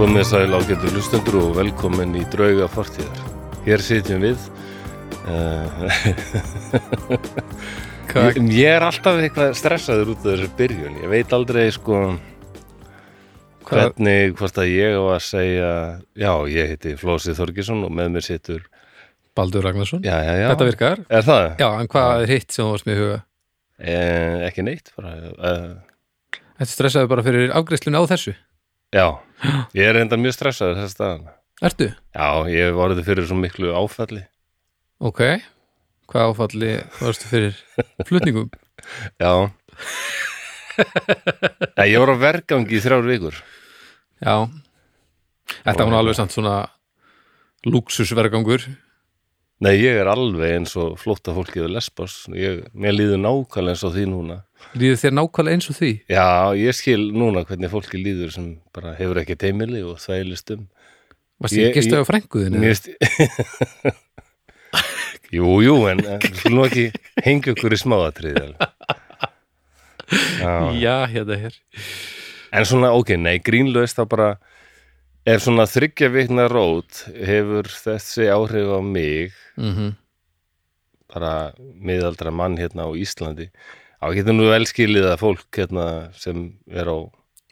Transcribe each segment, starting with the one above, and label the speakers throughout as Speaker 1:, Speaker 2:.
Speaker 1: Komið sæl ágættu hlustendur og velkomin í drauga fortíðar. Hér sitjum við. Uh,
Speaker 2: Hvað,
Speaker 1: eh, ég, ég er alltaf eitthvað stressaður út af þessu byrjun. Ég veit aldrei sko
Speaker 2: hvað,
Speaker 1: hvernig, hvort að ég á að segja, já, ég heiti Flósi Þorgesson og með mér situr,
Speaker 2: Baldur Ragnarsson?
Speaker 1: já, já, já.
Speaker 2: Þetta virkar?
Speaker 1: Er það?
Speaker 2: Já, en hvað er hitt sem þú varst með í huga?
Speaker 1: Eh, ekki neitt, bara, eh,
Speaker 2: Þetta stressaði bara fyrir afgreiðslun á þessu.
Speaker 1: já. Ég er enda mjög stressaður þess að
Speaker 2: Ertu?
Speaker 1: Já, ég hef orðið fyrir svo miklu áfalli.
Speaker 2: Ok. Hvað áfalli varstu fyrir flutningum?
Speaker 1: Já. Nei, ég var á vergangi í þrjár vikur.
Speaker 2: Já. Þetta var nú alveg samt svona luxusvergangur.
Speaker 1: Nei, ég er alveg eins og flótta fólkið við lesbos. Ég, mér líður nákvæmlega eins og því núna.
Speaker 2: Líður þér nákvæmlega eins og því?
Speaker 1: Já, ég skil núna hvernig fólki líður sem bara hefur ekki teimili og þvælist um.
Speaker 2: Varstu
Speaker 1: Ég-
Speaker 2: ekki gistaði á frænguðinu?
Speaker 1: Mér sti... jú, jú, en en skulum nú ekki hengja okkur í smáatriði. alveg. Já,
Speaker 2: Já, hérna hér.
Speaker 1: En svona, ok, nei, grínlaust þá bara ef svona þryggja vikna rót hefur þessi áhrif á mig
Speaker 2: Mm
Speaker 1: Mhm. bara miðaldra mann hérna á Íslandi þá getur nú vel skilið að fólk hérna sem er á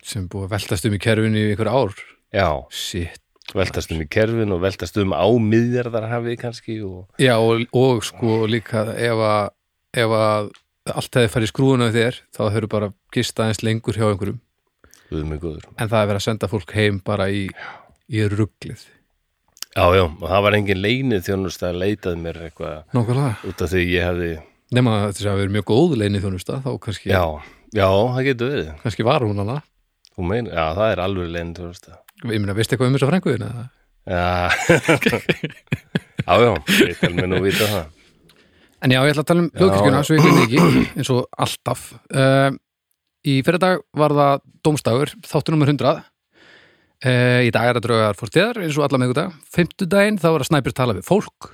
Speaker 2: Sem búið að veltast um í kerfinu í einhver ár.
Speaker 1: já,
Speaker 2: Shit.
Speaker 1: veltast um í kerfin og veltast um á miðjarðarhafið kannski og
Speaker 2: Já, og, og sko líka ef að, ef að allt hefði farið í skrúðuna við þér, þá hefur bara gistað eins lengur hjá einhverjum.
Speaker 1: við mig góður
Speaker 2: En það er verið að senda fólk heim bara í, í rugglið.
Speaker 1: já, já, og það var engin leinið þjónust að leitað mér eitthvað
Speaker 2: Nókulega.
Speaker 1: út af því ég hefði
Speaker 2: Nefna þess að það verið mjög góð leinið þjónusta, þá kannski,
Speaker 1: já, já, það getur við
Speaker 2: kannski var hún hana.
Speaker 1: þú meina, já, það er alveg leinið þjónust að
Speaker 2: Ég meina, veistu eitthvað um þess að frænguðina?
Speaker 1: Já, já, já, ég tel mér nú vita það.
Speaker 2: En já, ég ætla að tala um hljóðkirkjuna,
Speaker 1: já.
Speaker 2: svo ég gleymi því ekki, eins og alltaf. Uh, í fyrir dag var það Dómstagur, þáttur nummer 100. Uh, í dag er að draugar fórstíðar, eins og alla meðgudag. Fimmtudaginn, þá er að snæpir tala við fólk.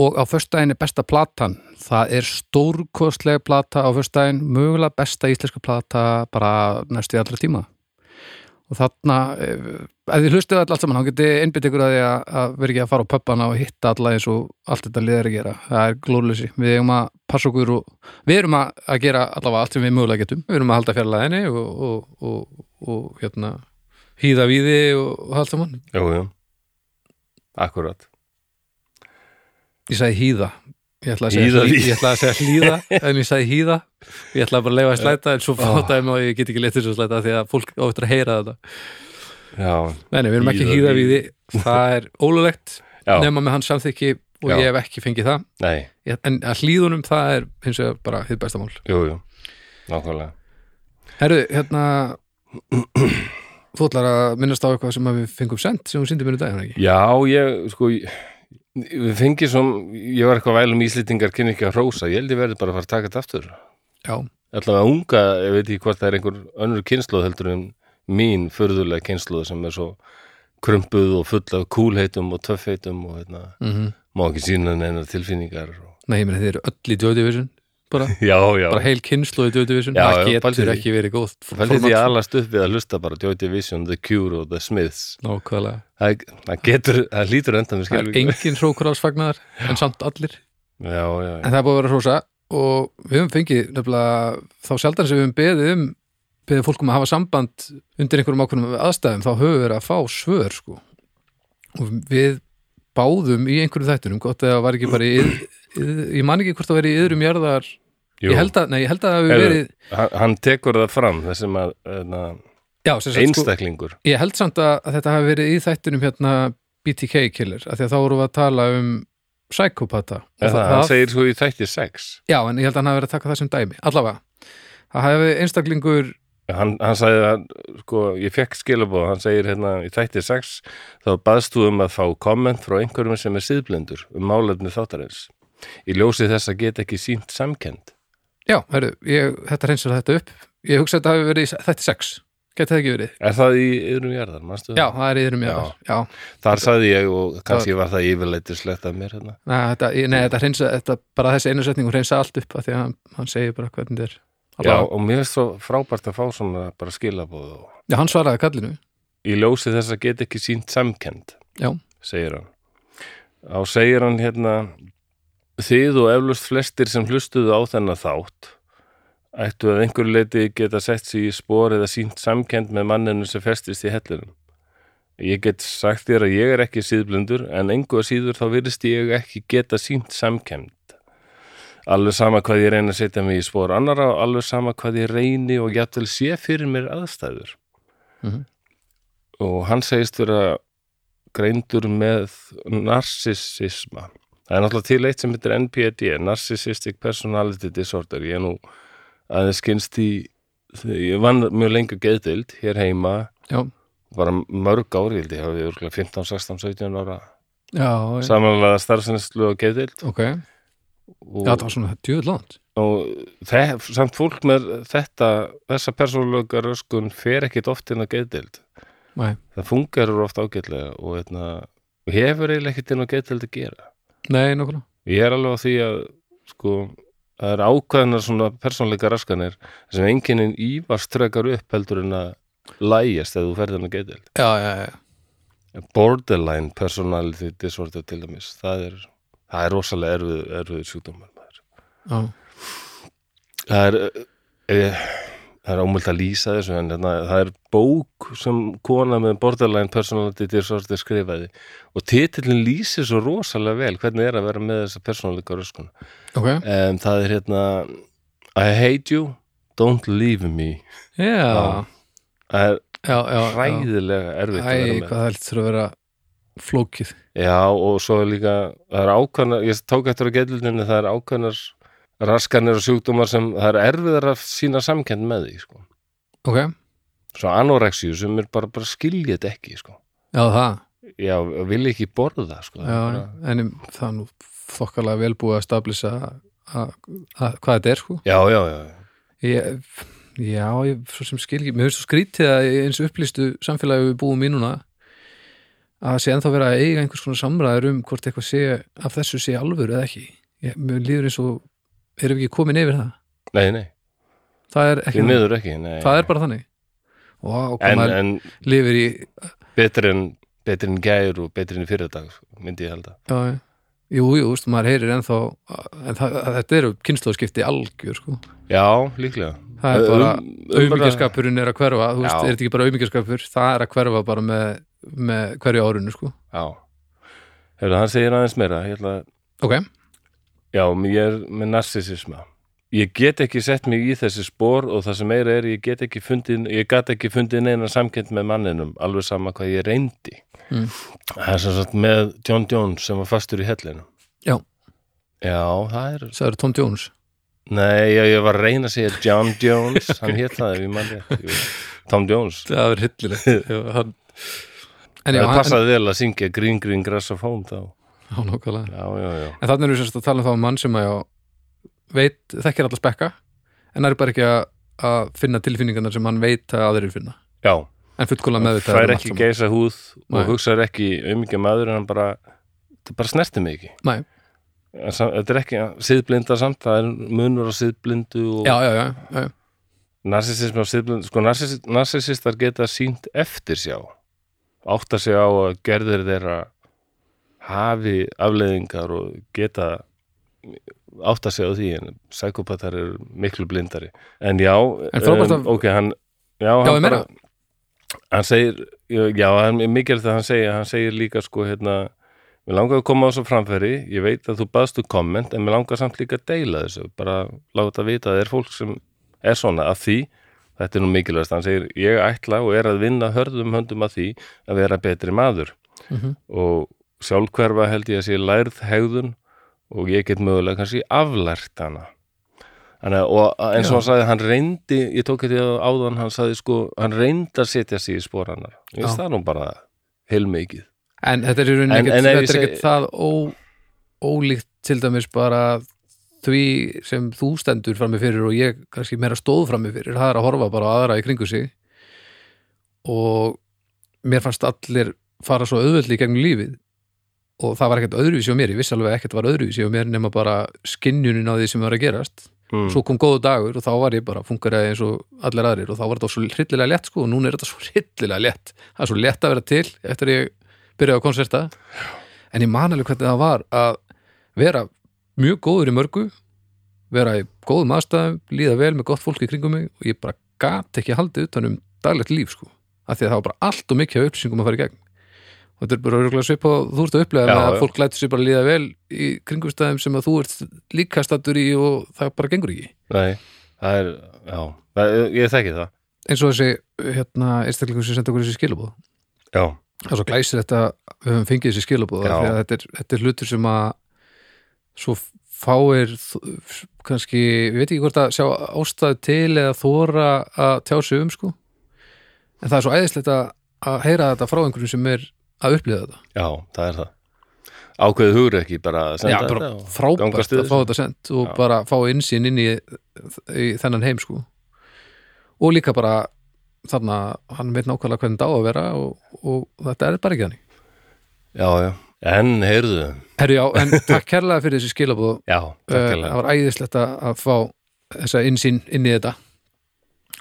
Speaker 2: Og á föstudaginn er besta platan. Það er stórkostlega plata á föstudaginn, mögulega besta íslenska plata bara næstu í allra tíma. Og þarna, ef, ef þið hlustuðu alltaf saman, þá getið einbytt ykkur að því að, að vera ekki að fara á pöppana og hitta alla eins og allt þetta liðar að gera. Það er glórlösi. Við eigum að passa okkur og við erum að, að gera allavega allt sem við mögulega getum. Við erum að halda fjarlæðinni og, og, og, og hérna, hýða víði og, og allt saman.
Speaker 1: Jú, jú, akkurat.
Speaker 2: Ég sagði hýða. Ég ætlaði að
Speaker 1: Hýða
Speaker 2: segja,
Speaker 1: víði.
Speaker 2: ég ætlaði að segja hlýða, en ég sagði hýða. Ég ætlaði bara að leifa að slæta, en svo fátaði mig og ég get ekki leitt þessu að slæta því að fólk á eftir að heyra þetta.
Speaker 1: Já,
Speaker 2: Nei, nei, við erum ekki
Speaker 1: Hýða
Speaker 2: hýða við því Það er ólulegt
Speaker 1: Já.
Speaker 2: nema með hans samþykki og
Speaker 1: Já.
Speaker 2: ég hef ekki fengið það
Speaker 1: nei,
Speaker 2: Ég- En að hlýðunum það er hins vegar bara hið besta mál
Speaker 1: jú, jú, nákvæmlega.
Speaker 2: Herru, hérna Þú ætlar að minnast á eitthvað sem að við fengum sent sem við sindum minni daginn ekki
Speaker 1: Já, ég, sko, ég- við fengið som, ég var eitthvað væl um íslýtingar kynni ekki að hrósa, ég held ég verði bara að fara að taka þetta aftur.
Speaker 2: Já,
Speaker 1: Ætla að unga, ég veit ekki hvort það er einhver önnur kynsluð heldur en mín förðulega kynsluð sem er svo krumpuð og full af kúlheitum og töffheitum og hérna,
Speaker 2: mm
Speaker 1: má ekki sína neina tilfinningar. Og...
Speaker 2: nei, ég meina þið eru öll í Djóðdivision bara,
Speaker 1: Já, já,
Speaker 2: bara heil kynslu í Djóðdivision
Speaker 1: Já,
Speaker 2: Það
Speaker 1: já, pældu
Speaker 2: getur
Speaker 1: því.
Speaker 2: ekki verið góð
Speaker 1: Fældi því
Speaker 2: format.
Speaker 1: allast upp við að hlusta bara Joy Division, The Cure og The Smiths
Speaker 2: Nákvæmlega
Speaker 1: Það, það getur, það lítur endan við
Speaker 2: Það er
Speaker 1: skilur
Speaker 2: engin hrókurásfagnar en samt allir
Speaker 1: Já, já, já,
Speaker 2: En það er búið að vera hrósa og við höfum fengið nefnilega þá sjaldan sem við höfum beðið um beðið fólkum að hafa samband undir einhverjum ákveðnum aðstæðum þá höfum við verið að fá svör sko. og við báðum í einhverjum þættunum gott eða var ekki bara í, yð, yð, ég man ekki hvort það verið í yðrum jarðar
Speaker 1: Jú.
Speaker 2: ég held að, nei, ég held að það hafi
Speaker 1: Heyrðu,
Speaker 2: verið
Speaker 1: Hann, hann tekur það fram þessum að na,
Speaker 2: já, sem sagt, sko,
Speaker 1: einstaklingur
Speaker 2: ég held samt að, að þetta hafi verið í þættunum hérna BTK killer, af því að þá vorum við að tala um psykopata
Speaker 1: Já, það, hann segir svo í þætti sex
Speaker 2: Já, en ég held að hann hafi verið að taka það sem dæmi Allavega, það hafi einstaklingur
Speaker 1: Hann, hann sagði að, sko, ég fekk skilabóð hann segir hérna í þætti sex þá baðst þú um að fá komment frá einhverjum sem er síðblindur um málefni þáttarins Í ljósi þess að geta ekki sínt samkend
Speaker 2: Já, heru, ég, þetta reynsir þetta upp Ég hugsa að þetta hafi verið í þetta sex Geti það ekki verið?
Speaker 1: Er það í yðrum jarðar, manstu?
Speaker 2: Já, það er yður um jáðar Já,
Speaker 1: Þar sagði ég og kannski var það yfirleitislegt af mér hérna.
Speaker 2: Nei, þetta, ég- nei, þetta reynsa þetta, bara þessi einu setning hún reynsa allt upp af því að hann, hann segir bara hvernig þetta er
Speaker 1: Já,
Speaker 2: Alla,
Speaker 1: og mér finnst svo frábært að fá svona bara skilabóð og
Speaker 2: já, hann svaraði kallinu
Speaker 1: í ljósi þess að geta ekki sínt samkend
Speaker 2: Já.
Speaker 1: segir hann á segir hann hérna þið og eflust flestir sem hlustuðu á þennan þátt ættu að einhverju leiti geta sett sig í spor eða sínt samkend með manninu sem festist í hellunum ég get sagt þér að ég er ekki síðblindur en engu að síður þá virðist ég ekki geta sínt samkend alveg sama hvað ég reyna að setja mig í spor annara og alveg sama hvað ég reyni og jafnvel sé fyrir mér aðstæður og hann segist vera greindur með narsisisma það er náttúrulega til eitt sem heitir NPD Narcissistic Personality Disorder ég er nú aðeins skynst í ég vann mjög lengur geðdild hér heima,
Speaker 2: já,
Speaker 1: bara mörg ári ég held ég hafi örgulega 15, 16, 17 ára
Speaker 2: já, já,
Speaker 1: samanlega starfsinslu og geðdild
Speaker 2: ok já,
Speaker 1: og,
Speaker 2: það var svona djöð langt
Speaker 1: og þe samt fólk með þetta þessa persónulega röskun fer ekkit oft inn á geðdild
Speaker 2: Nei.
Speaker 1: það fungerar oft ágætlega og, eitna, og hefur eiginlega ekkert inn á geðdild að gera
Speaker 2: Nei, nákvæmlega
Speaker 1: ég er alveg á því að sko, það er ákveðnar svona persónleika raskanir sem enginin ívast trekar upp heldur en að lægjast eða þú ferð hann að geta
Speaker 2: Já, já, já,
Speaker 1: borderline personality disorder til dæmis það er, það er rosalega erfið, erfið sjúkdómar maður.
Speaker 2: já,
Speaker 1: það er eh, það er ómöld að lýsa þessu en þarna, það er bók sem kona með borderline personality disorder skrifaði og titillin lýsir svo rosalega vel hvernig er að vera með þessa persónleika raskun
Speaker 2: ok
Speaker 1: um, það er hérna I hate you, don't leave me
Speaker 2: Já,
Speaker 1: Já. það er
Speaker 2: já, já já.
Speaker 1: hræðilega erfitt
Speaker 2: Æ,
Speaker 1: að vera með
Speaker 2: hvað það heldur þurfa að vera flókið
Speaker 1: já og svo er líka það er ákvæmnar, ég tók eftir á gætlunni það er ákvæmnar raskanir og sjúkdómar sem það er erfiðar að sína samkend með því sko.
Speaker 2: Ok,
Speaker 1: svo anorexíu sem er bara, bara skilja þetta ekki sko.
Speaker 2: já það
Speaker 1: já, vil ekki borða sko.
Speaker 2: já, En um, það er nú þokkalega vel búið að stablisa að- að- hvað þetta er sko
Speaker 1: já, já, já,
Speaker 2: ég, Já, ég svo sem skil ekki Mér finnst svo skrítið að í eins upplýstu samfélagi við búum í núna að sé ennþá vera að eiga einhvers konar samræður um hvort eitthvað sé af þessu sé alvöru eða ekki ég, Mér líður eins og erum við ekki komin yfir það
Speaker 1: nei, nei,
Speaker 2: Það er ekki
Speaker 1: því miður ekki nei.
Speaker 2: Það er bara þannig Vá, hvað
Speaker 1: en,
Speaker 2: maður
Speaker 1: en
Speaker 2: lifir í
Speaker 1: betri en betri en gær og betri en fyrirdag myndi ég halda
Speaker 2: já, já. Jú, jú, veist, maður heyrir ennþá en það, þetta eru kynnslóðskipti algjör sko.
Speaker 1: já, líklega
Speaker 2: það er bara, um,
Speaker 1: umræða-
Speaker 2: er að hverfa þú veist,
Speaker 1: Já.
Speaker 2: er þetta ekki bara aumingjaskapur það er að hverfa bara með, með hverju árunu sko.
Speaker 1: Já. Hefur hann segir aðeins meira, ég ætla að,
Speaker 2: ok,
Speaker 1: já, ég er með narsisisma. Ég get ekki sett mig í þessi spór og það sem meira er, ég get ekki fundið, ég gat ekki fundið neina samkend með manninum, alveg sama hvað ég reyndi.
Speaker 2: Mm.
Speaker 1: Það er svo satt með John Jones sem var fastur í hellinu.
Speaker 2: Já.
Speaker 1: Já, það er,
Speaker 2: það eru Tom Jones
Speaker 1: nei, ég, ég var að reyna að segja John Jones, hann hétt það ef ég mann rétt. Jú. Tom Jones.
Speaker 2: það er hyllilegt Já, hann- en já,
Speaker 1: það
Speaker 2: hann,
Speaker 1: passaði vel að syngja Green Green Grass of Home þá.
Speaker 2: já, nákvæmlega
Speaker 1: Já, já, já.
Speaker 2: En þannig erum við sérst að tala um þá um mann sem að já, veit, þekkir alla spekka en er bara ekki að, að finna tilfinningarnar sem hann veit að aðrir finna
Speaker 1: Já.
Speaker 2: en um fullkóla meðvitað
Speaker 1: fær ekki geisa húð
Speaker 2: Nei.
Speaker 1: og hugsar ekki um ekki maður en hann bara, það bara snerti mig ekki
Speaker 2: Nei.
Speaker 1: En sam- þetta er ekki síðblinda samt, það er munur á síðblindu og
Speaker 2: já, já, já, já, já.
Speaker 1: narsisism á síðblindu sko narsisist, narsisistar geta sínt eftir sjá átta sig á að gerðir þeirra hafi afleiðingar og geta átta sig á því en psykopatar eru miklu blindari en já, um,
Speaker 2: En frábært að-
Speaker 1: ok hann, já,
Speaker 2: Já,
Speaker 1: hann
Speaker 2: ég meina.
Speaker 1: hann segir, já, hann er mikilvægt að hann segja, hann segir líka sko hérna, mér langar að koma á þessu framfæri ég veit að þú baðst þú komment en mér langar samt líka að deila þessu bara láta vita að það er fólk sem er svona að því, þetta er nú mikilvægast hann segir, ég ætla og er að vinna hörðum höndum að því að vera betri maður
Speaker 2: Mhm.
Speaker 1: og sjálfhverfa held ég að sé lærð hegðun og ég get mögulega kannski aflært hana Þannig, að- og að- eins og hann sagði, hann reyndi ég tók eitthvað áðan, hann sagði sko hann reyndi að setja sig í spór hannar ég veist
Speaker 2: Já.
Speaker 1: það er nú bara heilmikið
Speaker 2: En þetta er í rauninni
Speaker 1: En-
Speaker 2: ekkert
Speaker 1: en ef ég
Speaker 2: þetta er ekkert
Speaker 1: seg-
Speaker 2: það ó, ólíkt til dæmis bara því sem þú stendur frammi fyrir og ég kannski meira stóð frammi fyrir það er að horfa bara á aðra í kringu sig og mér fannst allir fara svo auðvöldli í gegnum lífið og það var ekkert öðruvísi á mér, ég vissi alveg að ekkert var öðruvísi á mér nema bara skinnjunin á því sem var að gerast
Speaker 1: Mm.
Speaker 2: svo kom góðu dagur og þá var ég bara fungeraði eins og allir aðrir og þá var þetta svo hryllilega lett sko og núna er þetta svo hryllilega lett það er svo lett að vera til eftir að ég byrjaði á konserta en ég man alveg hvernig það var að vera mjög góður í mörgu vera í góðum aðstæðum líða vel með gott fólk í kringum mig og ég bara gat ekki haldið utan um daglegt líf sko af því að það var bara allt og mikið af upplýsingum að fara í gegn og þetta er bara örgulega svip og þú ert að upplega
Speaker 1: Já,
Speaker 2: með að
Speaker 1: já.
Speaker 2: fólk lætur sér bara líða vel í kringumstæðum sem að þú ert líka stattur í og það bara gengur ekki
Speaker 1: Nei, það er, já, það, ég þekki það.
Speaker 2: eins og þessi hérna, einstaklingur sem senda okkur þessi skilabóð
Speaker 1: Já,
Speaker 2: það er svo glæsir þetta við höfum fengið þessi skilabóð
Speaker 1: Já.
Speaker 2: af því að þetta, er, þetta er hlutur sem að svo fáir þ- kannski, við veit ekki hvort að sjá ástæðu til eða þóra að tjá sig um sko en það er svo æðislegt að, að heyra þetta frá einhverjum sem er að upplifa þetta
Speaker 1: já, það er það. Ákveðið hugur ekki bara að senda
Speaker 2: Já, bara
Speaker 1: þetta. og gangast
Speaker 2: frábært
Speaker 1: við
Speaker 2: að fá
Speaker 1: þessu.
Speaker 2: þetta sendt og
Speaker 1: Já.
Speaker 2: bara fá innsýn inn í, í þennan heim sko og líka bara þarna, hann veit nákvæmlega hvernig þetta á að vera og, og þetta er bara ekki þannig
Speaker 1: Já, já. En, heyrðu,
Speaker 2: Herru já, en takk kærlega fyrir þessi skilabóð
Speaker 1: já,
Speaker 2: Uh,
Speaker 1: takkilega.
Speaker 2: það var æðislegt að að fá þessa innsýn inn í þetta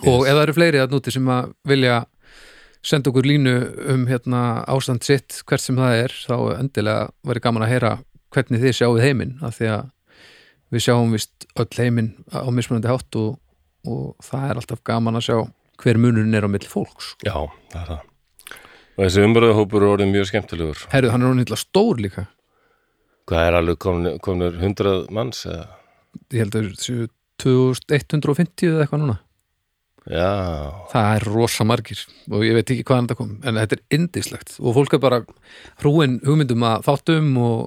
Speaker 2: og
Speaker 1: Yes.
Speaker 2: ef það eru fleiri að núti sem að vilja senda okkur línu um hérna ástand sitt hvert sem það er þá endilega væri gaman að heyra hvernig þið sjáuð heiminn af því að við sjáum vist öll heiminn á mismunandi hátt og, og það er alltaf gaman að sjá hver munurinn er á milli fólks
Speaker 1: Já, það er það. Og þessi umbröðahópur er orðið mjög skemmtilegur.
Speaker 2: Herðu, hann er hún hitla stór líka
Speaker 1: Hvað er alveg komnir, komnir hundrað manns eða?
Speaker 2: ég held að það séu 2150 eða eitthvað núna
Speaker 1: Já,
Speaker 2: Það er rosa margir og ég veit ekki hvaðan þetta kom en þetta er indislegt og fólk er bara hrúin hugmyndum að þáttum og,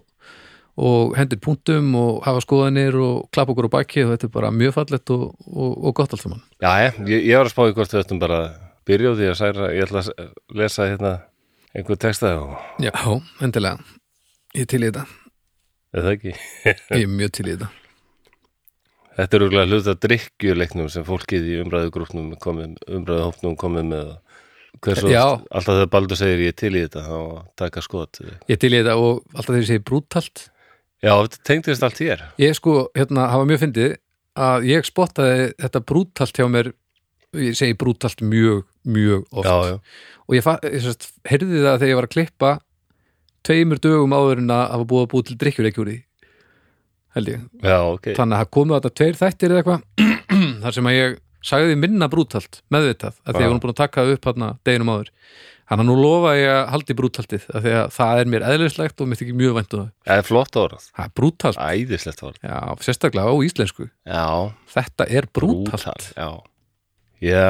Speaker 2: og hendir punktum og hafa skoðanir og klappa okkur á baki og þetta er bara mjög fallegt og, og, og gott allt saman.
Speaker 1: já, ég, ég var að spá í hvort við ættum bara að byrja á því að særa, ég ætla að s- lesa hérna einhver texta og
Speaker 2: Já, endilega. Ég er til í þetta.
Speaker 1: eða ekki.
Speaker 2: Ég er mjög til í þetta.
Speaker 1: Þetta er úrlega hluta drikkjuleiknum sem fólkið í umræðugrúknum komið, umræðuhópnum komið með hversu
Speaker 2: Já.
Speaker 1: alltaf þegar Baldur segir ég er til í þetta þá taka skot Já,
Speaker 2: Ég er til í þetta og alltaf þegar ég segi brúttalt
Speaker 1: þetta tengdist allt hér
Speaker 2: Ég sko, hérna, hafa mjög fyndið að ég spottaði þetta brúttalt hjá mér ég segi brúttalt mjög, mjög oft.
Speaker 1: Já, já,
Speaker 2: og ég, fa- ég sérst, heyrði það þegar ég var að klippa tveimur dögum áður en að hafa búið að búið til drikkjuleikjúri held ég,
Speaker 1: já, ok
Speaker 2: þannig að það komu þetta tveir þættir eða eitthvað þar sem að ég sagði minna brútalt meðvitað að því að
Speaker 1: Já.
Speaker 2: ég var nú búin að taka það upp hann deginum áður hann að nú lofa ég að haldi brútaltið að því að það er mér eðlislegt og mér þykir mjög vænt um það
Speaker 1: Það er flott orð,
Speaker 2: það er brútalt,
Speaker 1: æðislegt orð
Speaker 2: já, sérstaklega á íslensku
Speaker 1: Já,
Speaker 2: þetta er brútalt,
Speaker 1: brútal Já, já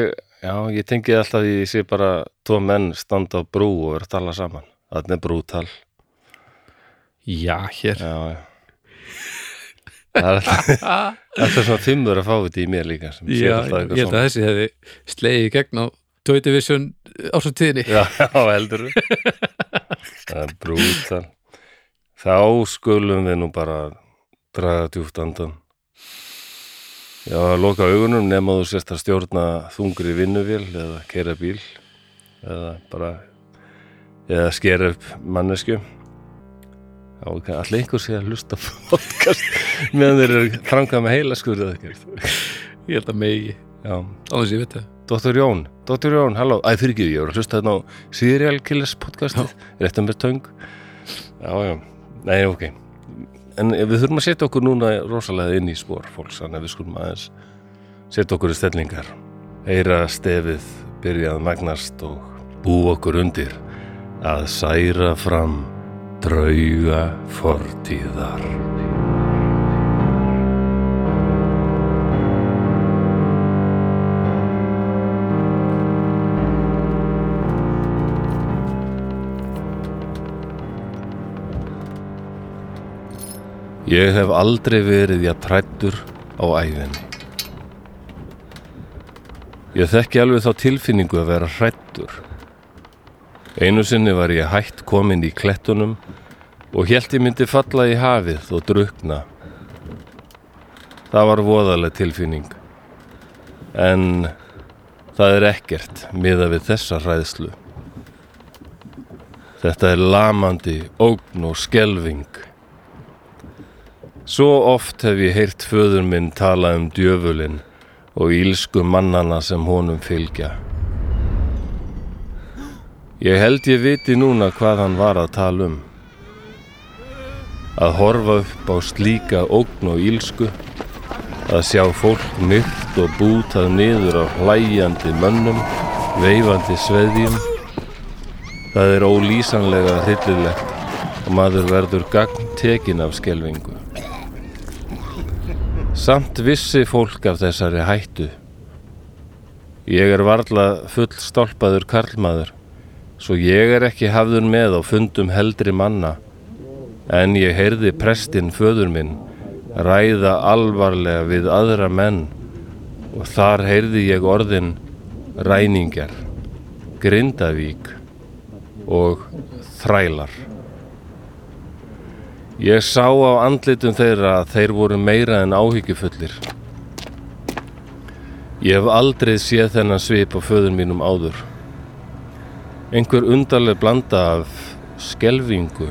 Speaker 1: ég, já, ég tengi alltaf því ég sé bara tvo menn standa á brú og vera að tala saman Þannig er brútal
Speaker 2: já, hér
Speaker 1: Já, já Það er alltaf, alltaf svona fimmur að fá þetta í mér líka sem sér
Speaker 2: Já,
Speaker 1: alltaf
Speaker 2: ég
Speaker 1: eitthvað
Speaker 2: held að þessi hefði slegið í gegn á Toy Division ásumtíðinni
Speaker 1: Já, já, heldur Það er brútal Þá skulum við nú bara draga djúpt andan Já, loka augunum nema þú sérst að stjórna þungri vinnuvél eða kera bíl eða bara eða skera upp mannesku Já, ok, allir einhver sé að hlusta á podcast meðan þeir eru þrangað með heila skurðið ekkert
Speaker 2: Ég held að megi,
Speaker 1: Já,
Speaker 2: á þess ég veit það
Speaker 1: Dóttur Jón, Dóttur Jón, halló Æ, fyrir ekki, ég voru að hlusta þarna á Serial Killers podcastið, réttum með töng Já, já, nei, ok En við þurfum að setja okkur núna rosalega inn í spór fólks þannig að við skulum aðeins setja okkur í stellingar heyra stefið byrja að magnast og bú okkur undir að særa fram drauga fortíðar Ég hef aldrei verið jafn trættur á æfinni. Ég þekki alveg þá tilfinningu að vera hrættur. Einu sinni var ég hætt kominn í klettunum og hélt ég myndi falla í hafið og drukna. Það var voðaleg tilfinning. En það er ekkert miða við þessa hræðslu. Þetta er lamandi, ógn og skelving Svo oft hef ég heyrt föður minn tala um djöfulinn og ílsku mannana sem honum fylgja. Ég held ég viti núna hvað hann var að tala um. Að horfa upp á slíka ógn og ílsku, að sjá fólk myrt og bútað niður á hlæjandi mönnum, veifandi sveðjum. Það er ólýsanlega hryllilegt og maður verður gagn tekin af skelvingu. Samt vissi fólk af þessari hættu. Ég er varla fullstálpaður karlmaður, svo ég er ekki hafður með á fundum heldri manna, en ég heyrði prestinn föður minn ræða alvarlega við aðra menn og þar heyrði ég orðin ræningar, grindavík og þrælar. Ég sá á andlitum þeirra að þeir voru meira en áhyggjufullir. Ég hef aldrei séð þennan svip á föður mínum áður. Einhver undarleg blanda af skelvingu,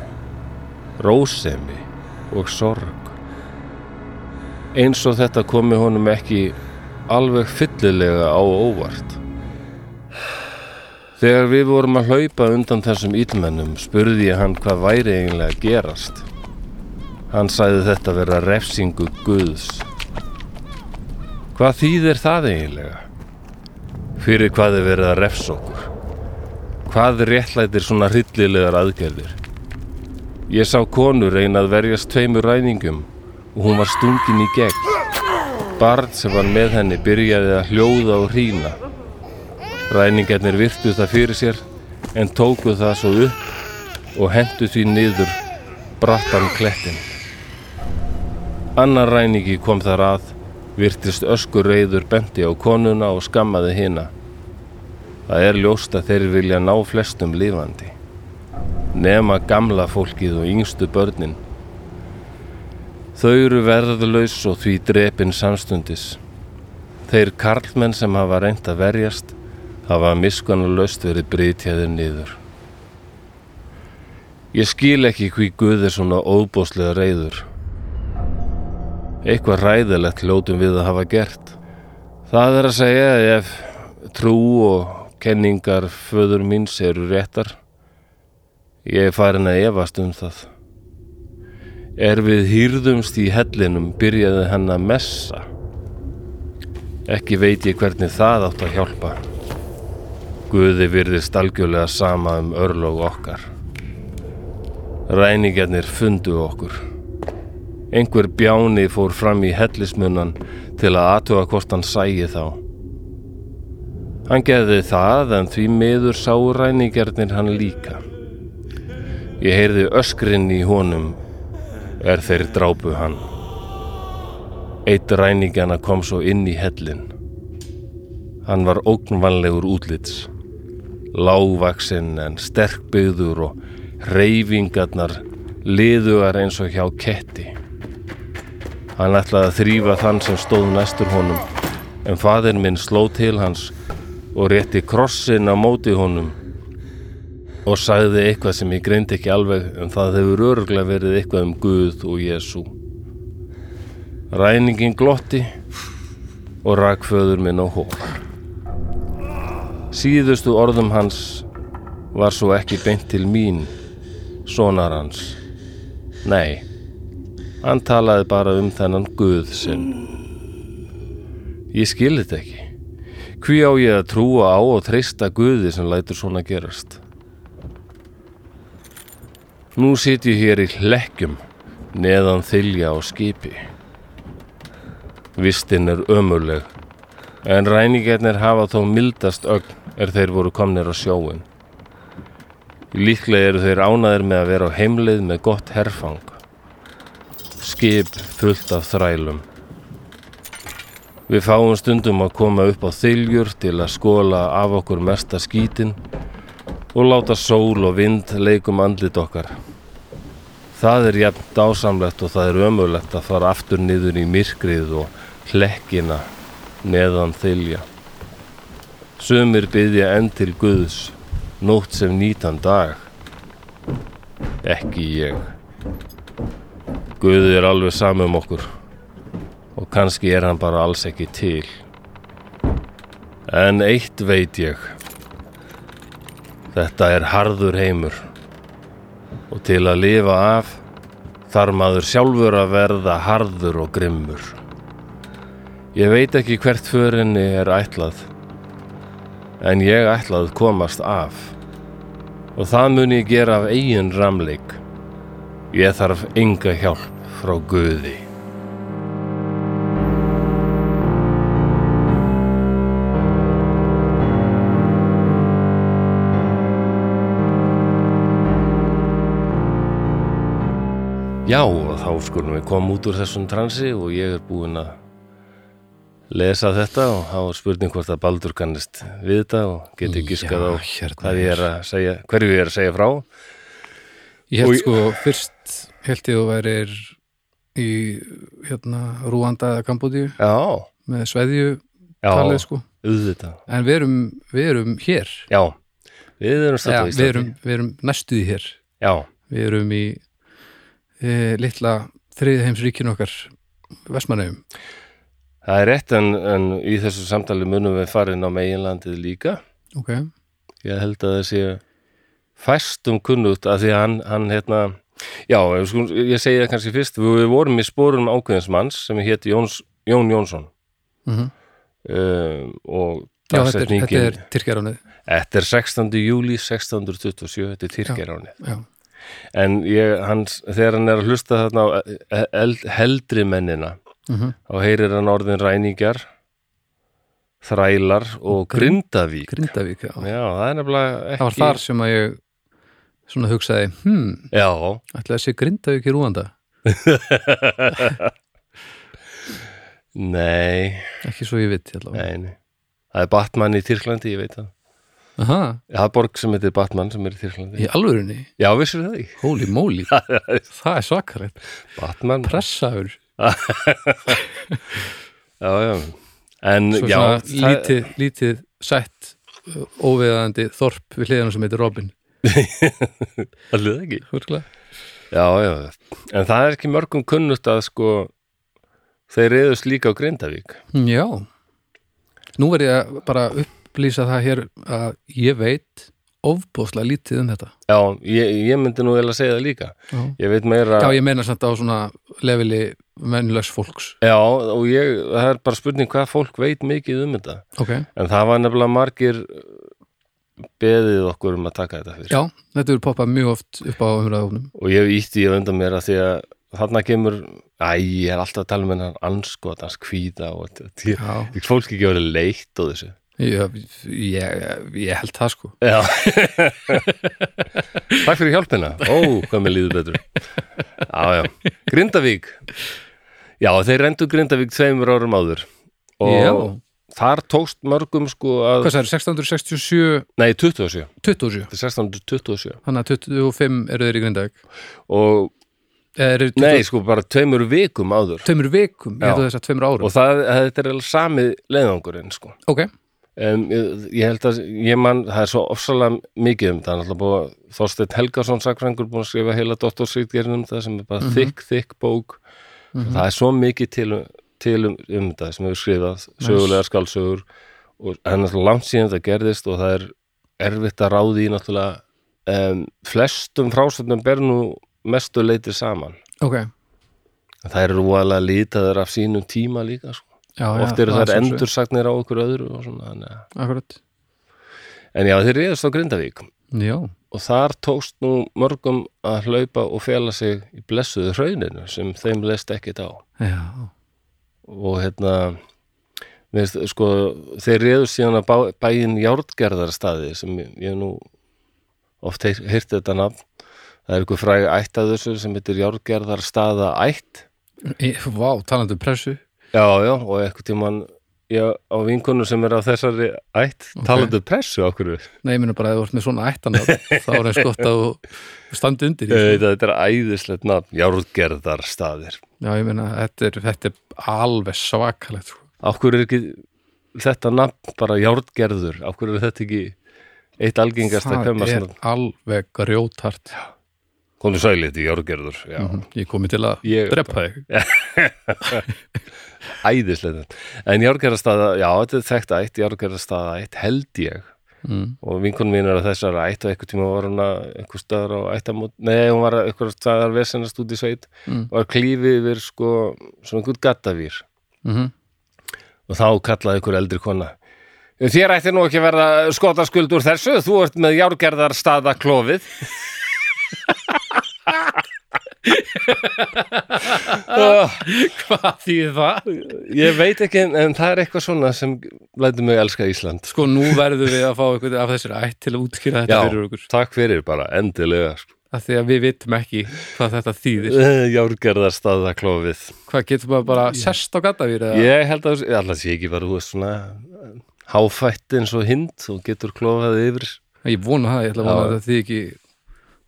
Speaker 1: rósemi og sorg. Eins og þetta komi honum ekki alveg fyllilega á óvart. Þegar við vorum að hlaupa undan þessum ílmennum spurði ég hann hvað væri eiginlega að gerast. Hann sagði þetta vera refsingu Guðs. Hvað þýðir það eiginlega? Fyrir hvað er verið að refsa okkur? Hvað réttlætir svona hryllilegar aðgerðir? Ég sá konu reyna að verjast tveimur ræningum og hún var stungin í gegn. Barn sem var með henni byrjaði að hljóða og hrína. Ræningarnir virtu það fyrir sér en tóku það svo upp og hendu því niður brattan klettin. Annar ræningi kom þar að, virtist öskur reyður bendi á konuna og skammaði hina. Það er ljóst að þeir vilja ná flestum lifandi. Nema gamla fólkið og yngstu börnin. Þau eru verðlaus og því drepin samstundis. Þeir karlmenn sem hafa reynd að verjast hafa miskunnulaust verið brytjaðir niður. Ég skil ekki hví Guð er svona óbóslega reyður. Eitthvað ræðilegt ljótum við að hafa gert. Það er að segja að ef trú og kenningar föður míns eru réttar, ég er farin að efast um það. Er við hýrðumst í hellinum byrjaði hann að messa. Ekki veit ég hvernig það átt að hjálpa. Guði virðist algjörlega sama um örlóg okkar. Ræningarnir fundu okkur. Einhver bjáni fór fram í hellismunan til að aðtuga hvort hann sægi þá. Hann gerði það en því miður sá ræningarnir hann líka. Ég heyrði öskrin í honum er þeir drápu hann. Eitt ræningarna kom svo inn í hellin. Hann var ógnvanlegur útlits. Lávaksinn en sterkbyður og reyfingarnar liðugar eins og hjá ketti. Hann ætlaði að þrýfa þann sem stóð næstur honum en faðir minn sló til hans og rétti krossin á móti honum og sagði eitthvað sem ég greindi ekki alveg en það hefur örglega verið eitthvað um Guð og Jésu. Ræningin glotti og rak föður minn á hóla. Síðustu orðum hans var svo ekki beint til mín sonar hans. Nei, hann talaði bara um þennan Guð sinn. Ég skil þetta ekki. Hví á ég að trúa á og treysta Guði sem lætur svona gerast? Nú sit ég hér í hlekkjum, neðan þylja á skipi. Vistinn er ömurleg, en ræningarnir hafa þó mildast ögn er þeir voru komnir á sjóin. Líklega eru þeir ánaðir með að vera á heimleið með gott herfang. Skip fullt af þrælum. Við fáum stundum að koma upp á þyljur til að skóla af okkur mesta skítin og láta sól og vind leikum andlit okkar. Það er jafn dásamlegt og það er ömulegt að fara aftur niður í myrkrið og hlekkina neðan þylja. Sumir byggja enn til Guðs nótt sem nýtan dag ekki ég Guði er alveg sami um okkur og kannski er hann bara alls ekki til. En eitt veit ég. Þetta er harður heimur og til að lifa af þarf maður sjálfur að verða harður og grimmur. Ég veit ekki hvert förinni er ætlað en ég ætlað komast af og það mun ég gera af eigin ramleik. Ég þarf enga hjálp frá Guði. Já, og þá skulum við koma út úr þessum transi og ég er búinn að lesa þetta og þá er spurning hvort að Baldur kannist við þetta og geti giskað á
Speaker 2: hérna
Speaker 1: hvað ég er að segja, hverju ég er að segja frá.
Speaker 2: Ég held
Speaker 1: Og-
Speaker 2: sko fyrst held ég þú værir í hérna Rúanda eða Kambodíu
Speaker 1: Já,
Speaker 2: með sveðju
Speaker 1: já,
Speaker 2: talið sko
Speaker 1: auðvitað.
Speaker 2: en við erum, við erum hér
Speaker 1: Já, við
Speaker 2: ja,
Speaker 1: erum stöðt á
Speaker 2: við,
Speaker 1: Íslandi.
Speaker 2: erum, við erum næstuði hér
Speaker 1: Já,
Speaker 2: við erum í e, litla þriðheimsríkinu okkar Vestmanneum
Speaker 1: það er rétt en, en í þessu samtali munum við farin á meginlandið líka.
Speaker 2: ok,
Speaker 1: Ég held að það sé fæstum kunnugt að því að hann, hann hérna, já, ef sko, ég segi það kannski fyrst, við, við vorum í spórum ákveðins manns sem héti Jóns, Jón Jónsson
Speaker 2: mm
Speaker 1: um, og
Speaker 2: já þetta er, þetta
Speaker 1: dagsetningin-
Speaker 2: er Tyrkjaránið
Speaker 1: þetta er 16. júli 1627, þetta er Tyrkjaránið.
Speaker 2: já,
Speaker 1: En ég, hans, þegar hann er að hlusta þarna á eh, eld, heldri mennina,
Speaker 2: mm
Speaker 1: þá heyrir hann orðin ræningjar, þrælar og grindavík.
Speaker 2: Grindavík já.
Speaker 1: Já, það er nefnilega ekki...
Speaker 2: það var þar sem að ég svona hugsaði, hmm,
Speaker 1: Já,
Speaker 2: ætlaði að sé Grindavík í Rúanda
Speaker 1: nei,
Speaker 2: ekki svo ég viti allavega
Speaker 1: nei, nei. Það er Batman í Tyrklandi, ég veit það.
Speaker 2: Aha,
Speaker 1: Það er borg sem heitir Batman sem er í Tyrklandi.
Speaker 2: í alvörunni,
Speaker 1: Já, vissir það ekki?
Speaker 2: holy moly það er svakarlegt,
Speaker 1: Batman,
Speaker 2: pressaður
Speaker 1: já, já. En,
Speaker 2: svo
Speaker 1: já,
Speaker 2: svona
Speaker 1: það-
Speaker 2: lítið, lítið sætt ö, óviðandi þorp við hliðanum sem heitir Robin
Speaker 1: það liði ekki.
Speaker 2: Hörgulega.
Speaker 1: Já, já, en það er ekki mörgum kunnugt að sko, þeir reyðust líka á Grindavík.
Speaker 2: Hm, já nú verð ég að bara upplýsa það hér að ég veit ofbóðslega lítið um þetta
Speaker 1: Já, ég, ég myndi nú vel að segja það líka.
Speaker 2: já,
Speaker 1: Ég veit meira...
Speaker 2: ég meina samt á svona leveli mennlös fólks
Speaker 1: Já, og ég, það er bara spurning hvað fólk veit mikið um þetta.
Speaker 2: ok,
Speaker 1: En það var nefnilega margir uh, beðið okkur um að taka þetta fyrir.
Speaker 2: já, þetta er poppað mjög oft upp á umræðunum
Speaker 1: Og ég ítti ég undan mér að því að þarna kemur, æ, ég er alltaf að tala um með hann anskotans kvíða og þetta- því-
Speaker 2: já,
Speaker 1: því fólk ekki verið leitt og þessu.
Speaker 2: ég, ég, ég held það sko
Speaker 1: Já. Takk fyrir hjálpina. Ó, hvað mér líður betur. Já, já. Grindavík. Já, þeir rendu Grindavík tveimur árum áður. Og
Speaker 2: já,
Speaker 1: þar tókst mörgum sko að,
Speaker 2: hvað sagði, 1667
Speaker 1: nei, 27.
Speaker 2: 27
Speaker 1: Þetta er 1627.
Speaker 2: Þannig að 25 eru þeir í Grindavík
Speaker 1: og
Speaker 2: Eða eru 20
Speaker 1: nei, sko bara tveimur vikum áður
Speaker 2: tveimur vikum, ég
Speaker 1: Já.
Speaker 2: held að þess að tveimur árum
Speaker 1: og það, þetta er alveg sami leiðangurinn sko.
Speaker 2: Ok,
Speaker 1: um, ég, ég held að ég mann, það er svo ofsalega mikið um það, náttúrulega búið að Þorsteinn Helgason sakfrængur búin að skrifa heila doktorsvítgerðin um það sem er bara
Speaker 2: Mhm.
Speaker 1: þykk, þykk bók það er svo mikið til, um- til um, um það sem hefur skrifað sögulegar skálsögur og það er náttúrulega langt síðan það gerðist og það er erfitt að ráði í náttúrulega um, flestum frásöndum ber nú mestu leiti saman
Speaker 2: ok
Speaker 1: En Það eru rúalega litaður af sínum tíma líka sko.
Speaker 2: já,
Speaker 1: Oft eru
Speaker 2: það
Speaker 1: þær
Speaker 2: er sjálfsögðu.
Speaker 1: endursagnir á okkur öðru og svona, þannig að-
Speaker 2: Akkurat,
Speaker 1: En já, þeir reyðast á Grindavík
Speaker 2: já,
Speaker 1: og þar tókst nú mörgum að hlaupa og fela sig í blessuðu hrauninu sem þeim leist ekkit á
Speaker 2: já
Speaker 1: og hérna veist, sko, þeir reyðust síðan að bæ, bæin Járngerðarstaði sem ég, ég nú oft heyr, heyrt þetta nafn það er einhver fræg ætt að þessu sem heitir Járngerðarstaða ætt
Speaker 2: Í- Vá, talandi um pressu
Speaker 1: Já, já, og eitthvað tímann ég á vinkonu sem er á þessari ætt
Speaker 2: Ok.
Speaker 1: talandu pressu okkur við
Speaker 2: Nei, ég minna bara að þú ert með svona ættan þá er eins gott að þú standi undir sko. í þessu.
Speaker 1: Eh, þetta, þetta er æðislegt nafn, járgerðar staðir
Speaker 2: Já, ég minna, þetta er, þetta er alveg svakalegt sko.
Speaker 1: Okkur er ekki þetta nafn bara járgerður Okkur er þetta ekki eitt algengasta
Speaker 2: Það er
Speaker 1: kvemasnafn
Speaker 2: alveg grjótart
Speaker 1: Komdu sælið í járgerður, já.
Speaker 2: Mhm. Ég komi til að
Speaker 1: Ég-
Speaker 2: drepa þig
Speaker 1: Æðislega. En járgerðarstaða, já, þetta er þekkt ætt, járgerðarstaða ætt held ég.
Speaker 2: mm.
Speaker 1: Og vinkonum mín er að þessar ætt og eitthvað tíma var hún að einhver staðar á ættamót, nei, hún var að einhver staðar vesennast út í sveit
Speaker 2: Mm.
Speaker 1: og var klífið yfir sko, svona einhvern gattavýr.
Speaker 2: Mm
Speaker 1: Og þá kallaði ykkur eldri kona. Þér ætti nú ekki að verða skotaskuld úr þessu, þú ert með járgerðarstaða klófið.
Speaker 2: Hvað þýð það?
Speaker 1: Ég veit ekki, en, en það er eitthvað svona sem lætur mig elska Ísland.
Speaker 2: Sko, nú verðum við að fá eitthvað af þessir ætt til að útskýra þetta
Speaker 1: Já,
Speaker 2: fyrir okkur
Speaker 1: takk fyrir bara, endilega. sko.
Speaker 2: af því að við vitum ekki hvað þetta þýðir
Speaker 1: Eh, Járgerðarstaða klófið.
Speaker 2: Hvað getur maður bara sest á gattavír eða
Speaker 1: Ég held að, alltaf sé ekki bara, þú veist svona eh, háfætt eins og hind og getur klófað yfir.
Speaker 2: Ég vona það, ég ætla að vona
Speaker 1: Já.
Speaker 2: að þetta þýð ekki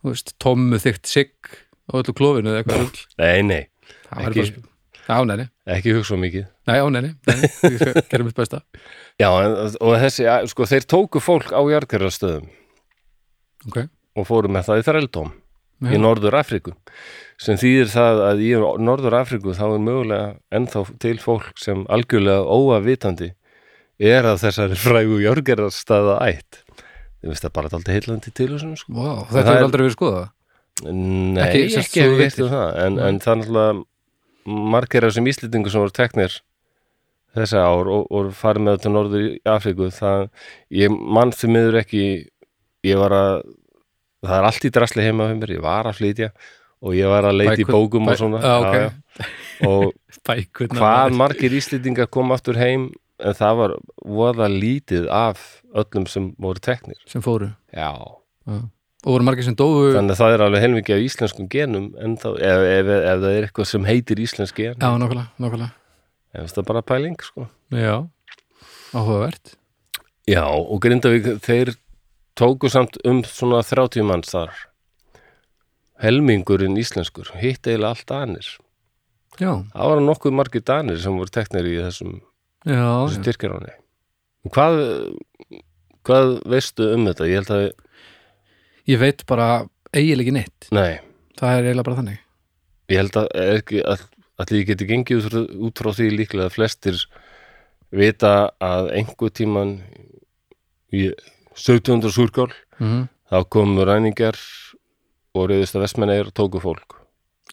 Speaker 2: þú veist, tommu þykkt sigg á öllu klófinu eða eitthvað rugl.
Speaker 1: Nei, nei,
Speaker 2: Það var
Speaker 1: Ekki-
Speaker 2: bara spil Já, neini,
Speaker 1: ekki hugsa of mikið.
Speaker 2: nei, já, neini, neini Ég gerum mitt besta
Speaker 1: Já, en, og þessi, ja, sko, þeir tóku fólk á járgerðarstöðum
Speaker 2: Ok,
Speaker 1: og fóru með það í þrældóm
Speaker 2: Já.
Speaker 1: í Norður Afríku sem þýðir það að í Norður Afríku þá er mögulega ennþá til fólk sem algjörlega óavitandi er að þessari frægu jörgerðarstaða ætt ég veist það bara alltaf heillandi til þessum sko.
Speaker 2: wow, þetta
Speaker 1: Það er-
Speaker 2: hefur aldrei verið skoðað
Speaker 1: Nei,
Speaker 2: Ekki
Speaker 1: ekki,
Speaker 2: sem
Speaker 1: ekki
Speaker 2: þú
Speaker 1: hef ég veitt
Speaker 2: vitir.
Speaker 1: um það en, en það er náttúrulega margir af þessum íslendingu sem voru teknir þessa ár og, og farið með þetta til Norður Afríku það, ég mann því miður ekki ég var að það er allt í drasli heima hjá mér, ég var að flytja og ég var að leita í
Speaker 2: Bækur-
Speaker 1: bókum
Speaker 2: bæ-
Speaker 1: og svona
Speaker 2: Já, ok.
Speaker 1: já. og
Speaker 2: Bækurnar
Speaker 1: hvað
Speaker 2: maður.
Speaker 1: margir íslendingar kom aftur heim en það var voða lítið af öllum sem voru teknir
Speaker 2: sem fóru
Speaker 1: já,
Speaker 2: Já. og voru margir sem dóu
Speaker 1: þannig að það er alveg helmingi af íslenskum genum en þá, ef, ef, ef það er eitthvað sem heitir íslensk gen,
Speaker 2: Já, nákvæmlega, nákvæmlega
Speaker 1: ef það er bara pæling sko.
Speaker 2: Já, áhugavert
Speaker 1: já, og Grindavík þeir tóku samt um svona 30 manns þar helmingurinn íslenskur hitt eiginlega allt danir
Speaker 2: Já,
Speaker 1: það var nokkuð margir danir sem voru teknir í þessum
Speaker 2: já, já.
Speaker 1: styrkjaráni hvað, hvað veistu um þetta? ég held að,
Speaker 2: Ég veit bara eiginlega ekki neitt
Speaker 1: nei,
Speaker 2: Það er eiginlega bara þannig
Speaker 1: ég held að er ekki all, allir geti gengið út frá- út frá því líklega að flestir vita að einhver tíman í 1700 súrkál
Speaker 2: mm
Speaker 1: þá komu ræningar og reyðist að vestmennir og tóku fólk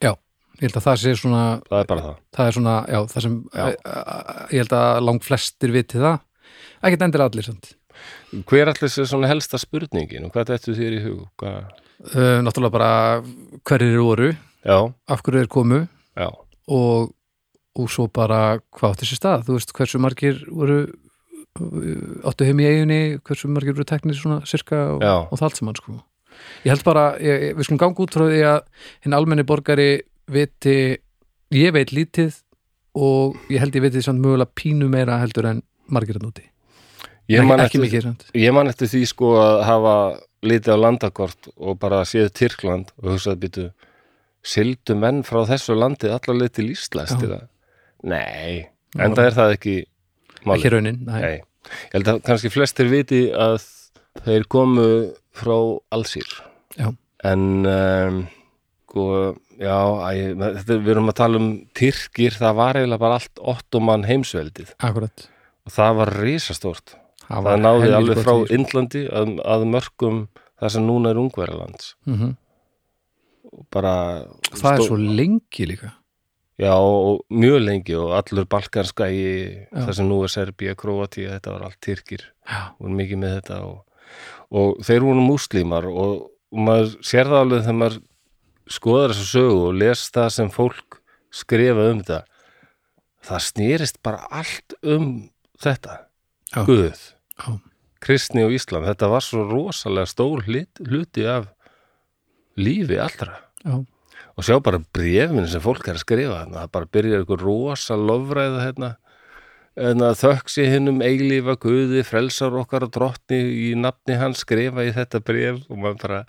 Speaker 2: Já, ég held að það sé svona
Speaker 1: það er bara það
Speaker 2: það er svona, já, það sem
Speaker 1: Já.
Speaker 2: Æ, æ, æ, ég held að lang flestir viti það ekkert endur allir samt
Speaker 1: hver allir sér svona helsta spurningin og hvað þetta þér í hug hvað?
Speaker 2: uh, náttúrulega bara hverjir þeir voru
Speaker 1: já,
Speaker 2: af hverju þeir komu
Speaker 1: já,
Speaker 2: og, og svo bara hvað átti sér stað, þú veist hversu margir voru uh, áttu heim í eiginni hversu margir voru teknir svona sirka og,
Speaker 1: Já.
Speaker 2: og það allt saman sko ég held bara, ég, ég- við skulum ganga út frá því að hinn almenni borgari viti ég veit lítið og ég held ég viti samt mögulega pínu meira heldur en margir að núti
Speaker 1: ég
Speaker 2: ekki,
Speaker 1: man
Speaker 2: ekki
Speaker 1: eftir,
Speaker 2: mikið samt
Speaker 1: ég man eftir því sko að hafa litið á landakort og bara séð Tyrkland og hugsaði býtu sildu menn frá þessu landi allar leið til Íslands
Speaker 2: Já.
Speaker 1: til það nei, enda er það ekki málið.
Speaker 2: ekki raunin, næ,
Speaker 1: Nei, ég held að kannski flestir viti að þeir komu frá allsýr
Speaker 2: Já.
Speaker 1: en um, sko, já, æ, þetta, við erum að tala um tyrkir, það var eiginlega bara allt ottoman heimsveldið
Speaker 2: akkurat
Speaker 1: og það var risastort
Speaker 2: það,
Speaker 1: það náði alveg frá Indlandi að, að mörgum það sem núna er Ungverjalands
Speaker 2: mm
Speaker 1: Og bara
Speaker 2: það er
Speaker 1: stó-
Speaker 2: svo lengi líka
Speaker 1: já, og mjög lengi og allur balkanskæi
Speaker 2: Já.
Speaker 1: það sem nú er Serbía, Króatía, þetta var allt tyrkir
Speaker 2: já,
Speaker 1: voru mikið með þetta og, og þeir voru múslímar og, og maður sér það alveg þegar maður skoðar þessa sögu og les það sem fólk skrifa um þetta það snýrist bara allt um þetta
Speaker 2: Já.
Speaker 1: Guð,
Speaker 2: já,
Speaker 1: kristni og íslam þetta var svo rosalega stór hlut, hluti af lífi allra
Speaker 2: já,
Speaker 1: og sjá bara brefin sem fólk er að skrifa þarna, það bara byrjar einhver rosa lofræða hérna, hérna þökk sé hinnum eiglífa guði frelsar okkar og drottni í nafni hans skrifa í þetta bref og maður bara,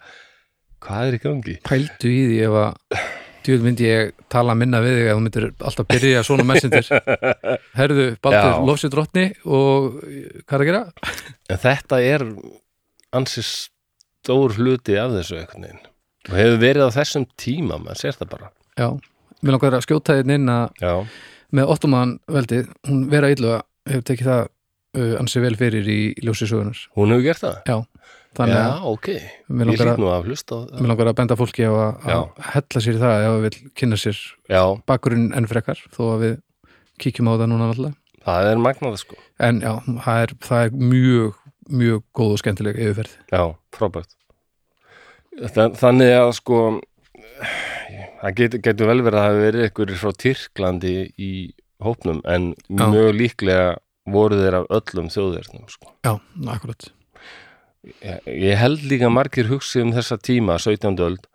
Speaker 1: hvað er í gangi?
Speaker 2: pældu í því ef að djúvel myndi ég tala minna við þig að þú myndir alltaf byrja svona messendir herðu,
Speaker 1: Já.
Speaker 2: Baldur, lofsið drottni og hvað er að gera?
Speaker 1: En þetta er ansi stór hluti af þessu einhvern veginn og hefur verið á þessum tíma maður sér það bara
Speaker 2: Já, mér langar að skjóta þinn inn að
Speaker 1: já,
Speaker 2: með ottoman veldið, hún vera illu hefur tekið það uh, ansi vel fyrir í ljósi sögunar.
Speaker 1: hún hefur gert það
Speaker 2: Já, þannig
Speaker 1: já,
Speaker 2: að
Speaker 1: ok,
Speaker 2: mér langar
Speaker 1: ég lít
Speaker 2: að,
Speaker 1: nú af hlust og,
Speaker 2: mér langar að benda fólki á að, að hella sér í það ef það vil kynna sér
Speaker 1: já,
Speaker 2: bakgrunn enn frekar þó að við kíkjum á það núna alltaf.
Speaker 1: það er magnað sko
Speaker 2: En já, það er, það er mjög, mjög góð og skemmtileg yfirferð.
Speaker 1: Já, frábært Þa- Þannig að sko það getur, getur vel verið að það hafi verið ykkur frá Tyrklandi í hópnum en
Speaker 2: Já.
Speaker 1: mjög líklega voru þeir af öllum þjóðverðnum sko.
Speaker 2: Já, akkurat.
Speaker 1: ég, ég held líka margir hugsi um þessa tíma 17. öld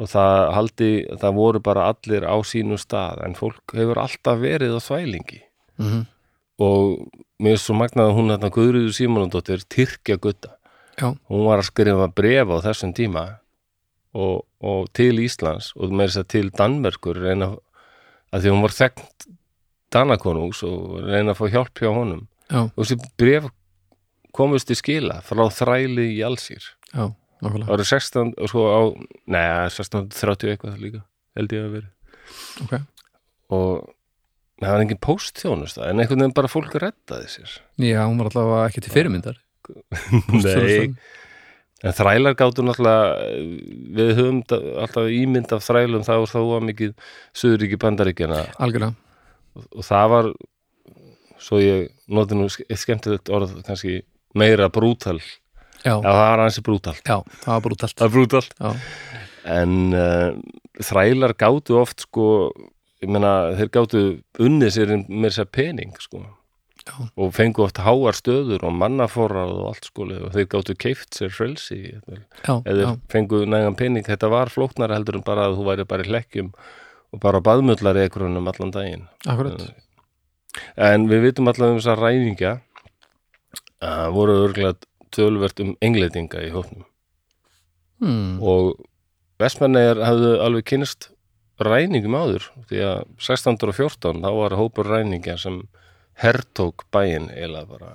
Speaker 1: og það, haldi, það voru bara allir á sínu stað en fólk hefur alltaf verið á þvælingi
Speaker 2: Mm
Speaker 1: Mhm, og mér er svo magnað að hún þarna Guðrúður Símonandóttir Tyrkja gutta
Speaker 2: Já.
Speaker 1: hún var að skrifa bref á þessum tíma og, og til Íslands og með þess að segja til Danmerkur reyna að því hún var þekkt Danakonungs og reyna að fá hjálp hjá honum
Speaker 2: Já.
Speaker 1: og þessi bref komust í skila frá þræli í allsýr
Speaker 2: Já, nákvæmlega.
Speaker 1: árið 16 og svo á neða, 1630 eitthvað líka held ég að veri
Speaker 2: Ok.
Speaker 1: og það var engin póstþjónusta en einhvern veginn bara fólk rettaði sér
Speaker 2: Já, hún var allavega ekki til fyrirmyndar.
Speaker 1: Nei,
Speaker 2: Póstþjónustan.
Speaker 1: en þrælar gátu náttúrulega við höfum da- alltaf ímynd af þrælum þá var þá var mikið Suðuríki bandaríkjana
Speaker 2: Algjörlega.
Speaker 1: og það var svo ég noti nú ske- eitt skemmtilegt orð kannski meira brútal já,
Speaker 2: Já,
Speaker 1: það var hansi brútalt
Speaker 2: já, það var brútalt.
Speaker 1: það er brútalt
Speaker 2: Já,
Speaker 1: en uh, þrælar gátu oft sko ég meina, þeir gátu unnið sér með þess að segja pening sko
Speaker 2: Já.
Speaker 1: og fengu oft háar stöður og mannaforrað og allt sko og þeir gátu keift sér frelsi jafnvel.
Speaker 2: já,
Speaker 1: eða
Speaker 2: já,
Speaker 1: fengu nægan pening þetta var flóknara heldur en bara að þú væri bara í hlekkjum og bara baðmullar í ekkurunum allan daginn Eh,
Speaker 2: akkurat.
Speaker 1: en við vitum allavega um þessar ræðingja að voru örglega tölvert um englendinga í hóknum
Speaker 2: Hmm.
Speaker 1: og vestmennegar hafðu alveg kynist ræningum áður því að 1614 þá var hópur ræningja sem hertók bæinn eða bara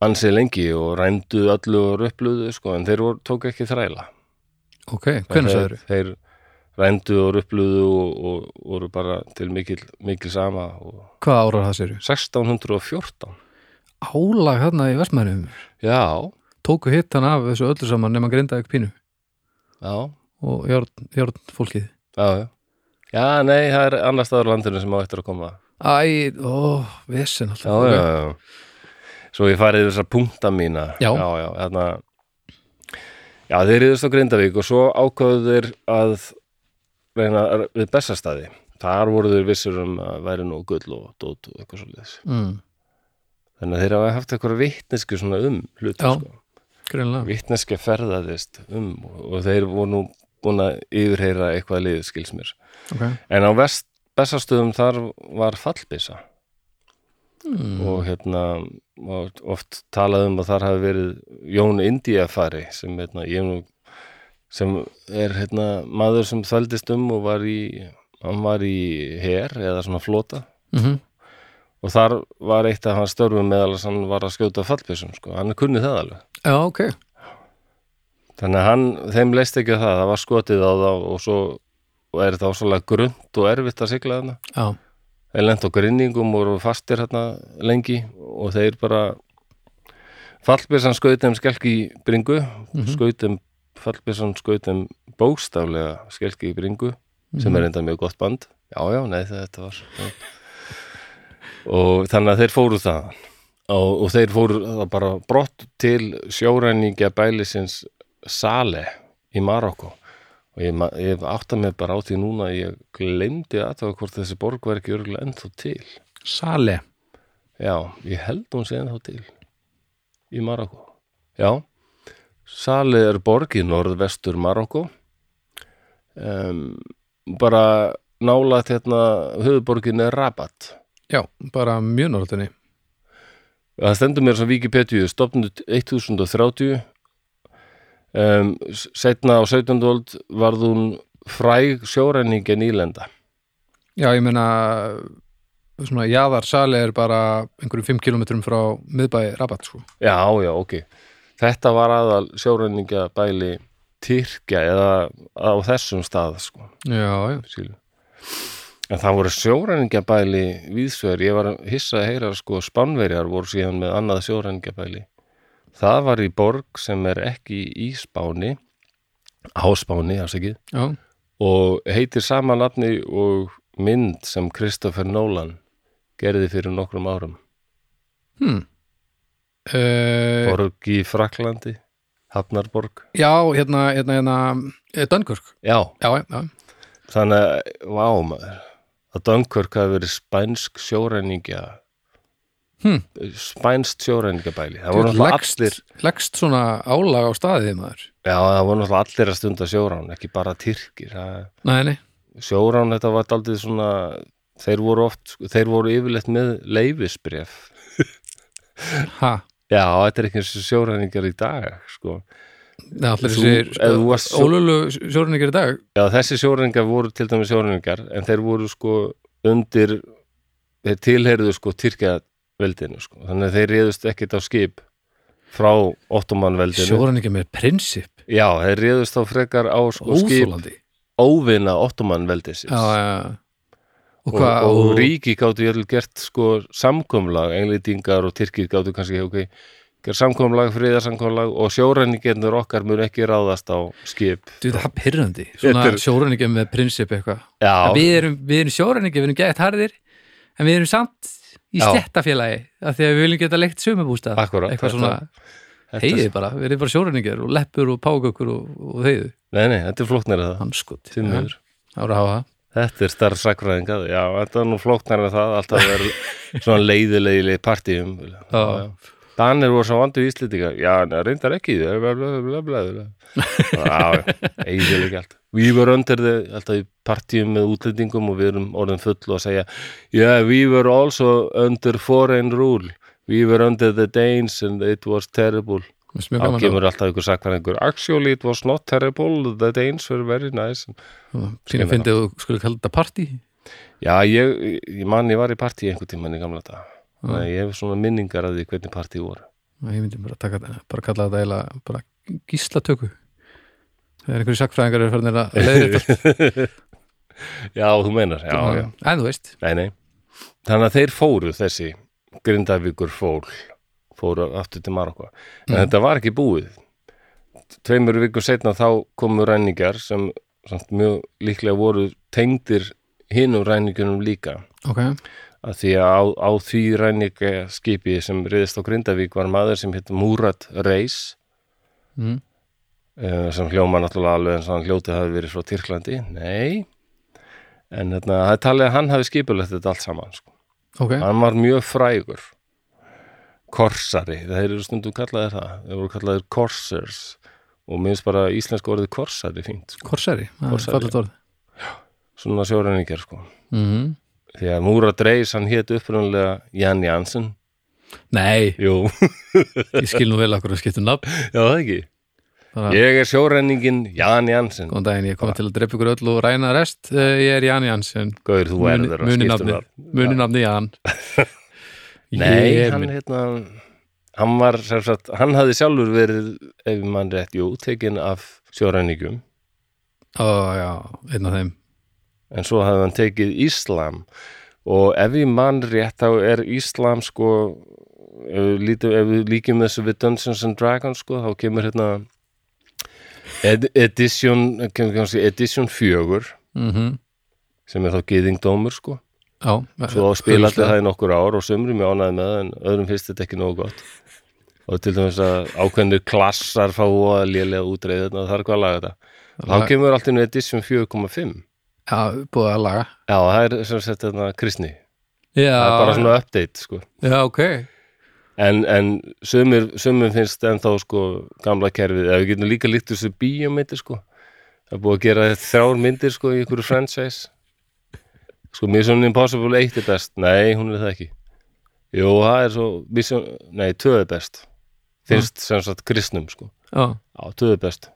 Speaker 1: ansið lengi og rændu öllu og röpluðu sko en þeir voru, tók ekki þræla
Speaker 2: Ok, hvernig sagður
Speaker 1: þeir, þeir rændu og röpluðu og, og voru bara til mikil, mikil sama og
Speaker 2: Hvað árar það séru?
Speaker 1: 1614
Speaker 2: Álag þarna í versmænum.
Speaker 1: já,
Speaker 2: Tóku hittan af þessu öllu saman nema grindaði pínu
Speaker 1: já,
Speaker 2: og járn, járn fólkið.
Speaker 1: já já, já nei, það er annars staðar á landinu sem á eftir að koma
Speaker 2: Æ, ó, vesen alltaf.
Speaker 1: já, já, já, já. Svo ég farið þessar punkta mína
Speaker 2: Já.
Speaker 1: já, já, þarna Já, þeir reyðust á Grindavík og svo ákváðu þeir að reyna við Bessastaði. Þar voru þeir vissur um að væri nú gull og dót og eitthvað svo
Speaker 2: Mm,
Speaker 1: Þannig að þeir hafa haft eitthvað vitnesku svona um hluti,
Speaker 2: Já.
Speaker 1: sko.
Speaker 2: greinlega.
Speaker 1: Vitneska ferðaðist um og, og þeir voru nú búin að yfirheyra eitthvað liðið skils mér.
Speaker 2: Ok.
Speaker 1: En á vest, Bessastöðum þar var fallbyssa.
Speaker 2: Mm.
Speaker 1: og hérna og oft talað um að þar hafi verið Jón Indiafari sem, hérna, ég, hef nú- sem er hérna, maður sem þvældist um og var í, hann var í her eða svona flota
Speaker 2: Mm
Speaker 1: og þar var eitt af hans störfum meðal að hann var að skjóta fallbysum sko. hann kunni það alveg
Speaker 2: Já, ok.
Speaker 1: þannig að hann, þeim leist ekki á það það var skotið á þá og svo og er þetta ásvalega grunt og erfitt að sigla þarna
Speaker 2: Já,
Speaker 1: þeir lent á grinningum og voru fastir hérna lengi og þeir bara fallbyrsan skautum skelki í bringu mm -hmm. skautum, fallbyrsan skautum bókstaflega skelki í bringu sem er enda mjög gott band já, já, nei, þetta var já. og þannig að þeir fóru það og, og þeir fóru það bara brott til sjóræningja bælisins Sale í Marokko og ég, ma- ég átta mig bara á því núna að ég glemdi aðtöfa hvort þessi borg var ekki örgulega ennþá til
Speaker 2: sale.
Speaker 1: Já, ég held hún sé ennþá til í Marokko. Já, Sali er borg í norðvestur Marokko. Um, bara nálægt hérna höfuborgin er Rabat.
Speaker 2: Já, bara mjög norðinni.
Speaker 1: Það stendur mér sem Wikipedia, stopnud 1030. Um, setna á 17. old varð hún fræg sjóræningin ílenda.
Speaker 2: Já, ég meina svona jaðarsali er bara einhverjum 5 kilometrum frá miðbæi Rabat sko.
Speaker 1: Já, já, ok. Þetta var aðal sjóræningja bæli Tyrkja eða á þessum stað sko,
Speaker 2: já, já,
Speaker 1: skilur. en það voru sjóræningjabæli viðsver, ég var hissa að heyra sko spánverjar voru síðan með annað sjóræningjabæli það var í borg sem er ekki í Spáni á Spáni, afsakið
Speaker 2: já,
Speaker 1: og heitir sama nafni og mynd sem Christopher Nolan gerði fyrir nokkrum árum
Speaker 2: hmm. Uh,
Speaker 1: Borg í Fraklandi Hafnarborg
Speaker 2: já, hérna, hérna, hérna Dunkirk,
Speaker 1: Já,
Speaker 2: já, já, já,
Speaker 1: þannig að, vá maður að Dunkirk hafi verið spænsk sjóræningja
Speaker 2: Hmm.
Speaker 1: spænst sjóræningjabæli það
Speaker 2: Þú
Speaker 1: voru náttúrulega
Speaker 2: leggst-
Speaker 1: allir
Speaker 2: leggst svona álag á staðið maður
Speaker 1: já, það voru náttúrulega allir að stunda sjórán ekki bara tyrkir það,
Speaker 2: nei, nei,
Speaker 1: sjórán þetta var daldið svona þeir voru oft, þeir voru yfirleitt með leifisbref
Speaker 2: ha
Speaker 1: Já, þetta er ekki eins og sjóræningar í dag sko.
Speaker 2: Nei, allir
Speaker 1: Þú-
Speaker 2: þessir
Speaker 1: ef þú varst
Speaker 2: sko,
Speaker 1: svo-
Speaker 2: ólölu sjórinir í dag
Speaker 1: Já, þessi sjóræningar voru til dæmis sjóræningar en þeir voru sko undir þeir tilheyrðu sko Tyrkjaveldinu sko. þannig að þeir réðust ekkit á skip frá ottomanveldinu
Speaker 2: sjórinir með prinsip,
Speaker 1: Já, þeir réðust þá frekar á sko skip
Speaker 2: óþólandi
Speaker 1: óvinna
Speaker 2: já,
Speaker 1: ottomanveldisins
Speaker 2: já, já og
Speaker 1: og,
Speaker 2: hvað,
Speaker 1: og, ríki gáttu ég gert sko samkomlag, englýtingar og tyrkir gáttu kannski, ok, gert samkomlag friðarsamkomlag og sjóræningernur okkar mun ekki ráðast á skip
Speaker 2: Þú veit, það er pyrrandi, svona
Speaker 1: Þetta er-
Speaker 2: er... með prinsip eitthvað.
Speaker 1: Já,
Speaker 2: Að Við erum, við erum sjóræningi, við erum gett harðir, en við erum samt í
Speaker 1: Já.
Speaker 2: stettafélagi, af því að við viljum geta leikt sömubústa.
Speaker 1: Akkúrat,
Speaker 2: Eitthvað svona,
Speaker 1: þetta-
Speaker 2: heiði bara, við erum bara sjóræningir og leppur og pákökur og, og heiðu.
Speaker 1: Nei, nei, þetta er flóknir að það
Speaker 2: Hann skutt.
Speaker 1: því miður.
Speaker 2: Það voru að hafa það.
Speaker 1: Þetta er starf sakræðing að Já, þetta er nú flóknar en það Alltaf er svona leiðilegi partíum
Speaker 2: Já.
Speaker 1: Danir voru svo vandu í Íslendinga Já, neða, reyndar ekki bla, bla, bla, bla, bla, bla. Já, eiginlega allt We were under the, alltaf í partíum með útlendingum og við erum orðin full og segja Yeah, we were also under foreign rule We were under the Danes and it was terrible
Speaker 2: Mér finnst mjög
Speaker 1: þá
Speaker 2: gaman
Speaker 1: kemur alltaf ykkur sakvæðingur actually it was not terrible, the Danes were very nice
Speaker 2: það. Sýnum fyndið að þú skulle kalla þetta partí.
Speaker 1: já, ég, ég man ég var í partí einhvern tímann í gamla dag þannig að ég hef svona minningar að því hvernig partí voru
Speaker 2: Ég myndi bara, taka, þetta- bara kalla þetta eiginlega bara gíslatöku. Það er einhverju sakfræðingar eru farinir að leiðir þetta.
Speaker 1: já, þú meinar, já, já,
Speaker 2: En þú veist,
Speaker 1: nei, nei þannig að þeir fóru þessi grindavíkur fól fóru aftur til Marokko en þetta var ekki búið tveimur vikur setna þá komu ræningar sem samt mjög líklega voru tengdir hinum ræningunum líka
Speaker 2: ok,
Speaker 1: að því að á, á því ræningaskipi sem reyðist á Grindavík var maður sem hétt Múrat Reis
Speaker 2: Mm.
Speaker 1: Eh, sem hljóma náttúrulega alveg eins og hann hljótið hafi verið frá Tyrklandi, nei en hérna, það er talið að hann hafi skipulegt þetta allt saman, sko.
Speaker 2: ok.
Speaker 1: hann var mjög frægur korsari, það eru stundum kallaðir það þeir voru kallaðir korsers og minnst bara íslensku orðið korsari fínt, sko.
Speaker 2: Korsari,
Speaker 1: Korsari,
Speaker 2: fallet orð
Speaker 1: svona sjóræningar sko.
Speaker 2: mm
Speaker 1: því að Múrat Reis, hann hét upprunlega Jan Jansson,
Speaker 2: Nei,
Speaker 1: jú
Speaker 2: ég skil nú vel okkur að skipta um nafn
Speaker 1: Já, það ekki.
Speaker 2: Bara-
Speaker 1: Ég er sjórenningin Jan Jansen.
Speaker 2: Góðan daginn, ég kom til að drepa ykkur öll og ræna rest Eh, Ég er Jan Jansson
Speaker 1: Gauður, þú
Speaker 2: Muni-
Speaker 1: erður að
Speaker 2: Muni
Speaker 1: skipta um
Speaker 2: nafni,
Speaker 1: það.
Speaker 2: muni nafni Jan
Speaker 1: Nei,
Speaker 2: Ég er
Speaker 1: hann
Speaker 2: minn-
Speaker 1: hérna, hann var sem sagt, hann hafði sjálfur verið, ef mann rétt, jú, tekin af sjórenningum,
Speaker 2: Ó, já, einn af þeim
Speaker 1: en svo hafði hann tekið Íslam og ef ég mann rétt þá er Íslam sko, ef við, lítum, ef við líkjum þessu við Dungeons and Dragons sko, þá kemur hérna ed edition, kemur kannski edition 4
Speaker 2: mm
Speaker 1: sem er þá gyðingdómur sko.
Speaker 2: Já,
Speaker 1: Svo spilaði
Speaker 2: augljóslega.
Speaker 1: það í nokkur ár og sömrum ég ánaði með það en öðrum finnst þetta ekki nógu gott. Og til dæmis að ákveðnir klassar fá að lélega útreið þarna það er hvað að laga þetta. Þá
Speaker 2: Lag-
Speaker 1: kemur allt inn í edition 4.5.
Speaker 2: Já, búið að laga
Speaker 1: Já, það er sem sett þarna kristni.
Speaker 2: Já,
Speaker 1: Það er bara svona update, sko.
Speaker 2: já ok
Speaker 1: En, en sömur, sömur finnst ennþá, sko, gamla kerfið. Ef við getum líka líkt þessu bíómyndir, sko. Það er búið að gera þrjár myndir, sko, í einhverju franchise. Sko, Mission Impossible 1 er best. Nei, hún er það ekki. Jú, það er svo, Mission, nei, 2 er best. Finnst sem sagt kristnum, sko.
Speaker 2: Já,
Speaker 1: Já, 2 er best.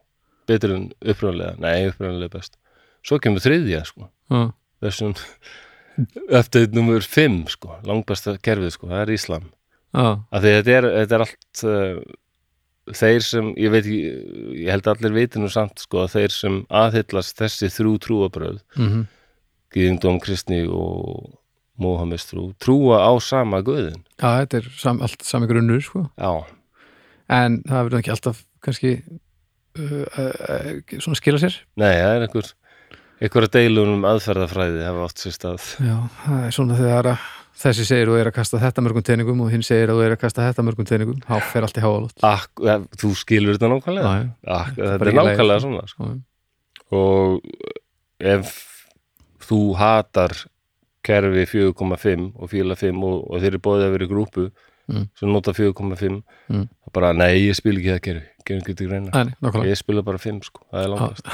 Speaker 1: Betur en uppröðanlega. Nei, uppröðanlega er best. Svo kemur þriðja, sko.
Speaker 2: já,
Speaker 1: Þessum, eftir numur 5, sko. Langbesta kerfið, sko. Það er Íslam
Speaker 2: já,
Speaker 1: að því þetta er, þetta er allt uh, þeir sem, ég veit ekki, ég held að allir viti nú samt sko að þeir sem aðhyllast þessi þrjú trúabröð
Speaker 2: mm -hmm.
Speaker 1: gýðingdóm kristni og Móhames trú, trúa á sama guðin
Speaker 2: Já, þetta er sam, allt sami grunnur sko.
Speaker 1: Já,
Speaker 2: en það verður ekki alltaf kannski uh, uh, uh, svona skila sér
Speaker 1: nei, það er einhver einhverja deilun um aðferðafræði hafa átt sér stað
Speaker 2: Já, það er svona þegar að þessi segir þú er að kasta þetta mörgum teiningum og hinn segir að þú er að kasta þetta mörgum teiningum þá fer allt í háalótt
Speaker 1: Ak, ja, Þú skilur þetta nákvæmlega
Speaker 2: Já, já.
Speaker 1: Ak,
Speaker 2: er
Speaker 1: Þetta
Speaker 2: bara
Speaker 1: er
Speaker 2: ekki í lagi,
Speaker 1: nákvæmlega svona sko.
Speaker 2: Já.
Speaker 1: og ef þú hatar kerfi 4,5 og 4,5 og, og þeir eru bóðið að vera í grúpu
Speaker 2: Mm.
Speaker 1: sem nota 4,5
Speaker 2: Mm. Ah,
Speaker 1: þá bara, nei, ég spil ekki það kerfi gerum ekki til greina,
Speaker 2: Nei, nákvæmlega
Speaker 1: ég spila bara 5 sko, það er
Speaker 2: Já.
Speaker 1: langast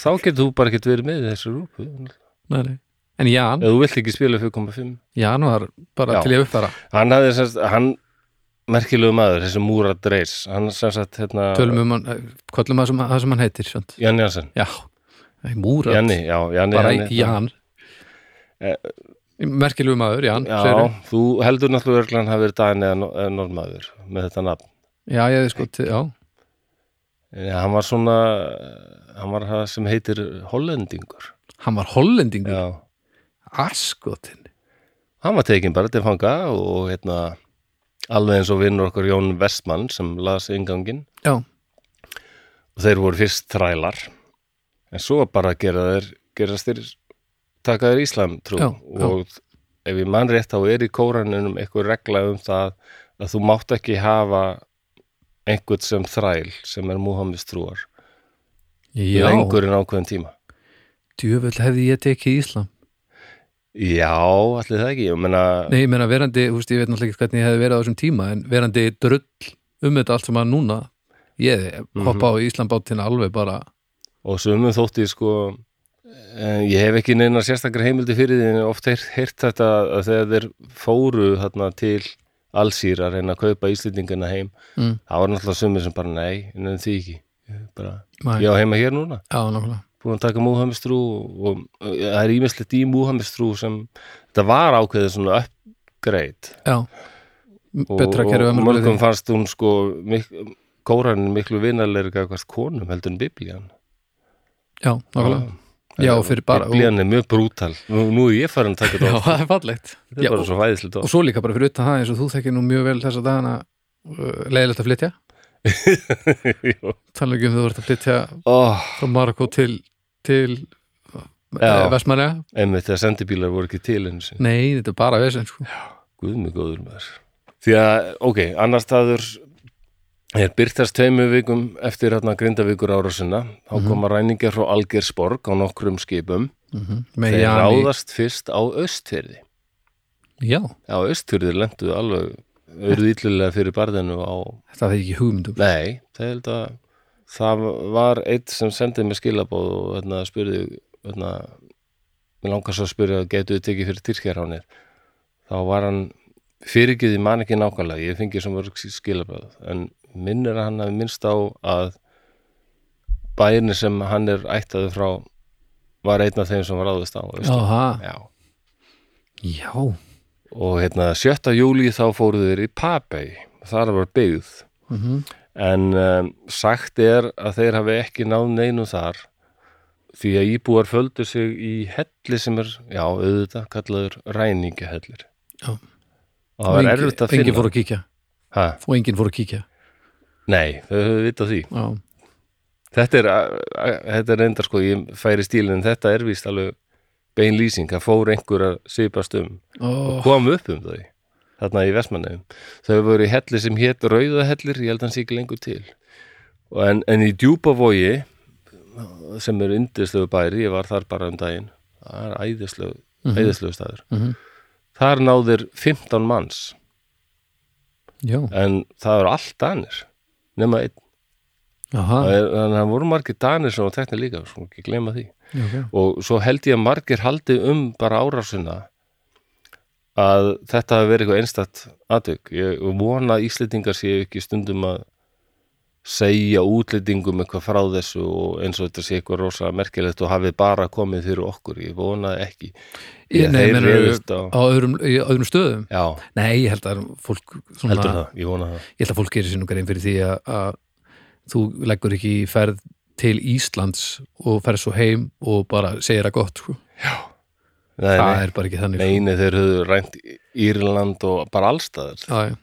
Speaker 1: þá getur þú bara ekkert verið með í þessu grúpu ef
Speaker 2: Nei, nei. En Jan,
Speaker 1: þú vilt ekki spila 4,5
Speaker 2: Jan var bara
Speaker 1: Já.
Speaker 2: til ég uppfara
Speaker 1: hann hafði semst, hann merkilegu maður, þessi Múra Dreis hann sem sagt, hérna
Speaker 2: tölum um hann, kvöllum það sem, það sem hann heitir sant?
Speaker 1: Janni Jansen,
Speaker 2: Já, Múrat
Speaker 1: Janni, já, Janni
Speaker 2: bara
Speaker 1: Janni.
Speaker 2: Jan
Speaker 1: Eh,
Speaker 2: Merkilegu maður, Jan
Speaker 1: Já,
Speaker 2: segirðu.
Speaker 1: þú heldur náttúrulega örglann hafi verið dæni eða normaður með þetta nafn.
Speaker 2: já ég hefði sko til, já,
Speaker 1: En hann var svona, hann var það sem heitir Hollendingur.
Speaker 2: hann var hollendingur
Speaker 1: Já.
Speaker 2: Askotin
Speaker 1: Hann var tekin bara til fanga og hérna, alveg eins og vinnur okkur Jón Vestmann sem las yngangin
Speaker 2: Já,
Speaker 1: og þeir voru fyrst þrælar. En svo bara gera þeir, gerast þeir, taka þeir Íslam trú
Speaker 2: Já, já.
Speaker 1: og ef ég mann rétt þá er í kóranunum eitthvað regla um það að þú mátt ekki hafa einhvern sem þræl sem er Múhammis trúar.
Speaker 2: já
Speaker 1: lengur en ákveðin tíma
Speaker 2: djöfull hefði ég tekið Íslam
Speaker 1: Já, allir það ekki, ég meina
Speaker 2: Nei, ég meina verandi, þú veist, ég veit náttúrulega ekki hvernig ég hefði verið á þessum tíma en verandi drull um þetta allt sem að núna ég
Speaker 1: Mhm.
Speaker 2: hefði hoppa á Íslambátina alveg bara
Speaker 1: og sumum þótti sko eh, ég hef ekki neina sérstakar heimildi fyrir því en oft heyrt, heyrt þetta að þegar þeir fóru þarna til allsýr að reyna að kaupa íslendingana heim
Speaker 2: mm.
Speaker 1: það var náttúrulega sumir sem bara nei, en því ekki Ég bara,
Speaker 2: Nei.
Speaker 1: ég á heima hér núna
Speaker 2: Já, nákvæmlega
Speaker 1: búin að taka múhamistrú og og, eh, það er ímislegt í múhamistrú sem þetta var ákveðið svona uppgreit
Speaker 2: Já,
Speaker 1: og,
Speaker 2: betra
Speaker 1: og-
Speaker 2: kerfið
Speaker 1: og mörgum fannst hún sko mik kóranin miklu vinalegri gagvart konum heldur en biblían
Speaker 2: Já, nákvæmlega Já, og fyrir bara og,
Speaker 1: biblían er mjög brútal, nú, nú er ég farin að taka
Speaker 2: Já,
Speaker 1: þetta á
Speaker 2: það er fallegt
Speaker 1: þetta
Speaker 2: já,
Speaker 1: er bara
Speaker 2: og,
Speaker 1: svo hæðislega
Speaker 2: og
Speaker 1: dótt
Speaker 2: svo líka bara fyrir utan það eins og þú þekkir nú mjög vel þessa dagana uh, leiðilegt að flytja
Speaker 1: Jú.
Speaker 2: tala ekki um þú vart að flytja
Speaker 1: Ó,
Speaker 2: frá Marokko til, til
Speaker 1: Já.
Speaker 2: Vestmanlega
Speaker 1: einmitt þegar sendibílar voru ekki til einu sinni
Speaker 2: Nei, þetta er bara vesend sko.
Speaker 1: guðmi góður maður því að, ok, annars staður er byrtast tveimur vikum eftir hérna grindavíkur árásuna þá
Speaker 2: Mhm.
Speaker 1: koma ræningar frá Algersborg á nokkrum skipum
Speaker 2: mm
Speaker 1: þeir
Speaker 2: Með Jani
Speaker 1: ráðast fyrst á austfyrði
Speaker 2: Já,
Speaker 1: Já, Östurðir lendu alveg auðvitað illilega fyrir barðinu á
Speaker 2: þetta er ekki hugmyndum
Speaker 1: Nei, það held að það var eitt sem sendið mér skilabóð og hérna, spurði hérna, mér langar svo að spyrja getu þið tekið fyrir Tyrkjaránir þá var hann fyrirgið ég man ekki nákvæmlega, ég fengið sem var skilabóð en minnir að hann hafi minnst á að bæirni sem hann er ættaði frá var einn af þeim sem var ráðist á Austur-
Speaker 2: Aha,
Speaker 1: Já
Speaker 2: já,
Speaker 1: og hérna 7. júli þá fóru þeir í Papey þar var byggð
Speaker 2: Mhm.
Speaker 1: en um, sagt er að þeir hafi ekki náð neinu þar því að íbúar földu sig í helli sem er, já, auðvitað kallaður ræningahellir
Speaker 2: Já.
Speaker 1: og það var
Speaker 2: engin-
Speaker 1: erfitt að finna
Speaker 2: Engin fór að kíkja,
Speaker 1: ha,
Speaker 2: og engin fór að kíkja
Speaker 1: Nei, þau höfðu vitað því
Speaker 2: Já,
Speaker 1: þetta er, a- a- þetta er reyndar sko, ég færi stílinn þetta er víst alveg bein lýsing að fór einhver að svipast um
Speaker 2: Ó,
Speaker 1: kom upp um þau þarna í Vestmannefum þau voru í helli sem hétt Rauðahellir ég held að hann sé ekki lengur til Og en, en í Djúpavogi sem er yndislegu bæri ég var þar bara um daginn það er æðislegu, æðislegu staður
Speaker 2: Mhm.
Speaker 1: þar náðir 15 manns
Speaker 2: já,
Speaker 1: en það eru allt danir nema einn
Speaker 2: aha
Speaker 1: Það er- þannig að það voru margir danir sem var teknir líka svo ekki gleyma því
Speaker 2: já, ok.
Speaker 1: og svo held ég að margir haldi um bara árásuna að þetta hafi verið eitthvað einstakt atvik ég vona að Íslendingar séu ekki stundum að segja útlendingum eitthvað frá þessu og eins og þetta sé eitthvað rosa merkilegt og hafið bara komið fyrir okkur, ég vonaði ekki
Speaker 2: Í-
Speaker 1: Ég-
Speaker 2: nei,
Speaker 1: þeir
Speaker 2: meinarðu-
Speaker 1: réðust á-
Speaker 2: á öðrum, í öðrum stöðum
Speaker 1: Já,
Speaker 2: nei, ég held að fólk svona,
Speaker 1: heldur það, ég vona það
Speaker 2: ég held að fólk gerir sínum grein fyrir því að, að þú leggur ekki í ferð til Íslands og ferð svo heim og bara segir það gott sko.
Speaker 1: Nei,
Speaker 2: það
Speaker 1: nei,
Speaker 2: er bara ekki þannig sko.
Speaker 1: neini þeir höfðu rænt Írland og bara allstaðar
Speaker 2: Já, já,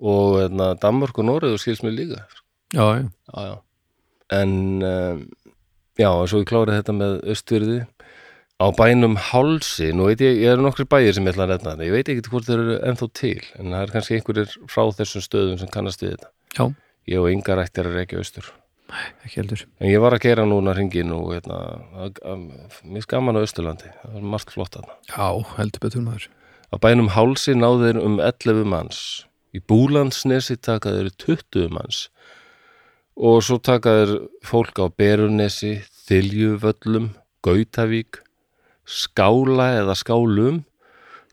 Speaker 1: og hérna, Danmark og Noregur skilst mér líka
Speaker 2: já, já,
Speaker 1: já, já. en um, já, og svo ég klárið þetta með austfyrði á bænum hálsi, nú veit ég, ég eru nokkri bæir sem ég ætla að redna þetta, ég veit ekki hvort þeir eru ennþá til, en það er kannski einhverjir frá þessum stöðum sem kannast við þetta
Speaker 2: já,
Speaker 1: ég og yngar ættir að reykja austur
Speaker 2: ekki heldur
Speaker 1: en ég var að gera núna hringin og hérna, að- að- mér skaman á austurlandi það var margt flott þarna
Speaker 2: Já, heldur betur maður
Speaker 1: á bænum hálsi náðu þeir um 11 manns í búlandsnesi taka þeir 20 manns og svo taka þeir fólk á Berunesi, Þiljuvöllum Gautavík Skála eða Skálum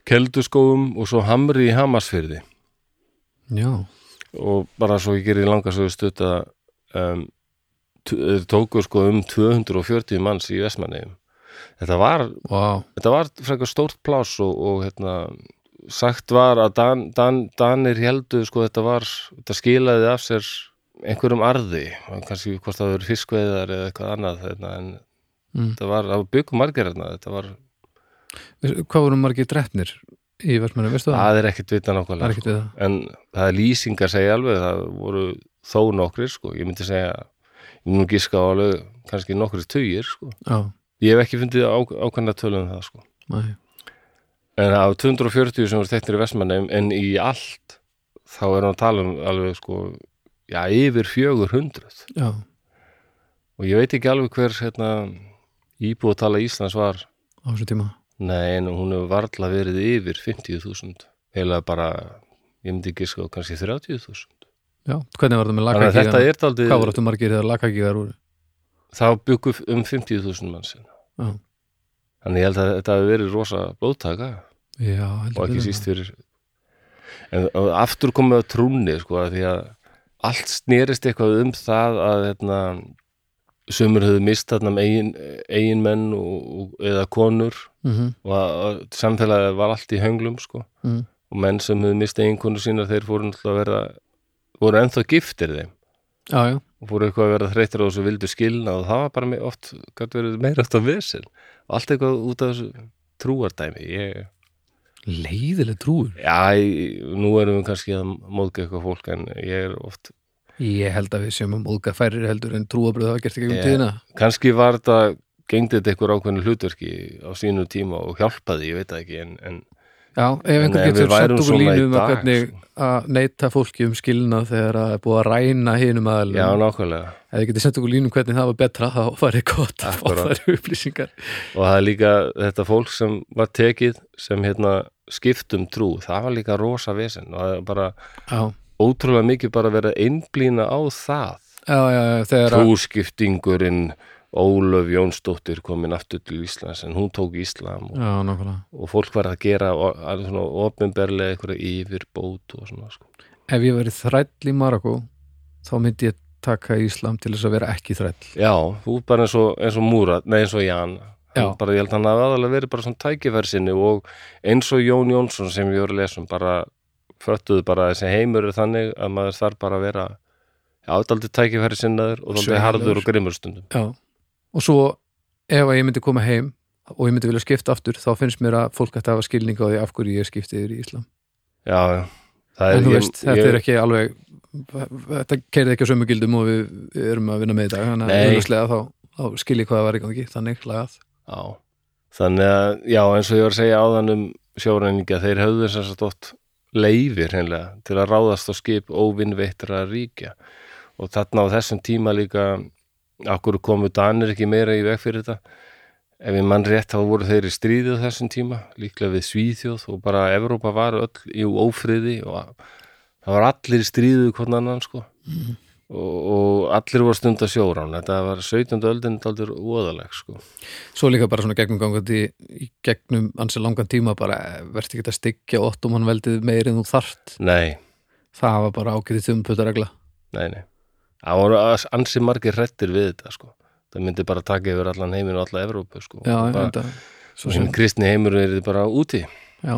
Speaker 1: Kelduskóum og svo Hamri í Hamarsfyrði
Speaker 2: Já,
Speaker 1: og bara svo ég gerir langa svo stutt að um, t- þeir tóku sko um 240 manns í Vestmanneigum þetta var
Speaker 2: vá,
Speaker 1: þetta var frekar stórt pláss og, og hérna, sagt var að Dan, Dan, Danir heldu sko, þetta, var, þetta skilaði af sér einhverjum arði kannski hvort það verið fiskveiðar eða eitthvað annað hérna, en
Speaker 2: Mm.
Speaker 1: þetta var, það var byggum margir hérna, þetta var,
Speaker 2: hvað voru margir drefnir í versmennum, veistu það?
Speaker 1: það er ekkit vita
Speaker 2: Það er
Speaker 1: nákvæmlega sko.
Speaker 2: ekkert við það
Speaker 1: en það er lýsingar segja alveg, það voru þó nokkrir sko, ég myndi segja ég myndi nú gíska á alveg kannski nokkrir tugir sko,
Speaker 2: Já,
Speaker 1: ég hef ekki fundið á, ákvæmna tölum það sko
Speaker 2: næ,
Speaker 1: En af 240 sem voru þekktir í Vestmannheim en í allt þá er hann að tala um alveg sko já, yfir 400
Speaker 2: já,
Speaker 1: og ég veit ekki alveg hver hérna, íbúið að tala Íslands var
Speaker 2: á þessum tíma
Speaker 1: nei, en hún hefur varla verið yfir 50.000 eða bara, ég myndi ekki sko kannski 30.000
Speaker 2: Já, hvernig var það með
Speaker 1: Þannig að þetta
Speaker 2: lakakíðan?
Speaker 1: er daldið,
Speaker 2: Hvað voru þetta margir þegar lakakíðar voru?
Speaker 1: þá byggu um 50.000 manns hérna.
Speaker 2: Já,
Speaker 1: Þannig ég held að þetta hefur verið rosa blóðtaka
Speaker 2: já
Speaker 1: og
Speaker 2: heldur
Speaker 1: ekki
Speaker 2: betur
Speaker 1: síst fyrir en og aftur komið á trúnni sko, af því að allt snerist eitthvað um það að hérna, sömur höfðu mistað um eigin, eiginmenn og, og, eða konur
Speaker 2: mm
Speaker 1: og að, að samfélagið var allt í hönglum sko.
Speaker 2: Mm.
Speaker 1: og menn sem höfðu mistað eiginkonu sína þeir fóru náttúrulega að verða voru ennþá giftir þeim
Speaker 2: Já, já,
Speaker 1: og fóru eitthvað að vera þreyttir á þessu vildu skilna og það var bara me- oft, gæti verið meira oft að vesel allt eitthvað út af þessu trúardæmi ég
Speaker 2: leiðileg trúur
Speaker 1: Já, ég- nú erum við kannski að móðga eitthvað fólk en ég er oft
Speaker 2: Ég held að við séum að móðga færri heldur en trúabröð hafa gert ekki um
Speaker 1: Já.
Speaker 2: tíðina
Speaker 1: kannski var þetta, gengdi þetta eitthvað ákveðinu hlutverki á sínu tíma og hjálpaði, ég veit það ekki en, en
Speaker 2: Já, ef
Speaker 1: En
Speaker 2: einhver
Speaker 1: ef við
Speaker 2: getur satt
Speaker 1: værum
Speaker 2: okkur
Speaker 1: svona í
Speaker 2: línu um að
Speaker 1: dag, sko.
Speaker 2: hvernig að neita fólki um skilnað þegar að er búið að ræna hinum aðalum
Speaker 1: já, nákvæmlega
Speaker 2: Ef þið getur sendt okkur línu um hvernig það var betra þá farið gott að fá
Speaker 1: Akkúrat.
Speaker 2: þær upplýsingar
Speaker 1: og það er líka þetta fólk sem var tekið sem hérna skiptum trú, það var líka rosa vesinn og það er bara
Speaker 2: Já,
Speaker 1: ótrúlega mikið bara verið að einblína á það
Speaker 2: já, já, já, þegar að
Speaker 1: trúskiptingurinn Ólöf Jónsdóttir komin aftur til Íslands en hún tók Íslam og
Speaker 2: Já, nákvæmlega
Speaker 1: og fólk var að gera o- að svona ofinberlega einhverja yfirbót og svona sko.
Speaker 2: Ef ég verið þræll í Marokko þá myndi ég taka Íslam til þess að vera ekki þræll
Speaker 1: Já, þú bara eins og, eins og Múrat, nei eins og Jan
Speaker 2: Já.
Speaker 1: Hann bara, ég held að hann að aðalega verið bara svona tækifærsinni og eins og Jón Jónsson sem ég voru að lesa um bara föttuðu bara að þessi heimur er þannig að maður þarf bara að vera ádaldi tækifærsinnaður og þaldi
Speaker 2: Sveigjanlegur.
Speaker 1: harður og grimmur stundum
Speaker 2: Já, og svo ef að ég myndi koma heim og ég myndi vilja skipta aftur þá finnst mér að fólk ætti að hafa skilning á því af hverju ég skipti yfir í Íslam
Speaker 1: Já, já Það
Speaker 2: en þú
Speaker 1: ég-
Speaker 2: veist, þetta
Speaker 1: ég-
Speaker 2: er ekki alveg þetta keirði ekki á sömu gildum og við erum að vinna með í dag þannig
Speaker 1: Nei.
Speaker 2: að auðvitað þá, þá skil ég hvað það var í gangi þannig lagað
Speaker 1: Já, þannig að, já, eins og ég var að segja áðan um sjóreiningja, þeir höfðu þess að stótt leifir hreinlega til að ráðast á skip óvinnveittra ríkja og þarna á þessum tíma líka akkur komu Danir ekki meira í veg fyrir þetta ef ég mann rétt þá voru þeir í stríðið á þessum tíma líklega við Svíþjóð og bara Evrópa var öll í ófriði og að- það var allir í stríðið hvernig annan sko og, og allir voru stund að sjórán þetta var 17. öldin aldur óðaleg sko
Speaker 2: svo líka bara svona gegnum gangandi í gegnum ansi langan tíma bara eh, vertu ekki að styggja ottomanveldið meir en þú þart
Speaker 1: Nei,
Speaker 2: það var bara ágætið þumputaregla
Speaker 1: Nei, nei. Það voru as- ansi margir hrettir við þetta sko. Það myndi bara taka yfir allan heiminn og alla Evrópu sko.
Speaker 2: já,
Speaker 1: Og bara,
Speaker 2: enda svo
Speaker 1: og
Speaker 2: sem,
Speaker 1: sem kristni heimur er bara úti.
Speaker 2: já,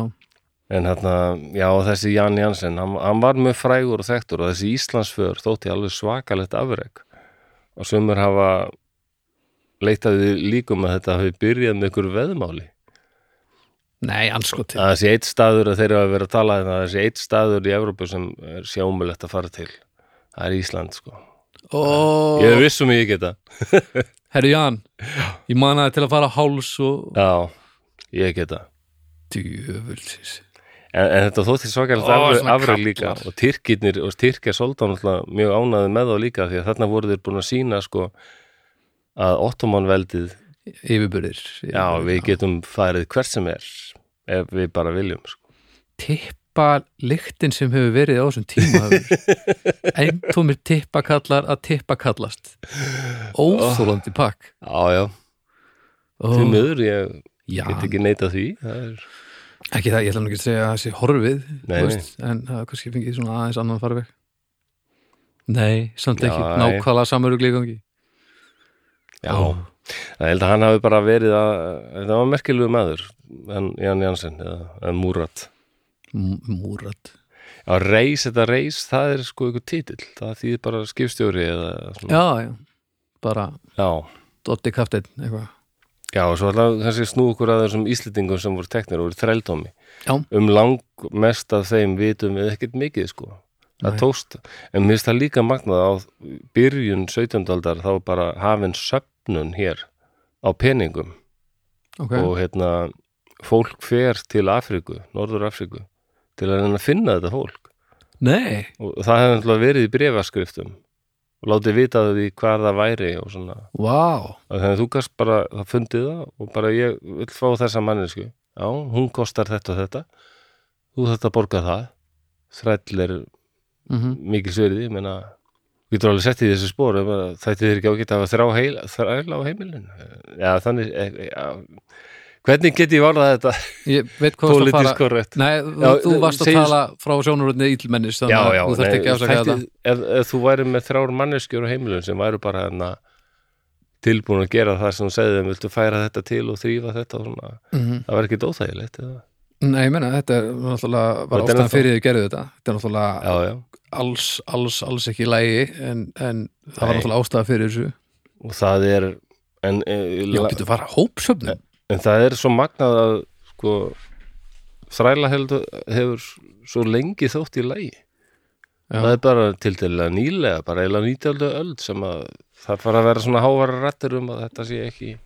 Speaker 1: En hérna, já, þessi Jan Jansen, hann, hann var mjög frægur og þekktur og þessi Íslandsför þótti alveg svakalegt afreg. Og sömur hafa leitaði líkum að þetta hafi byrjað með ykkur veðmáli.
Speaker 2: nei, anskoti
Speaker 1: Að þessi eitt staður að þeir hafa verið að tala hérna, að þessi eitt staður í Evrópu sem er sjámulegt að fara til. Það er Ísland, sko.
Speaker 2: og,
Speaker 1: Ég er viss um að ég geta.
Speaker 2: herru Jan ég man að til að fara á háls og
Speaker 1: Já, ég geta.
Speaker 2: djöfulsins
Speaker 1: En, en þetta þótti svakalegt
Speaker 2: Ó,
Speaker 1: afreg,
Speaker 2: svona
Speaker 1: afreg líka
Speaker 2: kraflar.
Speaker 1: og tyrkirnir og tyrkja soldan mjög ánaði með þá líka því að þarna voru þeir búin að sína sko að ottomanveldið,
Speaker 2: yfirburðir
Speaker 1: já við getum farið hvert sem er ef við bara viljum sko.
Speaker 2: tippa lyktin sem hefur verið á þessum tíma hefur eintómir tippakallar að tippakallast óþólandi pakk
Speaker 1: Já, já,
Speaker 2: Ó,
Speaker 1: því miður ég
Speaker 2: já,
Speaker 1: get ekki neita því það er,
Speaker 2: ekki það, ég ætla nú ekki að segja að það sé horfið þú
Speaker 1: Nei, nei.
Speaker 2: en það er kannski fengið svona aðeins annan farveg nei, samt ekki,
Speaker 1: Já, nei.
Speaker 2: nákvæmlega samverugli í gangi
Speaker 1: Já,
Speaker 2: Ó.
Speaker 1: það held að hann hafi bara verið að það var merkilegu maður en Jan Jansen eða, eða Múrat
Speaker 2: M- múrat
Speaker 1: Já, reis, þetta reis, það er sko ykkur titill, það þýðir bara skipstjóri eða svona,
Speaker 2: já, já, bara
Speaker 1: já.
Speaker 2: Dotti Kaftin, eitthvað
Speaker 1: Já, og svo alltaf kannski snú okkur að þessum Íslendingum sem voru teknir og voru þrældómi.
Speaker 2: Já.
Speaker 1: Um langmest af þeim vitum við ekkert mikið, sko. Það
Speaker 2: Nei.
Speaker 1: tókst, en mér finnst það líka magnað á byrjun 17. aldar þá var bara hafin söfnun hér á peningum
Speaker 2: ok,
Speaker 1: og hérna fólk fer til Afríku, Norður Afríku til að reyna að finna þetta fólk
Speaker 2: nei,
Speaker 1: og það hefði náttúrulega verið í brefaskriftum og látið vita því hvað það væri og svona
Speaker 2: vá
Speaker 1: Að Þannig að þú gast bara, það fundið það og bara ég vil fá þessa mannesku. Já, hún kostar þetta og þetta. Þú þarft að borga það. Þræll er
Speaker 2: mhm
Speaker 1: mikil sverði, ég meina, við getur alveg sett í þessu spór, þetta er ekki ágætt að hafa þrá heil, þræll á heimilinu. Já, þannig, e, e, já, hvernig get ég varðað þetta
Speaker 2: Ég veit hvað þú varst að
Speaker 1: politisk
Speaker 2: fara
Speaker 1: korrekt?
Speaker 2: Nei,
Speaker 1: Já,
Speaker 2: þú varst að
Speaker 1: segjum-
Speaker 2: tala frá sjónuröndni ílmennis
Speaker 1: Já,
Speaker 2: þannig að
Speaker 1: já,
Speaker 2: þú þarft ekki að afsaka þetta
Speaker 1: þætti- ef, ef þú væri með þrjár manneskjur á heimilinu sem væru bara hérna tilbúin að gera það sem þú segði þeim, viltu færa þetta til og þrýfa þetta og svona,
Speaker 2: Mhm.
Speaker 1: það var ekki dóþægilegt eða?
Speaker 2: Nei, ég meina, þetta er náttúrulega var
Speaker 1: Mhm. Þetta er
Speaker 2: ástæðan
Speaker 1: náttúrulega-
Speaker 2: fyrir þau gerðu þetta Þetta er náttúrulega
Speaker 1: Já, já,
Speaker 2: alls, alls, alls ekki í lægi en, en það var
Speaker 1: Nei.
Speaker 2: náttúrulega ástæðan fyrir þessu
Speaker 1: og það er en, e,
Speaker 2: Já,
Speaker 1: la-
Speaker 2: getur fara hópsöfnum
Speaker 1: en það er svo magnað að sko þræla heldur, hefur svo lengi þótt í lægi
Speaker 2: Já.
Speaker 1: það er bara til dæla nýlega bara eila nýtjöldu öld sem að það fara að vera svona hávara rættur um að þetta sé ekki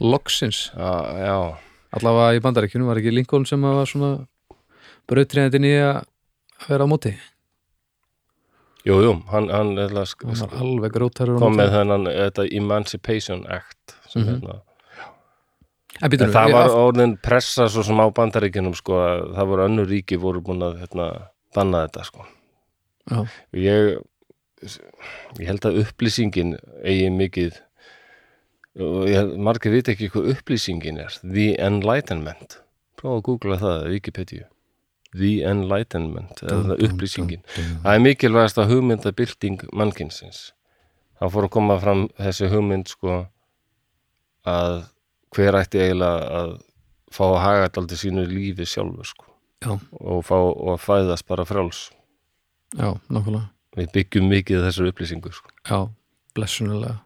Speaker 2: Loksins,
Speaker 1: að, já,
Speaker 2: allavega í bandaríkjunum var ekki Lincoln sem að var svona brautriðandi nýja að vera á móti
Speaker 1: jú, jú hann, hann eða, sk,
Speaker 2: hann
Speaker 1: sk,
Speaker 2: var alveg grótarur á
Speaker 1: kom
Speaker 2: móti
Speaker 1: með þennan þetta Emancipation Act sem
Speaker 2: Mhm.
Speaker 1: hérna
Speaker 2: En býtum
Speaker 1: En það var orðin pressa svo sem á bandaríkinum sko að það voru önnur ríki voru búin að hérna, banna þetta sko.
Speaker 2: Já.
Speaker 1: Ég, ég held að upplýsingin eigi mikið og ég, held- margir vita ekki hvað upplýsingin er. The Enlightenment. Prófa að googla það, Wikipedia. The Enlightenment, eða upplýsingin. Það er mikilvægast að hugmyndabilding mannkinsins. Það fór að koma fram þessi hugmynd sko að hver ætti eiginlega að fá að haga alltaf sínu lífi sjálfu sko
Speaker 2: Já,
Speaker 1: og fá og að fæðast bara fráls.
Speaker 2: já, nákvæmlega
Speaker 1: Við byggjum mikið þessar upplýsingu sko.
Speaker 2: Já, blessunulega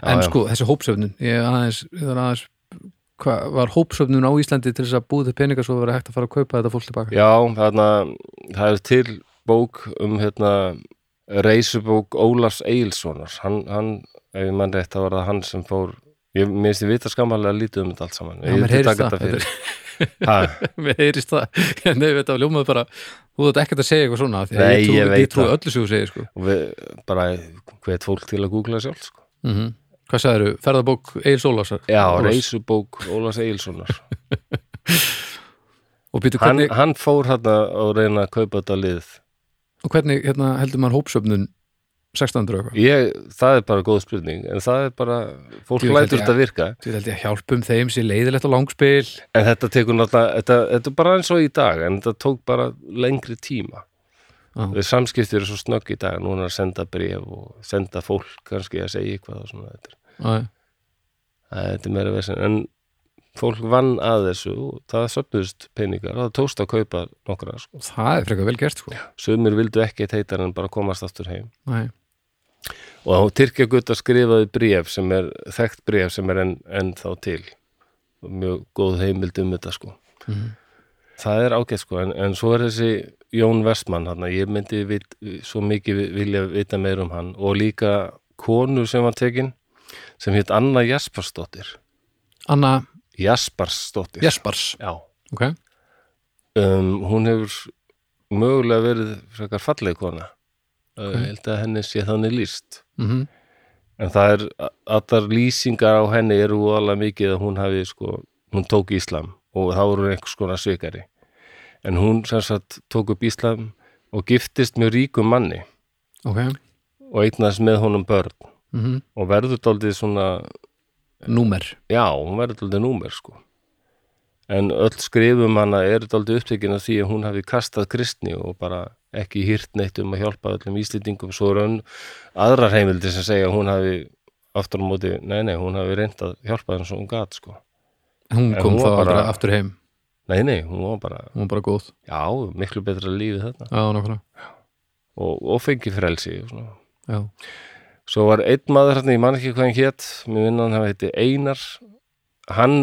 Speaker 1: Já,
Speaker 2: En
Speaker 1: já.
Speaker 2: sko, þessi hópsöfnun ég er aðeins, ég er aðeins hva, var hópsöfnun á Íslandi til þess að búið til peninga svo verið hægt að fara að kaupa þetta fólk tilbaka
Speaker 1: Já, þarna, það er til bók um hérna reisubók Ólafs Eilssonar. Hann, hann, ef ég mann rétt, það var það hann sem fór Ég minnst ég vita skammalega lítið um þetta allt saman.
Speaker 2: Já,
Speaker 1: Ég
Speaker 2: mér
Speaker 1: vildi
Speaker 2: heyrist
Speaker 1: taka
Speaker 2: það.
Speaker 1: þetta fyrir. Ha,
Speaker 2: Mér heyrist það, en nefnir þetta ljómaði bara þú þátt ekkert að segja eitthvað svona því að
Speaker 1: Nei,
Speaker 2: ég, trú,
Speaker 1: ég
Speaker 2: ég,
Speaker 1: veit
Speaker 2: trúi
Speaker 1: það.
Speaker 2: öllu sem þú segir sko
Speaker 1: og við bara hvet fólk til að googla sjálf sko.
Speaker 2: mm Hvað sagðirðu, ferðabók Egil Sólásar
Speaker 1: Já,
Speaker 2: Ólafs.
Speaker 1: reisubók Ólafs Egilssonar
Speaker 2: Og býtu
Speaker 1: hann,
Speaker 2: hvernig,
Speaker 1: hann fór hérna og reyna að kaupa þetta lið
Speaker 2: og hvernig hérna, heldur maður hópsöfnun 16. og eitthvað
Speaker 1: ég, það er bara góð spurning en það er bara, fólk
Speaker 2: Jú,
Speaker 1: lætur
Speaker 2: þetta-
Speaker 1: þetta virka
Speaker 2: Þú held ég að hjálpum þeim sér leiðilegt á langspil
Speaker 1: en þetta tekur náttúrulega þetta, þetta er bara eins og í dag en þetta tók bara lengri tíma
Speaker 2: Já.
Speaker 1: við samskiptir eru svo snögg í dag núna að senda bref og senda fólk kannski að segja eitthvað og svona þetta er,
Speaker 2: já,
Speaker 1: það er- þetta er meira vesen en fólk vann að þessu og það söfnuðust peningar og það tókst að kaupa nokkra sko.
Speaker 2: það er frekar vel gert sko
Speaker 1: sumir vildu ekki heitar en bara komast aftur heim
Speaker 2: Nei.
Speaker 1: og á Tyrkjagutta skrifaði bref sem er þekkt bref sem er enn en þá til Og mjög góð heimild um þetta sko
Speaker 2: Mhm.
Speaker 1: það er ágætt sko en, en svo er þessi Jón Vestmann hann ég myndi vit, svo mikið vi- vilja vita meir um hann og líka konu sem var tekin sem hétt Anna Jasparsdóttir
Speaker 2: Anna
Speaker 1: Jasparsdóttir
Speaker 2: Jespars
Speaker 1: Já.
Speaker 2: ok,
Speaker 1: Um, hún hefur mögulega verið frekar falleg kona okay. uh, held að henni sé þannig líst
Speaker 2: mhm,
Speaker 1: En það er, allar lýsingar á henni eru alveg mikið að hún hafi sko, hún tók Íslam og þá voru hún einhvers konar svikari. En hún sem sagt tók upp Íslam og giftist mjög ríkum manni
Speaker 2: ok
Speaker 1: og eignast með honum börn
Speaker 2: mhm,
Speaker 1: og verður daldið svona,
Speaker 2: númer
Speaker 1: já, hún verður daldið númer sko. En öll skrifum hana er daldið upptekin af því að hún hafi kastað kristni og bara ekki hýrt neitt um að hjálpa öllum íslendingum svo raun aðrar heimildir sem segja að hún hafi aftur á móti, nei nei, hún hafi reynd að hjálpa þeim svo hún gat sko.
Speaker 2: hún
Speaker 1: En
Speaker 2: kom
Speaker 1: hún
Speaker 2: þá
Speaker 1: var bara-
Speaker 2: bara aftur heim
Speaker 1: Nei nei, hún var bara,
Speaker 2: hún var bara góð,
Speaker 1: já, miklu betra lífið þarna
Speaker 2: já, nákvæmlega
Speaker 1: og, og fengi frelsi og svona.
Speaker 2: já,
Speaker 1: Svo var einn maður hérna, ég man ekki hvað hann hét, mér vinna hann hafi heiti Einar, hann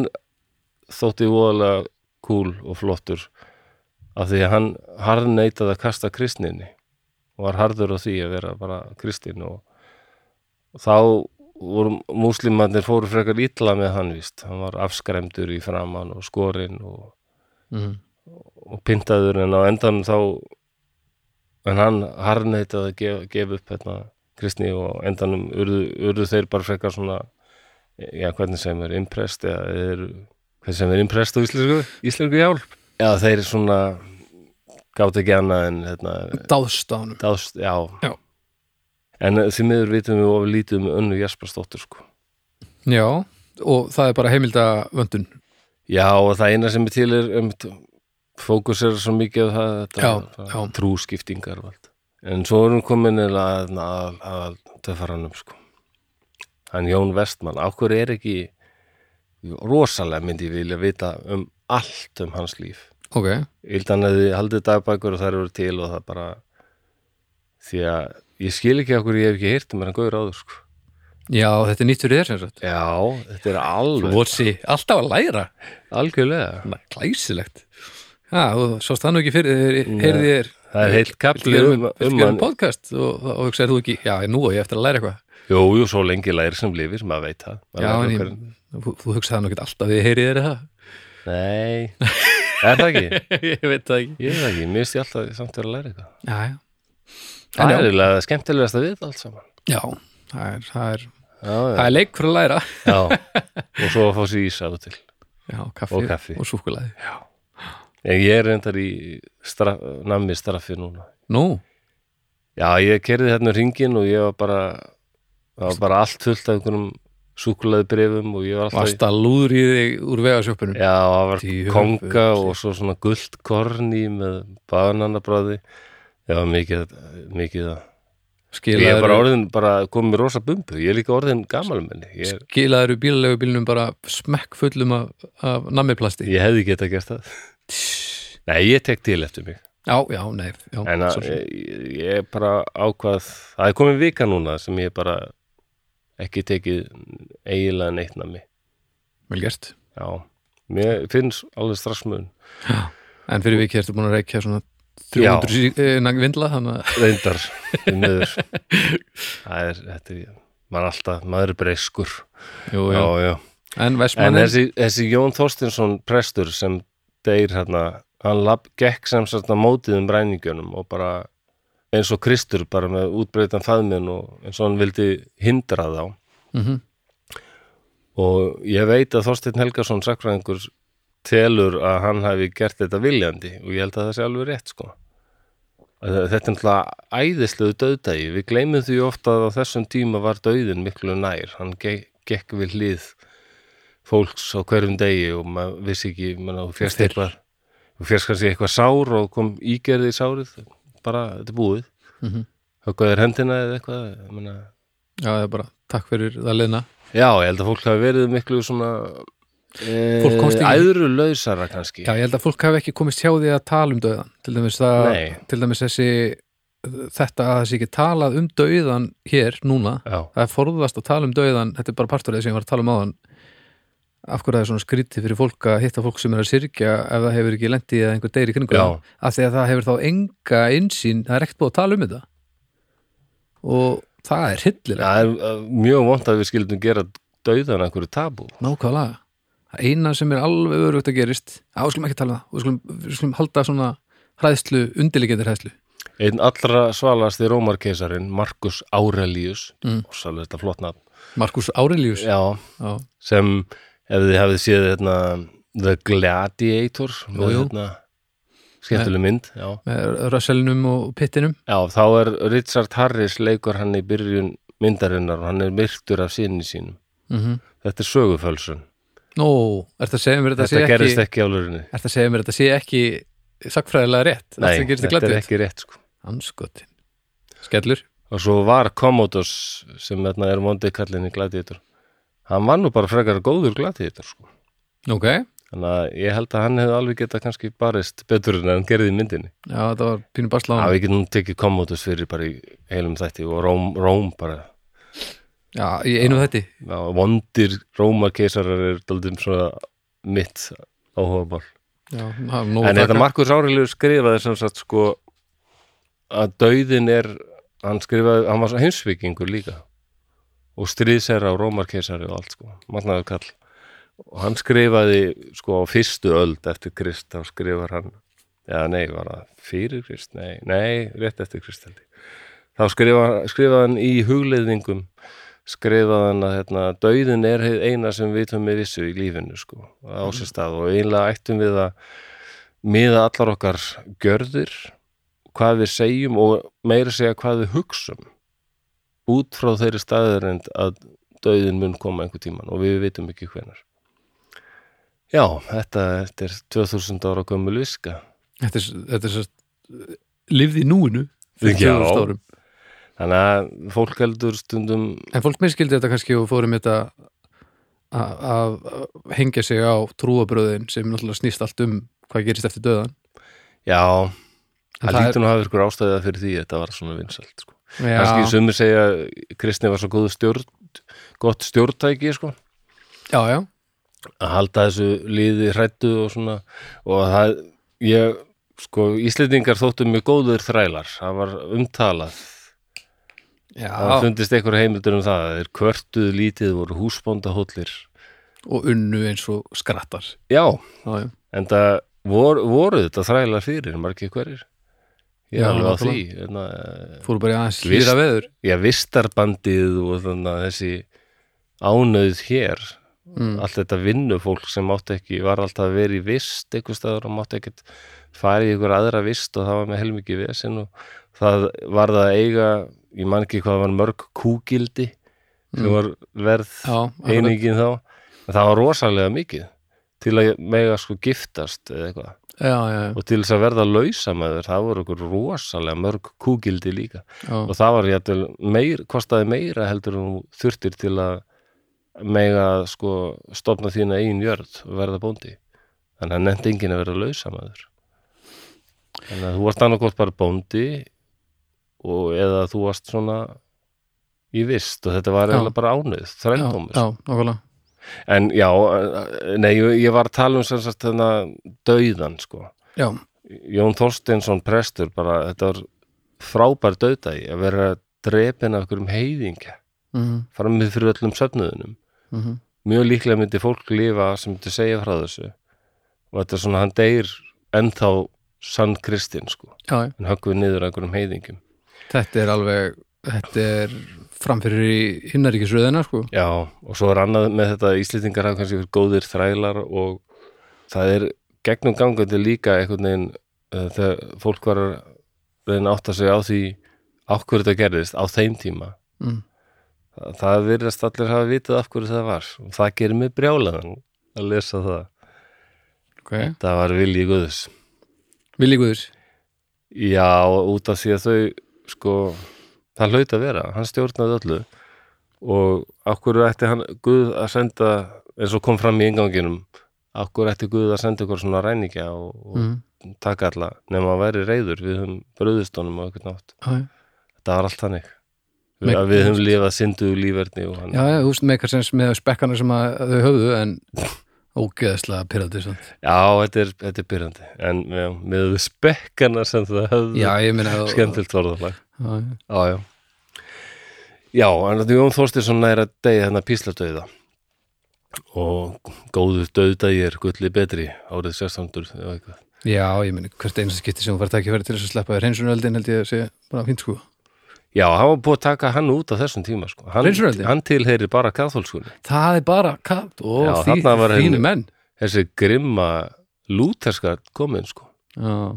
Speaker 1: þótti voðalega kúl og flottur af því að hann harneitaði að kasta kristninni og var harður á því að vera bara kristin og, og þá voru múslimarnir fóru frekar illa með hann víst, hann var afskremdur í framann og skorinn og
Speaker 2: mhm,
Speaker 1: og pyntaður en á endanum þá en hann harneitaði að gefa, gefa upp hérna kristni og á endanum urðu, urðu þeir bara frekar svona já, hvernig sem er imprest eða þeir, hvernig sem er imprest á íslensku, íslensku hjálp já, þeir svona gátt ekki annað en hérna,
Speaker 2: dáðst á hann
Speaker 1: dást, já.
Speaker 2: Já.
Speaker 1: en eh, því miður vitum við of lítið um önnu Jasparsdóttur sko
Speaker 2: já, og það er bara heimildavöndun
Speaker 1: Já, og það eina sem er til er um, fókus er svo mikið á það, þetta,
Speaker 2: Já,
Speaker 1: það,
Speaker 2: já.
Speaker 1: trúskiptingar og allt. En svo er hún komin að, að, að, að töfaranum sko. Hann Jón Vestmann, á hverju er ekki rosalega myndi ég vilja vita um allt um hans líf.
Speaker 2: ok,
Speaker 1: Yldan hefði haldið dagbækur og þær eru til og það bara því að ég skil ekki okkur ég hef ekki heyrt um hann gauður áður sko.
Speaker 2: já, þetta er nýtt fyrir þér sem sagt
Speaker 1: Já, þetta er alveg
Speaker 2: Votsi, alltaf að læra
Speaker 1: algjörlega.
Speaker 2: Na, Glæsilegt Já, þú sást það nú ekki fyrir þér, heyrði þér
Speaker 1: Það er heilt
Speaker 2: Viltu
Speaker 1: kapli
Speaker 2: gera
Speaker 1: um,
Speaker 2: um, um,
Speaker 1: um
Speaker 2: um
Speaker 1: hann
Speaker 2: podcast og þá hugsaði þú ekki, já, nú og ég eftir að læra eitthvað
Speaker 1: Jú, jú, svo lengi læri sem lifir, maður veit það. Maður
Speaker 2: Já,
Speaker 1: lærir
Speaker 2: en ég,
Speaker 1: okkur-
Speaker 2: þú, þú hugsaði það nú ekki alltaf því ég heyri þér það
Speaker 1: Nei, er það ekki?
Speaker 2: Ég veit það ekki
Speaker 1: Ég er það ekki, mér finnst ég alltaf samt vera að læra eitthvað.
Speaker 2: Já, já,
Speaker 1: Það
Speaker 2: En
Speaker 1: er
Speaker 2: já.
Speaker 1: eiginlega það skemmtilegast að við allt saman.
Speaker 2: já það, er, það, er,
Speaker 1: Já, já,
Speaker 2: það er leik fyrir að læra
Speaker 1: já. og svo að fá sér ís af og til.
Speaker 2: Já, kaffi
Speaker 1: Og kaffi.
Speaker 2: og súkkulaði
Speaker 1: En ég er reyndar í straf, nammi straffi núna.
Speaker 2: Nú,
Speaker 1: Já, ég kerði hérna ringin og ég var bara, það var bara allt fullt af einhverjum súkulaði brefum og ég var alltaf...
Speaker 2: varst að lúður í þig úr vegasjöppunum
Speaker 1: Já, það var
Speaker 2: Djöfull.
Speaker 1: konga og svo svona guldkorn í með bananabráði. Já, mikið, mikið það. Ég er bara
Speaker 2: Skilaður
Speaker 1: orðin, bara komið mér rosa bumbu, ég er líka orðin gamalmenni, ég, er-
Speaker 2: Skilaður bílalegu bílnum bara smekk fullum af, af nammiplasti
Speaker 1: ég hefði geta gert það. Nei, ég tek til eftir mig,
Speaker 2: Já, já, nei já,
Speaker 1: en að,
Speaker 2: svo sem.
Speaker 1: ég, ég er bara ákvað, það er komin vika núna sem ég bara ekki tekið eiginlega neitt nami.
Speaker 2: Vel gert
Speaker 1: Já, mér finnst alveg strax mun,
Speaker 2: En fyrir vikið ertu búin að reykja svona 300 sí- eh, innan vindla þannig að
Speaker 1: reyndar, því miður. Það er, þetta er, maður er alltaf, maður er breyskur.
Speaker 2: jú,
Speaker 1: Já,
Speaker 2: jú.
Speaker 1: já.
Speaker 2: En
Speaker 1: En
Speaker 2: Vestmannin
Speaker 1: þessi, þessi Jón Þorstinsson prestur sem deyr hérna, hann lab, gekk sem sagt að mótið um ræningjónum og bara eins og Kristur bara með útbreytan faðminn og eins og hann vildi hindra þá
Speaker 2: mm
Speaker 1: og ég veit að Þorsteinn Helgason sakfræðingur telur að hann hafi gert þetta viljandi og ég held að það sé alveg rétt sko Að þe- þetta er náttúrulega æðislegu döðdægi við gleymum því ofta að á þessum tíma var döðin miklu nær hann ge- gekk við hlið fólks á hverjum degi og maður vissi ekki, menna, þú férst
Speaker 2: Fyrr.
Speaker 1: eitthvað þú férst kannski eitthvað sár og kom ígerði í sárið bara, þetta er búið
Speaker 2: mm
Speaker 1: Mhm.
Speaker 2: -hmm.
Speaker 1: höggvað þér hendina eða eitthvað ég meina,
Speaker 2: Já, það er bara takk fyrir það liðna
Speaker 1: já, ég held að fólk hafi verið miklu svona
Speaker 2: Fólk komst ekki-
Speaker 1: æðru lausara kannski
Speaker 2: Já, ég held að fólk hafi ekki komist hjá því að tala um döðan til dæmis, það,
Speaker 1: Nei.
Speaker 2: til dæmis þessi þetta að þessi ekki talað um döðan hér núna,
Speaker 1: já,
Speaker 2: það er forðast að tala um döðan þetta er bara partur af þessi ég var að tala um áðan af hverju það er svona skrítið fyrir fólk að hitta fólk sem er að syrgja ef það hefur ekki lendið eða einhver deyri kringu
Speaker 1: Já.
Speaker 2: af því að það hefur þá enga einsýn það er ekkert búið að tala um þetta og það er hillilega
Speaker 1: það er uh, mjög vont að við skildum gera dauðan einhverju tabú
Speaker 2: Nákvæmlega. Það eina sem er alveg örugt að gerist, á, við skulum ekki tala um það, við skulum, við skulum halda svona hræðslu, undirliggjandi hræðslu.
Speaker 1: einn allra svalasti rómarkeisarin Markus Aurelius
Speaker 2: Mm.
Speaker 1: og svolítið þetta flott nafn
Speaker 2: Markus Aurelius.
Speaker 1: já,
Speaker 2: Já.
Speaker 1: sem ef þið hafið séð hérna, The Gladiator með,
Speaker 2: jú.
Speaker 1: hérna, skemmtileg mynd já.
Speaker 2: Með rösselinum og pittinum.
Speaker 1: já, þá er Richard Harris leikur hann í byrjun myndarinnar og hann er myrktur af sinni sínum
Speaker 2: Mm
Speaker 1: þetta er sögufölsun,
Speaker 2: Nó, ert að segja mér þetta,
Speaker 1: þetta,
Speaker 2: sé
Speaker 1: gerist
Speaker 2: ekki,
Speaker 1: ekki á lörinni
Speaker 2: ert að segja mér þetta sé ekki sakfræðilega rétt. Allt
Speaker 1: nei,
Speaker 2: sem gerist í
Speaker 1: þetta er
Speaker 2: glættu.
Speaker 1: ekki rétt sko.
Speaker 2: Anskotin. Skellur.
Speaker 1: og svo var Commodus sem hérna, er vondið kallinn í Gladiator hann var nú bara frekar góður Gladiator sko.
Speaker 2: Ok.
Speaker 1: þannig að ég held að hann hefði alveg getað kannski barist betur en hann gerði í myndinni
Speaker 2: Já, þetta var pínu
Speaker 1: Já,
Speaker 2: barsláðan.
Speaker 1: við getum tekið Commodus fyrir bara í heilum þætti og Róm, Róm bara
Speaker 2: Já, í einu þetta.
Speaker 1: já, vondir Rómarkeisarar er daldum svona mitt áhugamál
Speaker 2: Já, það var nóg
Speaker 1: En
Speaker 2: að
Speaker 1: þetta
Speaker 2: taka.
Speaker 1: Markus Árilegu skrifaði sem sagt sko að dauðin er hann skrifaði, hann var svo heimsvíkingur líka og stríðsera og Rómarkeisari og allt sko, magnaður kall og hann skrifaði sko á fyrstu öld eftir Krist, þá skrifar hann eða nei, var það fyrir Krist nei, nei, rétt eftir Krist held ég þá skrifaði, skrifaði hann í hugleiðingum skrifaði hann að hérna, dauðin er hið eina sem við vitum með vissu í lífinu sko, á sér stað og einlega ættum við að miða allar okkar gjörðir hvað við segjum og meira segja hvað við hugsum út frá þeirri staðarind að döðin mun koma einhver tíman og við vitum ekki hvenar Já, þetta, þetta er 2000 ára gömul viska
Speaker 2: Þetta er, þetta er svo lifði núinu. fyrir
Speaker 1: Já.
Speaker 2: 2000 árum.
Speaker 1: þannig að fólk heldur stundum
Speaker 2: En fólk miskildi þetta kannski og fórum þetta að- að að hengja sig á trúabröðin sem náttúrulega snýst allt um hvað gerist eftir döðan.
Speaker 1: já,
Speaker 2: En
Speaker 1: það
Speaker 2: það
Speaker 1: lítur nú að hafa ykkur ástæða fyrir því þetta var svona vinsælt sko.
Speaker 2: Já,
Speaker 1: kannski sumir segja Kristni var svo góð stjórn gott stjórntæki sko
Speaker 2: já, já.
Speaker 1: að halda þessu líði hrættu og svona og það, ég, sko Íslendingar þóttu mjög góður þrælar það var umtalað
Speaker 2: já.
Speaker 1: það fundist einhver heimildur um það að þeir kvörtuðu lítið voru húsbóndahóllir
Speaker 2: og unnu eins og skrattar.
Speaker 1: já,
Speaker 2: Já, já.
Speaker 1: en það vor, voru þetta þrælar fyrir, margir hverjir ég
Speaker 2: Já,
Speaker 1: er alveg á því hérna,
Speaker 2: nákvæmlega.
Speaker 1: en að,
Speaker 2: Fóru bara í aðeins
Speaker 1: Vist.
Speaker 2: hlýra veður.
Speaker 1: já, vistarbandið og þannig að þessi ánöð hér
Speaker 2: Mm.
Speaker 1: allt þetta vinnufólk sem mátti ekki var alltaf að vera í vist einhvers staðar og mátti ekkert fara í ykkur aðra vist og það var með helmingi vesinn og það var það að eiga ég man ekki hvað það var mörg kúgildi sem var verð
Speaker 2: Mm. Já, akkurat.
Speaker 1: einingin þá en það var rosalega mikið til að mega sko giftast eða eitthvað
Speaker 2: Já, já, já.
Speaker 1: og til þess að verða lausamæður það voru okkur rosalega mörg kúgildi líka
Speaker 2: já.
Speaker 1: og það var jætvel meir, kostaði meira heldur en þú þurftir til að mega sko stopna þína eigin jörð og verða bóndi þannig að nefndi enginn að vera lausamæður þannig að þú varst annarkort bara bóndi og eða þú varst svona í vist og þetta var
Speaker 2: Já.
Speaker 1: eiginlega bara ánöð
Speaker 2: Já,
Speaker 1: þrældómur
Speaker 2: já, nákvæmlega.
Speaker 1: en já, eh, nei, ég ég var að tala um sem sagt þennan dauðan sko
Speaker 2: Já,
Speaker 1: Jón Þorsteinsson prestur bara, þetta var frábær döðdægi að vera drepin af einhverjum heiðingja
Speaker 2: mhm,
Speaker 1: framið fyrir öllum söfnuðunum
Speaker 2: mhm.
Speaker 1: mjög líklega myndi fólk lifa sem myndi segja frá þessu og þetta er svona hann deyr ennþá sann kristinn sko
Speaker 2: já, já.
Speaker 1: en höggum við niður af einhverjum heiðingjum
Speaker 2: Þetta er alveg, þetta er framfyrir í hinnaríkisröðina, sko.
Speaker 1: Já, og svo er annað með þetta að Íslendingar hafa kannski verið góðir þrælar og það er gegnum gangandi líka einhvern veginn uh, þegar fólk var að reyna að átta sig á því á hverju þetta gerðist á þeim tíma
Speaker 2: Mm.
Speaker 1: Þa- það virðast allir hafa vitað af hverju það var og það gerir mig brjálaðan að lesa það
Speaker 2: Ok.
Speaker 1: það var vilji guðs
Speaker 2: Vilji Guðurs.
Speaker 1: Já, út af því að þau sko, það hlaut að vera hann stjórnaði öllu og akkur ætti hann Guð að senda eins og kom fram í inganginum akkur ætti Guð að senda ykkur svona ræningja og, og
Speaker 2: mm.
Speaker 1: taka alla nema að væri reyður við höfum bröðustónum og eitthvað nátt
Speaker 2: já, já.
Speaker 1: þetta var allt þannig
Speaker 2: Meg-
Speaker 1: við, að við höfum lifað synduðu líferni og hann
Speaker 2: Já, já, þú veist með eitthvað sem með spekkana sem að þau höfðu en ógeðslega pyrrandi samt.
Speaker 1: Já, þetta er, þetta er byrjandi en já, með við spekkana sem það höfðu
Speaker 2: Já, ég meina
Speaker 1: skemmtilt orðalag
Speaker 2: Já, já.
Speaker 1: Já, já Já, en þetta Jón Þorstinsson næra degi þennan hérna písladauða og góður dauðdagi er gulli betri árið 1600 eða eitthvað.
Speaker 2: já, ég meina hvert eins skipti sem hún var tækifæri til þess að sleppa reynsunöldin held ég að sé bara fínt sko
Speaker 1: Já, hann var búið að taka hann út á þessum tíma sko. hann,
Speaker 2: Prinsröldi?
Speaker 1: hann tilheyri bara katholskunni
Speaker 2: Það er bara kallt og
Speaker 1: Já,
Speaker 2: því,
Speaker 1: þarna var
Speaker 2: þínu
Speaker 1: henni-
Speaker 2: menn
Speaker 1: þessi grimma lúterska komin sko.
Speaker 2: Já,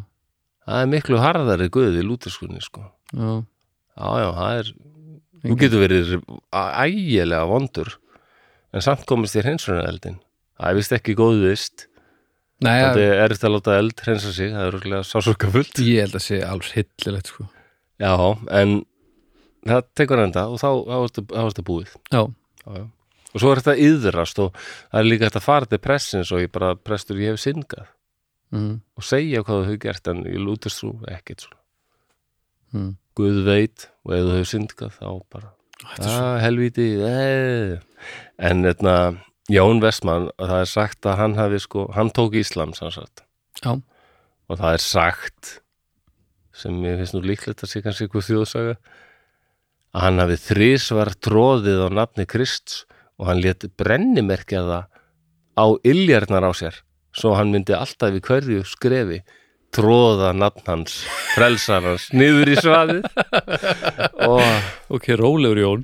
Speaker 1: það er miklu harðari guði lúterskunni sko.
Speaker 2: já,
Speaker 1: Já, já, það er þú getur verið a- ægilega vondur en samt komist þér hreinsunareldin það er vist ekki góð vist
Speaker 2: Nei,
Speaker 1: Þetta
Speaker 2: já,
Speaker 1: er erfitt að láta eld hreinsa sig, það er rúglega sásúka fullt.
Speaker 2: ég held að sé alls hillilegt sko
Speaker 1: Já, en það tekur enda og þá þá ertu þá ertu búið.
Speaker 2: Já,
Speaker 1: Já, já. Og svo er þetta yðrast og það er líka þetta farið til pressins og ég bara prestur ég hef syngað
Speaker 2: mm,
Speaker 1: og segja hvað þú hefur gert en ég lútist þú ekkert svona.
Speaker 2: mm.
Speaker 1: Guð veit og ef þú hefur syngað þá bara,
Speaker 2: Þetta er svo
Speaker 1: að Ah, helvíti, eeeh. En þetta, Jón Vestmann, það er sagt að hann hafi sko, hann tók Íslam sannsagt.
Speaker 2: Já,
Speaker 1: og það er sagt sem mér finnst nú líklegt að sé kannski ykkur þjóðsaga að hann hafi þrísvar tróðið á nafni Krist og hann lét brennimerkja það á illjarnar á sér svo hann myndi alltaf í hverju skrefi tróða nafn hans frelsar hans niður í svaðið og
Speaker 2: ok, rólegur Jón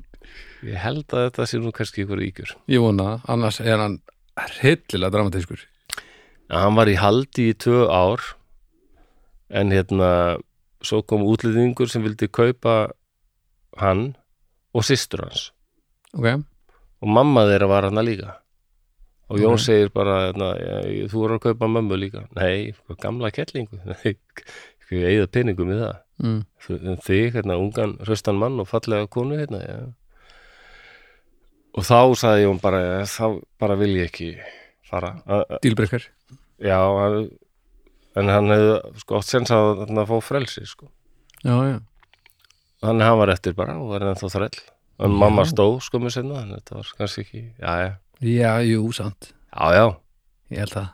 Speaker 1: ég held að þetta sé nú kannski ykkur ígjur
Speaker 2: Ég vona, það. annars er hann hillilega dramatískur
Speaker 1: að hann var í haldi í tvö ár en hérna svo kom útlýðingur sem vildi kaupa hann og systur hans
Speaker 2: Ok,
Speaker 1: og mamma þeirra var hann líka og Jón
Speaker 2: Ok.
Speaker 1: segir bara hérna, "Ég- þú voru að kaupa mömmu líka nei, hvað gamla kettlingu nei, ég eigið peningum í það
Speaker 2: mm.
Speaker 1: Þú- um þig, hérna, ungan, hraustan mann og fallega konu hérna ja. og þá sagði Jón bara þá bara vil ég ekki fara að
Speaker 2: Dílbrekkar
Speaker 1: Já, hann, en hann hefði sko oft sens að hann að fá frelsi sko.
Speaker 2: Já, já,
Speaker 1: Þannig hann var eftir bara og var ennþá þræll. En
Speaker 2: Já.
Speaker 1: mamma stó sko mér senna, þannig að þetta var kannski ekki, já, já,
Speaker 2: já, jú, sant
Speaker 1: já, já.
Speaker 2: Ég held það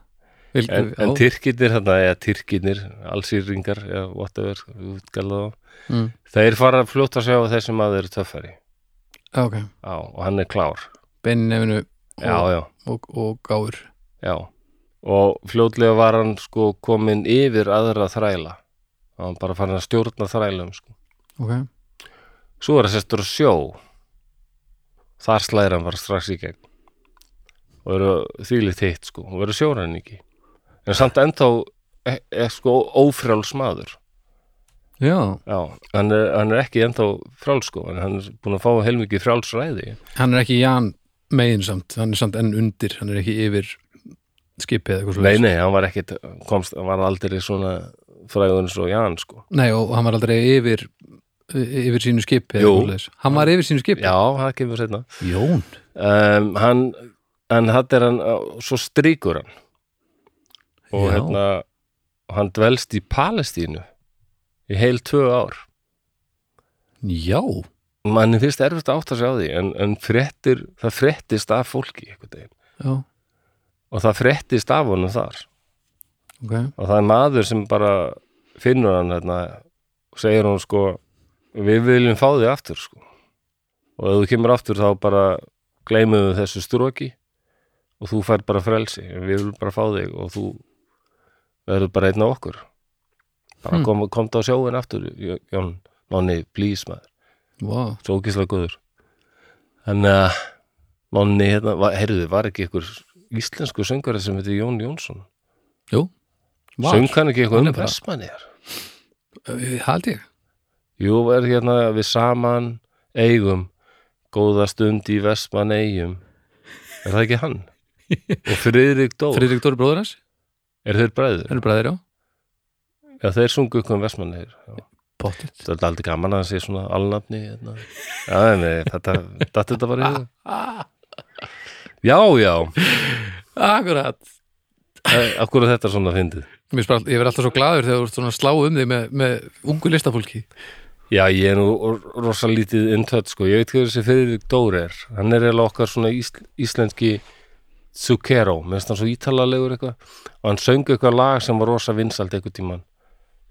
Speaker 2: Vil,
Speaker 1: En,
Speaker 2: já.
Speaker 1: en tyrkinir, þarna, eða tyrkinir, allsýringar, eða whatever, útgæla þá.
Speaker 2: mm.
Speaker 1: Þeir fara fljótt að sjá að þessum að þeir eru töffari.
Speaker 2: Já, Ok,
Speaker 1: Já, og hann er klár.
Speaker 2: Benni nefnu
Speaker 1: Já,
Speaker 2: og,
Speaker 1: já,
Speaker 2: og, og gáur
Speaker 1: já. Og fljótlega var hann sko komin yfir aðra þræla. Hann var bara farin að stjórna þrælum sko.
Speaker 2: Ok,
Speaker 1: Svo er það sestur á sjó Þar slæðir hann bara strax í gegn og eru þvílið hitt sko og verður sjóræðin ekki en samt ennþá er, er sko ófrjáls maður
Speaker 2: já,
Speaker 1: Já, hann er, hann er ekki ennþá frjáls sko en hann er búin að fá heilmikið frjálsræði
Speaker 2: hann er ekki Jan megin samt Hann er samt enn undir, hann er ekki yfir skipið eða eitthvað
Speaker 1: Nei,
Speaker 2: svoleiðis.
Speaker 1: nei, hann var ekkit komst, hann var aldrei svona frægur eins og Jan sko
Speaker 2: Nei, og hann var aldrei yfir yfir sínu skipi eða
Speaker 1: Jú.
Speaker 2: eitthvað svoleiðis. Hann var yfir sínu skipi
Speaker 1: Já, það kemur seinna
Speaker 2: Jón
Speaker 1: um, hann, en hann er hann svo stríkur hann og
Speaker 2: Já.
Speaker 1: hérna hann dvelst í Palestínu í heil tvö ár
Speaker 2: Já,
Speaker 1: manni finnst erfitt að átta sig á því en, en fréttir, það fréttist af fólki einhvern veginn
Speaker 2: já,
Speaker 1: og það fréttist af honum þar
Speaker 2: ok
Speaker 1: og það er maður sem bara finnur hann hérna, og segir hann sko við viljum fá þig aftur sko. og ef þú kemur aftur þá bara gleymum við þessu stróki og þú fær bara frelsi við viljum bara fá þig og þú verður bara einn af okkur bara
Speaker 2: Hmm.
Speaker 1: kom, komdu á sjóin aftur J- Jón, Nonni, please maður
Speaker 2: Vá,
Speaker 1: svo ógislega góður þannig að Nonni, hérna, var- heyrðu, var ekki ykkur íslensku söngari sem heitir Jón Jónsson
Speaker 2: Vá.
Speaker 1: söng hann ekki eitthvað
Speaker 2: Hann
Speaker 1: um
Speaker 2: er bara-
Speaker 1: Vestmanniðar
Speaker 2: Eh, Hald ég
Speaker 1: Jú, er hérna við saman eigum góða stund í Vestmann eigum Er það ekki hann? Og Friðrik Dór,
Speaker 2: Friðrik Dóri bróður hans,
Speaker 1: er þeir bræður?
Speaker 2: hann er bræðir já
Speaker 1: Já, þeir sungu ykkur um vestmannir.
Speaker 2: Pottit.
Speaker 1: Það er aldrei gaman að það sé svona alnafni. hérna. Já, en eh, þetta, þetta þetta var í það.
Speaker 2: Ah,
Speaker 1: Já, já,
Speaker 2: Akkurat.
Speaker 1: akkur er þetta svona fyndið.
Speaker 2: Mér spara, ég verð alltaf svo glaður þegar þú ert svona að slá um þig með, með ungu listafólki.
Speaker 1: Já, ég er nú rosalítið inntött, sko. Ég veit hvað þessi fyrir Dóri er. Hann er eiginlega okkar svona ísl, íslenski Zucchero, minnst hann svo ítalalegur eitthvað. Og hann söng eitthvað lag sem var rosa vinsald eitthvað tíman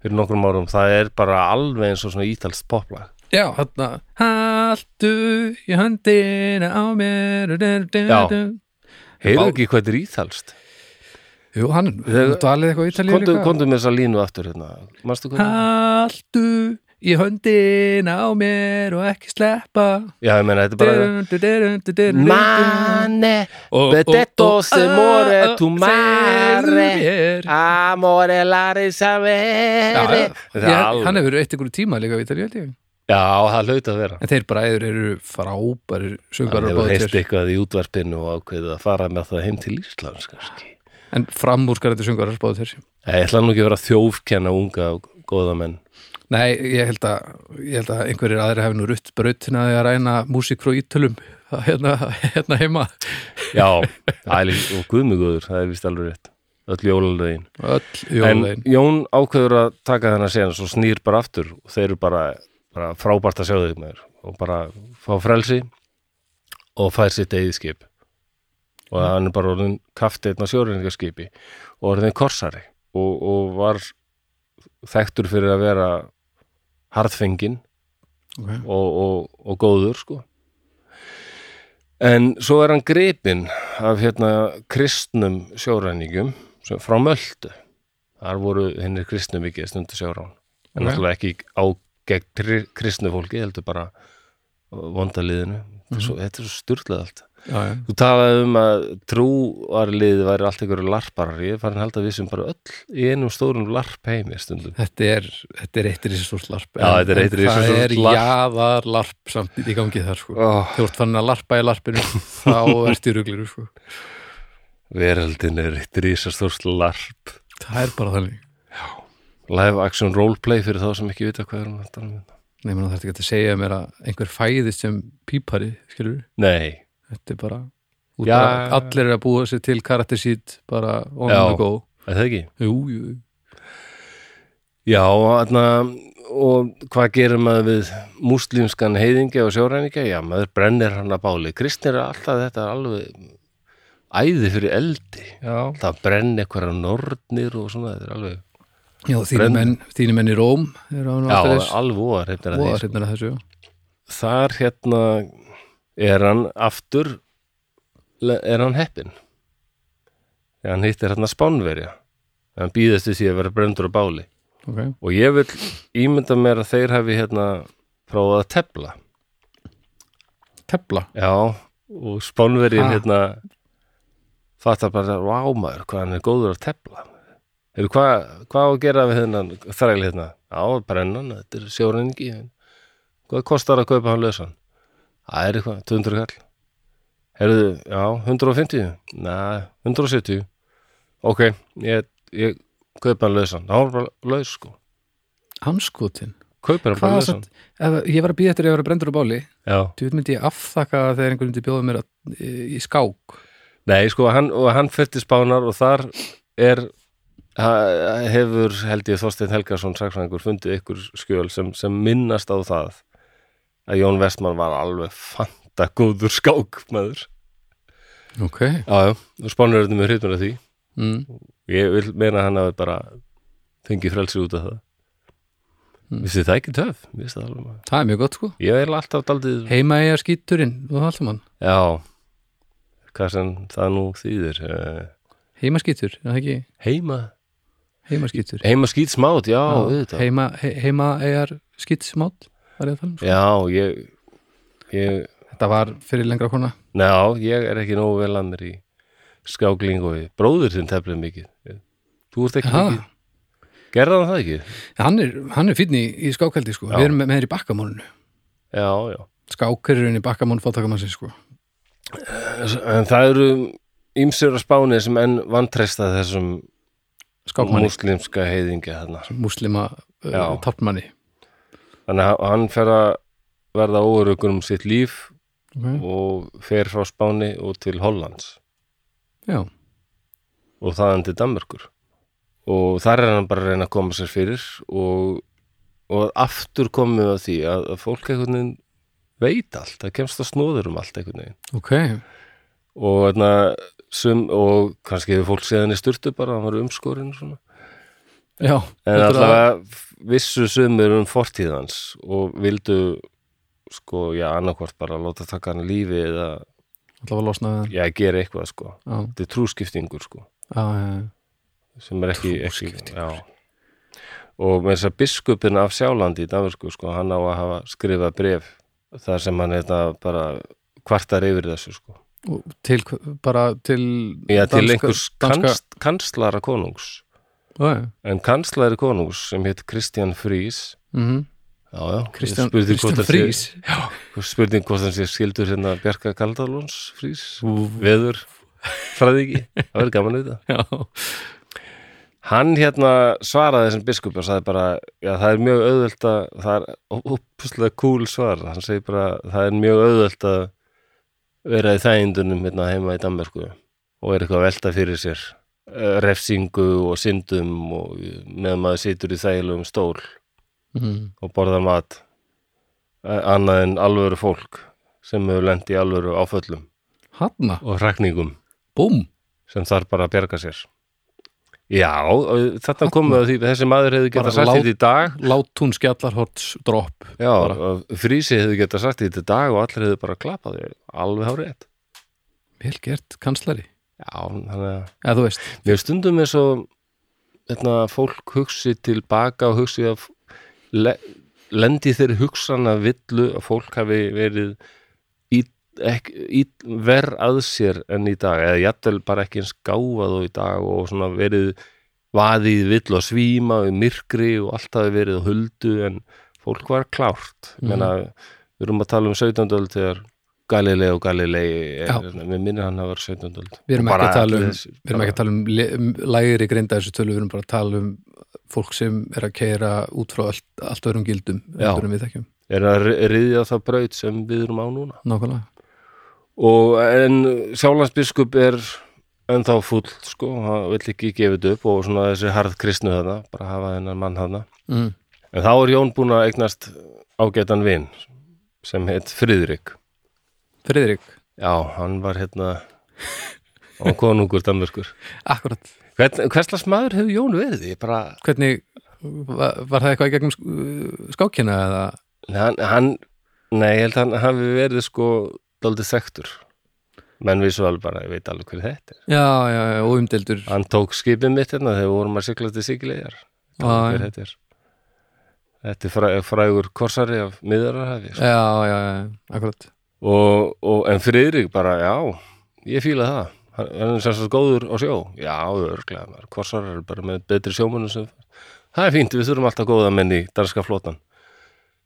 Speaker 1: fyrir nokkrum árum. Það er bara alveg eins og svona ítalst poplag.
Speaker 2: Já, hérna. Haltu í höndina á mér.
Speaker 1: Já.
Speaker 2: Jú,
Speaker 1: Heyrðu
Speaker 2: Vá.
Speaker 1: ekki hvað þetta er ítalst?
Speaker 2: hann,
Speaker 1: Þegar-
Speaker 2: þú talið eitthvað ítalíu
Speaker 1: Kondu, kondu með þessa línu aftur hérna. Manstu hvað? það er?
Speaker 2: Haltu í höndina á mér og ekki sleppa.
Speaker 1: Já, ég meina, þetta er bara...
Speaker 2: Man
Speaker 1: Mane, Bedetto se
Speaker 2: Ah,
Speaker 1: more tu mare Amore la risavere
Speaker 2: Já, ég, hann hefur eitt ykkur tíma líka við Ítalíu held ég.
Speaker 1: Já, það hlaut að vera
Speaker 2: en þeir bræður eru frábæri
Speaker 1: Það
Speaker 2: sögbarar og
Speaker 1: hefur
Speaker 2: báðir
Speaker 1: heist
Speaker 2: tveir.
Speaker 1: eitthvað í útvarpinu og ákveðið að fara með það heim til Íslands kannski
Speaker 2: en framúrskarandi sögbarar báðir þér
Speaker 1: Nei, Ég ætla nú ekki að vera að þjófkenna unga og góða menn
Speaker 2: nei, ég held að, ég held að einhverjir aðri hefur nú rutt brautina að ræna músík frá Ítölum hérna, hérna heima
Speaker 1: Já, það er líka- og guðmugúður, það er vist alveg rétt Öll jólalögin
Speaker 2: öll
Speaker 1: En
Speaker 2: jólaðin
Speaker 1: Jón ákveður að taka þennan sen og snýr bara aftur og þeir eru bara, bara frábært að sjá þau með þér og bara fá frelsi og fær sitt eigið skip og hann er bara orðin kaftið á sjóreiningaskipi og orðin korsari og, og var þekktur fyrir að vera harðfengin
Speaker 2: okay.
Speaker 1: og, og, og góður sko. en svo er hann gripinn af hérna kristnum sjóræningum sem, frá Möldu þar voru hennir kristnum mikið stundu sjórán
Speaker 2: Ok.
Speaker 1: en náttúrulega ekki á gegn kri- kristnu fólki, heldur bara vondaliðinu mm -hmm. þetta er svo styrlað allt
Speaker 2: já, já.
Speaker 1: þú talaði um að trúarlið væri allt einhverju larparar ég er farin að halda að við sem bara öll í einum stórum larp heimi stundum
Speaker 2: Þetta er, þetta er eittir þessi stórt larp
Speaker 1: Já, þetta er eitt risastórt
Speaker 2: Það er
Speaker 1: larp.
Speaker 2: jaðar larp samt í gangi þar sko.
Speaker 1: oh,
Speaker 2: Þú ert fann að larpa í larpinu þá ert í rugliru sko.
Speaker 1: veröldin er eitt risastórs larp
Speaker 2: Það er bara þannig
Speaker 1: live action roleplay fyrir þá sem ekki vita hvað er hann að tala um þetta.
Speaker 2: Nei, menn það er ekki að segja mér að einhver fæðist sem pípari, skilur við
Speaker 1: Nei,
Speaker 2: Þetta er bara út
Speaker 1: Já.
Speaker 2: að allir er að búa sér til karakter sít bara on
Speaker 1: Já.
Speaker 2: the go
Speaker 1: er það ekki?
Speaker 2: Jú, jú,
Speaker 1: Já, þarna, og hvað gerir maður við múslímskan heiðingja og sjóræningja? Já, maður brennir hann að báli. Kristnir er alltaf þetta alveg æði fyrir eldi.
Speaker 2: já
Speaker 1: Það brenn einhverja nornir og svona, þetta er alveg...
Speaker 2: Já, þínu
Speaker 1: Brenn-
Speaker 2: menn, þínu menn í Róm eru hann
Speaker 1: Já,
Speaker 2: alltaf þess
Speaker 1: alveg óar hefnir að því.
Speaker 2: og hérna þessu, já
Speaker 1: Þar hérna er hann aftur, er hann heppin. Þegar hann hittir hérna Spánverja. Þegar hann býðast við því að vera brendur á báli.
Speaker 2: okay.
Speaker 1: og ég vil ímynda mér að þeir hafi hérna prófað að tepla
Speaker 2: Tepla,
Speaker 1: já, og spánverjinn
Speaker 2: Ha.
Speaker 1: hérna fattar bara, vá maður, hvað hann er góður að tepla Heru, hvað, hvað á að gera við hennan þræl hérna, já, brennan þetta er sjórengi hvað kostar að kaupa hann lausan það er eitthvað, 200 kall Herðu, já, 150 Nei, 170 Ok, ég, ég kaupa hann lausan það var bara laus sko
Speaker 2: hanskotin
Speaker 1: kaupir hann bara
Speaker 2: Hvað
Speaker 1: lausan
Speaker 2: satt, ef, ég var að býja eftir að ég var að brendur á báli
Speaker 1: Já,
Speaker 2: Þú veit myndi ég afþakka þegar einhvern myndi bjóða mér að, í, í skák
Speaker 1: nei sko hann, og hann fer til Spánar og þar er ha- hefur held ég Þorsteinn Helgason saksangur fundið ykkur skjöl sem, sem minnast á það að Jón Vestmann var alveg fanta góður skákmaður
Speaker 2: Ok
Speaker 1: Já, já, og Spánverðin er hrifnur af því
Speaker 2: mm.
Speaker 1: ég vil meina að hann hafi bara fengið frelsi út af það
Speaker 2: Mm.
Speaker 1: Vissi það ekki töf? Vissi það alveg maður
Speaker 2: Það er mjög gott sko
Speaker 1: Ég er alltaf daldið
Speaker 2: Heima eiga skíturinn, þú haldum hann
Speaker 1: Já, hvað sem það nú þýðir eh,
Speaker 2: Heima skítur, er það ekki
Speaker 1: Heima
Speaker 2: heima skítur
Speaker 1: Heima skýt smát, já, auðvitað
Speaker 2: heima, he, heima eigar skýtsmátt var ég að tala um sko.
Speaker 1: Já, ég, ég
Speaker 2: þetta var fyrir lengra kona
Speaker 1: Ná, ég er ekki nógu vel að mér í skákling og bróður þinn teflið mikið Ég- Þú ert ekki
Speaker 2: Aha.
Speaker 1: mikið Gerða hann það ekki?
Speaker 2: hann er, hann er fínn í, í skákaldi sko.
Speaker 1: Já.
Speaker 2: við erum með, með þér í bakkamóninu
Speaker 1: Já, já
Speaker 2: skákurinn í bakkamón fátakamannsins sko.
Speaker 1: En það eru ýmsir á Spáni sem enn vantresta þessum
Speaker 2: skákmanni,
Speaker 1: múslimska heiðingja þarna
Speaker 2: múslima uh,
Speaker 1: Já.
Speaker 2: tápmanni
Speaker 1: þannig að hann fer að verða óurugur um sitt líf
Speaker 2: okay.
Speaker 1: og fer frá Spáni og til Hollands
Speaker 2: Já,
Speaker 1: og þaðan til Danmörkur og þar er hann bara að reyna að koma sér fyrir og, og aftur komum við að því að, að fólk einhvern veginn veit allt, það kemst að snóður um allt einhvern veginn
Speaker 2: ok
Speaker 1: og, einna, sum, og kannski hefur fólk séð henni sturtu bara, hann var umskorinn og svona
Speaker 2: Já,
Speaker 1: En
Speaker 2: heldur að-
Speaker 1: allavega vissu sumir um fortíðans og vildu sko, já, annarkvort bara láta taka hann lífi eða,
Speaker 2: allavega losnaði
Speaker 1: já, gera eitthvað sko.
Speaker 2: hann
Speaker 1: Þetta er trúskiptingur sko,
Speaker 2: Já, já, já, já.
Speaker 1: sem er ekki, ekki
Speaker 2: Trúskiptingur.
Speaker 1: já. Og með þess að biskupin af Sjálandi í Danversku, sko, hann á að hafa skrifað bref þar sem hann þetta bara kvartar yfir þessu sko.
Speaker 2: Og til, bara til
Speaker 1: Já,
Speaker 2: danska-
Speaker 1: til einhvers
Speaker 2: danska-
Speaker 1: kanst, kanslara konungs.
Speaker 2: Já, já.
Speaker 1: En kanslari konungs sem hétt Kristján Frís,
Speaker 2: Mhm.
Speaker 1: já, já, ég
Speaker 2: Kristján
Speaker 1: spurði
Speaker 2: Kristján
Speaker 1: hvort hann sé-
Speaker 2: Frís Já,
Speaker 1: Spurning hvort hann sé skildur hérna Bjarka Kaldalóns frís, veður, fræðiki, það verður gaman við það.
Speaker 2: já,
Speaker 1: Hann hérna svaraði þessum biskup og sagði bara, já það er mjög auðvelt að, það er ópuslega cool svar, hann segi bara, það er mjög auðvelt að vera í þægindunum hérna heima í Danmerku og er eitthvað að velta fyrir sér eh, refsingu og syndum og meðan maður situr í þægilegum stól
Speaker 2: Mhm.
Speaker 1: og borðar mat eh, annað en alvöru fólk sem hefur lent í alvöru áföllum
Speaker 2: Hanna,
Speaker 1: og hrakningum
Speaker 2: búm
Speaker 1: sem þarf bara að bjarga sér Já, og þetta komið að því þessi maður hefði
Speaker 2: Bara
Speaker 1: getað sagt
Speaker 2: lát-
Speaker 1: þetta í dag
Speaker 2: Látún skjallarhorts dropp
Speaker 1: Já,
Speaker 2: bara.
Speaker 1: og frísi hefði getað sagt þetta í dag og allir hefði bara klappað því alveg hár rétt
Speaker 2: Vel gert, kanslari
Speaker 1: Já, þannig að
Speaker 2: Eða þú veist,
Speaker 1: Mér stundum er svo þetta, fólk hugsi tilbaka og hugsi að f- le, lendi þeir hugsana villu að fólk hafi verið í, ek, í, verð að sér en í dag eða jafnvel bara ekki eins gáfað og í dag og svona verið vaðið vill og svíma og í myrkri og allt hafi verið á huldu en fólk var klárt mm. Menna, við erum að tala um 17. öld þegar Galilei og Galilei er, hérna,
Speaker 2: Já.
Speaker 1: mér minnir hann að vera 17. öld
Speaker 2: við erum ekki
Speaker 1: Og bara
Speaker 2: að tala um
Speaker 1: allir þessi-
Speaker 2: Við erum ekki að tala um le- um lægri grinda þessu tölu, við erum bara að tala um fólk sem er að keira út frá allt, allt öðrum gildum,
Speaker 1: Já.
Speaker 2: allt öðrum við þekkjum
Speaker 1: er að ri- ryðja það braut sem við erum á núna
Speaker 2: Nákvæmlega,
Speaker 1: og en Sjálandsbiskup er ennþá full sko, hann vill ekki gefa þetta upp og svona þessi harð kristnu þarna bara hafa þennan mann þarna
Speaker 2: mm.
Speaker 1: en þá er Jón búin að eignast ágætan vin sem heit Friðrik
Speaker 2: Friðrik,
Speaker 1: já, hann var hérna og konungur Danmörkur
Speaker 2: akkurat
Speaker 1: Hvern, hverslas maður hefur Jón verið? Ég bara,
Speaker 2: Hvernig, var, var það eitthvað í gegnum sk- uh, skákina eða
Speaker 1: hann, hann nei, ég held að hann hafi verið sko daldið sektur menn við svo alveg bara, ég veit alveg hver þetta er
Speaker 2: Já, já, já, og umdeldur
Speaker 1: Hann tók skipið mitt hérna þegar við vorum að sigla til Siglegar
Speaker 2: Já, já,
Speaker 1: þetta er, þetta er fræ, frægur korsari af miðararhafi sko.
Speaker 2: já, já, akkurat
Speaker 1: og, og en Friðrik bara, já ég fíla það, hann hann er sem sagt góður á sjó, já, örglega maður. korsarar eru bara með betri sjómunum sem það er fínt, við þurfum alltaf góða menn í danska flótan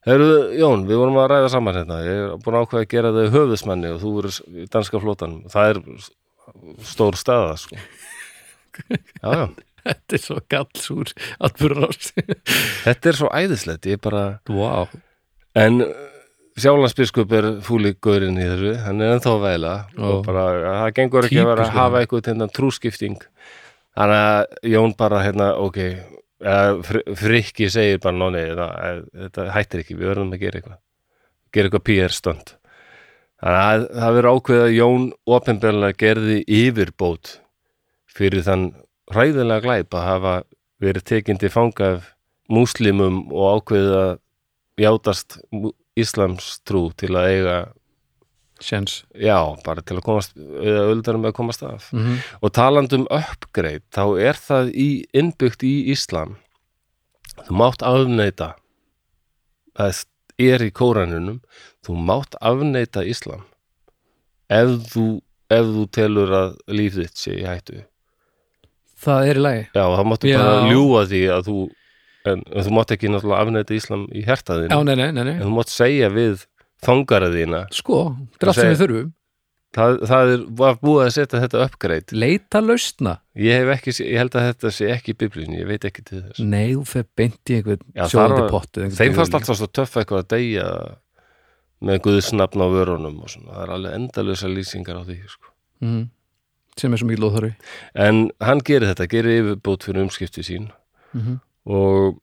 Speaker 1: Heru, Jón, við vorum að ræða saman hérna ég er búin að ákveða að gera þau höfðismanni og þú verður í danska flótan það er stór staða sko. já, já
Speaker 2: Þetta er svo gallsúr atbyrðarás
Speaker 1: Þetta er svo æðislegt, ég bara
Speaker 2: Vá,
Speaker 1: En uh, sjálfansbiskup er fúlíkgurinn í þessu, hann er ennþá væla og
Speaker 2: Ó.
Speaker 1: bara, ja, það gengur ekki að vera að
Speaker 2: Típiskur.
Speaker 1: hafa eitthvað hérna, trúskipting Þannig að Jón bara hérna, ok eða Fr- Frikki segir bara, nonni, það, þetta hættir ekki, við verðum að gera eitthvað gera eitthvað PR-stönd Þannig að það verður ákveðið að Jón opinberlega gerði yfirbót fyrir þann hræðilega glæp að hafa verið tekin til fanga af múslimum og ákveðið að játast mú- íslamstrú til að eiga,
Speaker 2: sjens
Speaker 1: já, bara til að komast eða öldar með að komast af
Speaker 2: mm -hmm.
Speaker 1: og talandum uppgreit, þá er það í, innbyggt í íslam þú mátt afneita það er í kóranunum þú mátt afneita íslam ef þú ef þú telur að líf þitt sé í hættu
Speaker 2: Það er í lagi
Speaker 1: já, þá máttu
Speaker 2: Já.
Speaker 1: bara ljúga því að þú en, en þú mátt ekki náttúrulega afneita íslam í
Speaker 2: Já,
Speaker 1: hertaðinu,
Speaker 2: nei, nei, nei, nei.
Speaker 1: en þú mátt segja við þangara þína
Speaker 2: Sko, þetta er allt sem við þurfum
Speaker 1: það, það er, var búið að setja þetta uppgreitt
Speaker 2: Leita lausna?
Speaker 1: ég hef ekki, sé- ég held að þetta sé ekki í biblíunni, ég veit ekki til þess
Speaker 2: Nei, þú fer beint í einhvern
Speaker 1: Já,
Speaker 2: sjóðandi
Speaker 1: þar var-
Speaker 2: pottu einhvern
Speaker 1: þeim fannst
Speaker 2: guðleik.
Speaker 1: alltaf svo töff eitthvað að deyja með guðsnafn á vörunum og svona, það er alveg endalösa lýsingar á því sko.
Speaker 2: Mhm. Sem er svo mikið lóðhörfi
Speaker 1: en hann gerir þetta, gerir yfirbót fyrir umskipti sín
Speaker 2: mm -hmm.
Speaker 1: og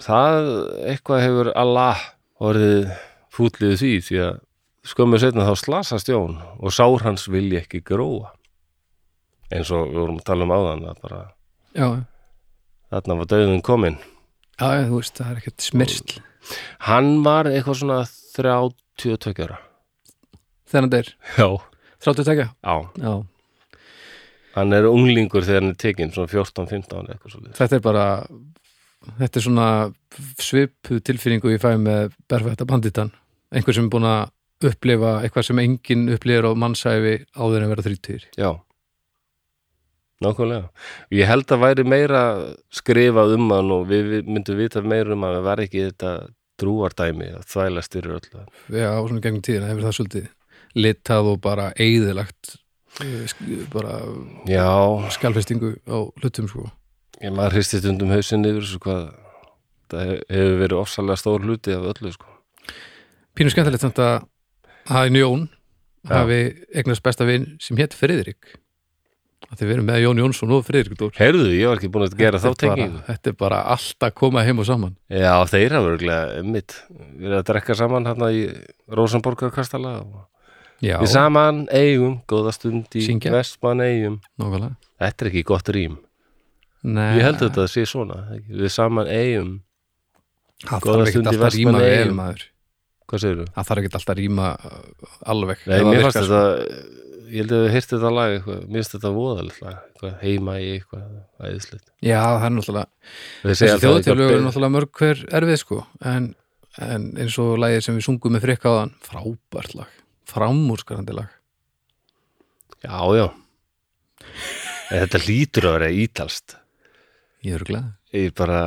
Speaker 1: það eitthvað hefur Allah orðið fútlið því því að skömmu setna þá slasast Jón og sár hans vilja ekki gróa eins og við vorum að tala um áðan að bara
Speaker 2: Já,
Speaker 1: þarna var döðin komin
Speaker 2: já, já, þú veist, það er ekkert smersl
Speaker 1: hann var eitthvað svona 32 ára
Speaker 2: þegar hann deyr,
Speaker 1: já,
Speaker 2: 30 tekja
Speaker 1: á,
Speaker 2: Já,
Speaker 1: hann er unglingur þegar hann er tekinn svona 14-15 eitthvað svo
Speaker 2: þetta er bara þetta er svona svipu tilfinningu ég fæ með berfætta banditan einhver sem er búin að upplifa eitthvað sem enginn upplifir á mannsæfi áður en vera þrítýr
Speaker 1: Já Nákvæmlega. Ég held að væri meira skrifað um hann og við við myndum vita meira um að það var ekki þetta drúardæmi að þvælast yfir öllu.
Speaker 2: já, svona gegnum tíðina hefur það svolítið litað og bara eigðilagt bara
Speaker 1: Já,
Speaker 2: skalfestingu á hlutum sko
Speaker 1: ég maður hristist undum hausinn yfir þessu hvað það he- hefur verið ofsalega stór hluti af öllu sko.
Speaker 2: pínu skemmtilegt samt að hafi Jón
Speaker 1: Já.
Speaker 2: hafi eignast besta vin sem hétt Friðrik að þið verum með Jón Jónsson og Friðrik Dór
Speaker 1: Heyrðu, ég var ekki búin að gera þá
Speaker 2: Þetta er bara-
Speaker 1: tengingu.
Speaker 2: þetta er bara allt að koma heim og saman
Speaker 1: Já, þeir hafa örglega mitt. Við erum að drekka saman hérna í Rósamborgarkastala og
Speaker 2: já,
Speaker 1: við saman eigum, góða stund í
Speaker 2: Syngja.
Speaker 1: Vestmann eigum.
Speaker 2: nákvæmlega
Speaker 1: Þetta er ekki gott rým.
Speaker 2: Nei,
Speaker 1: Ég held að þetta sé svona ekki? Við saman eigum,
Speaker 2: það
Speaker 1: Góða
Speaker 2: þarf ekki
Speaker 1: stund í
Speaker 2: alltaf að rýma
Speaker 1: Vestmannaeyjum.
Speaker 2: vel maður
Speaker 1: hvað segirðu?
Speaker 2: það þarf ekki alltaf að rýma uh, alveg
Speaker 1: Nei,
Speaker 2: ef það
Speaker 1: mér
Speaker 2: virkar
Speaker 1: fannst
Speaker 2: svo.
Speaker 1: þetta Ég held að við heyrti þetta lag eitthvað Mér finnst þetta voðalegt lag eitthvað, Heima í eitthvað, æðislegt
Speaker 2: já, það er náttúrulega
Speaker 1: Þeir segja
Speaker 2: þessi
Speaker 1: alltaf
Speaker 2: þjóðatilög
Speaker 1: eitthvað
Speaker 2: er
Speaker 1: be-
Speaker 2: náttúrulega mörg hver erfið sko en, en eins og lagið sem við sungum með frikka á þann frábært lag, framúrskarandi lag
Speaker 1: Já, já En Þetta lítur að vera ítalst
Speaker 2: ég er glæð
Speaker 1: Ég bara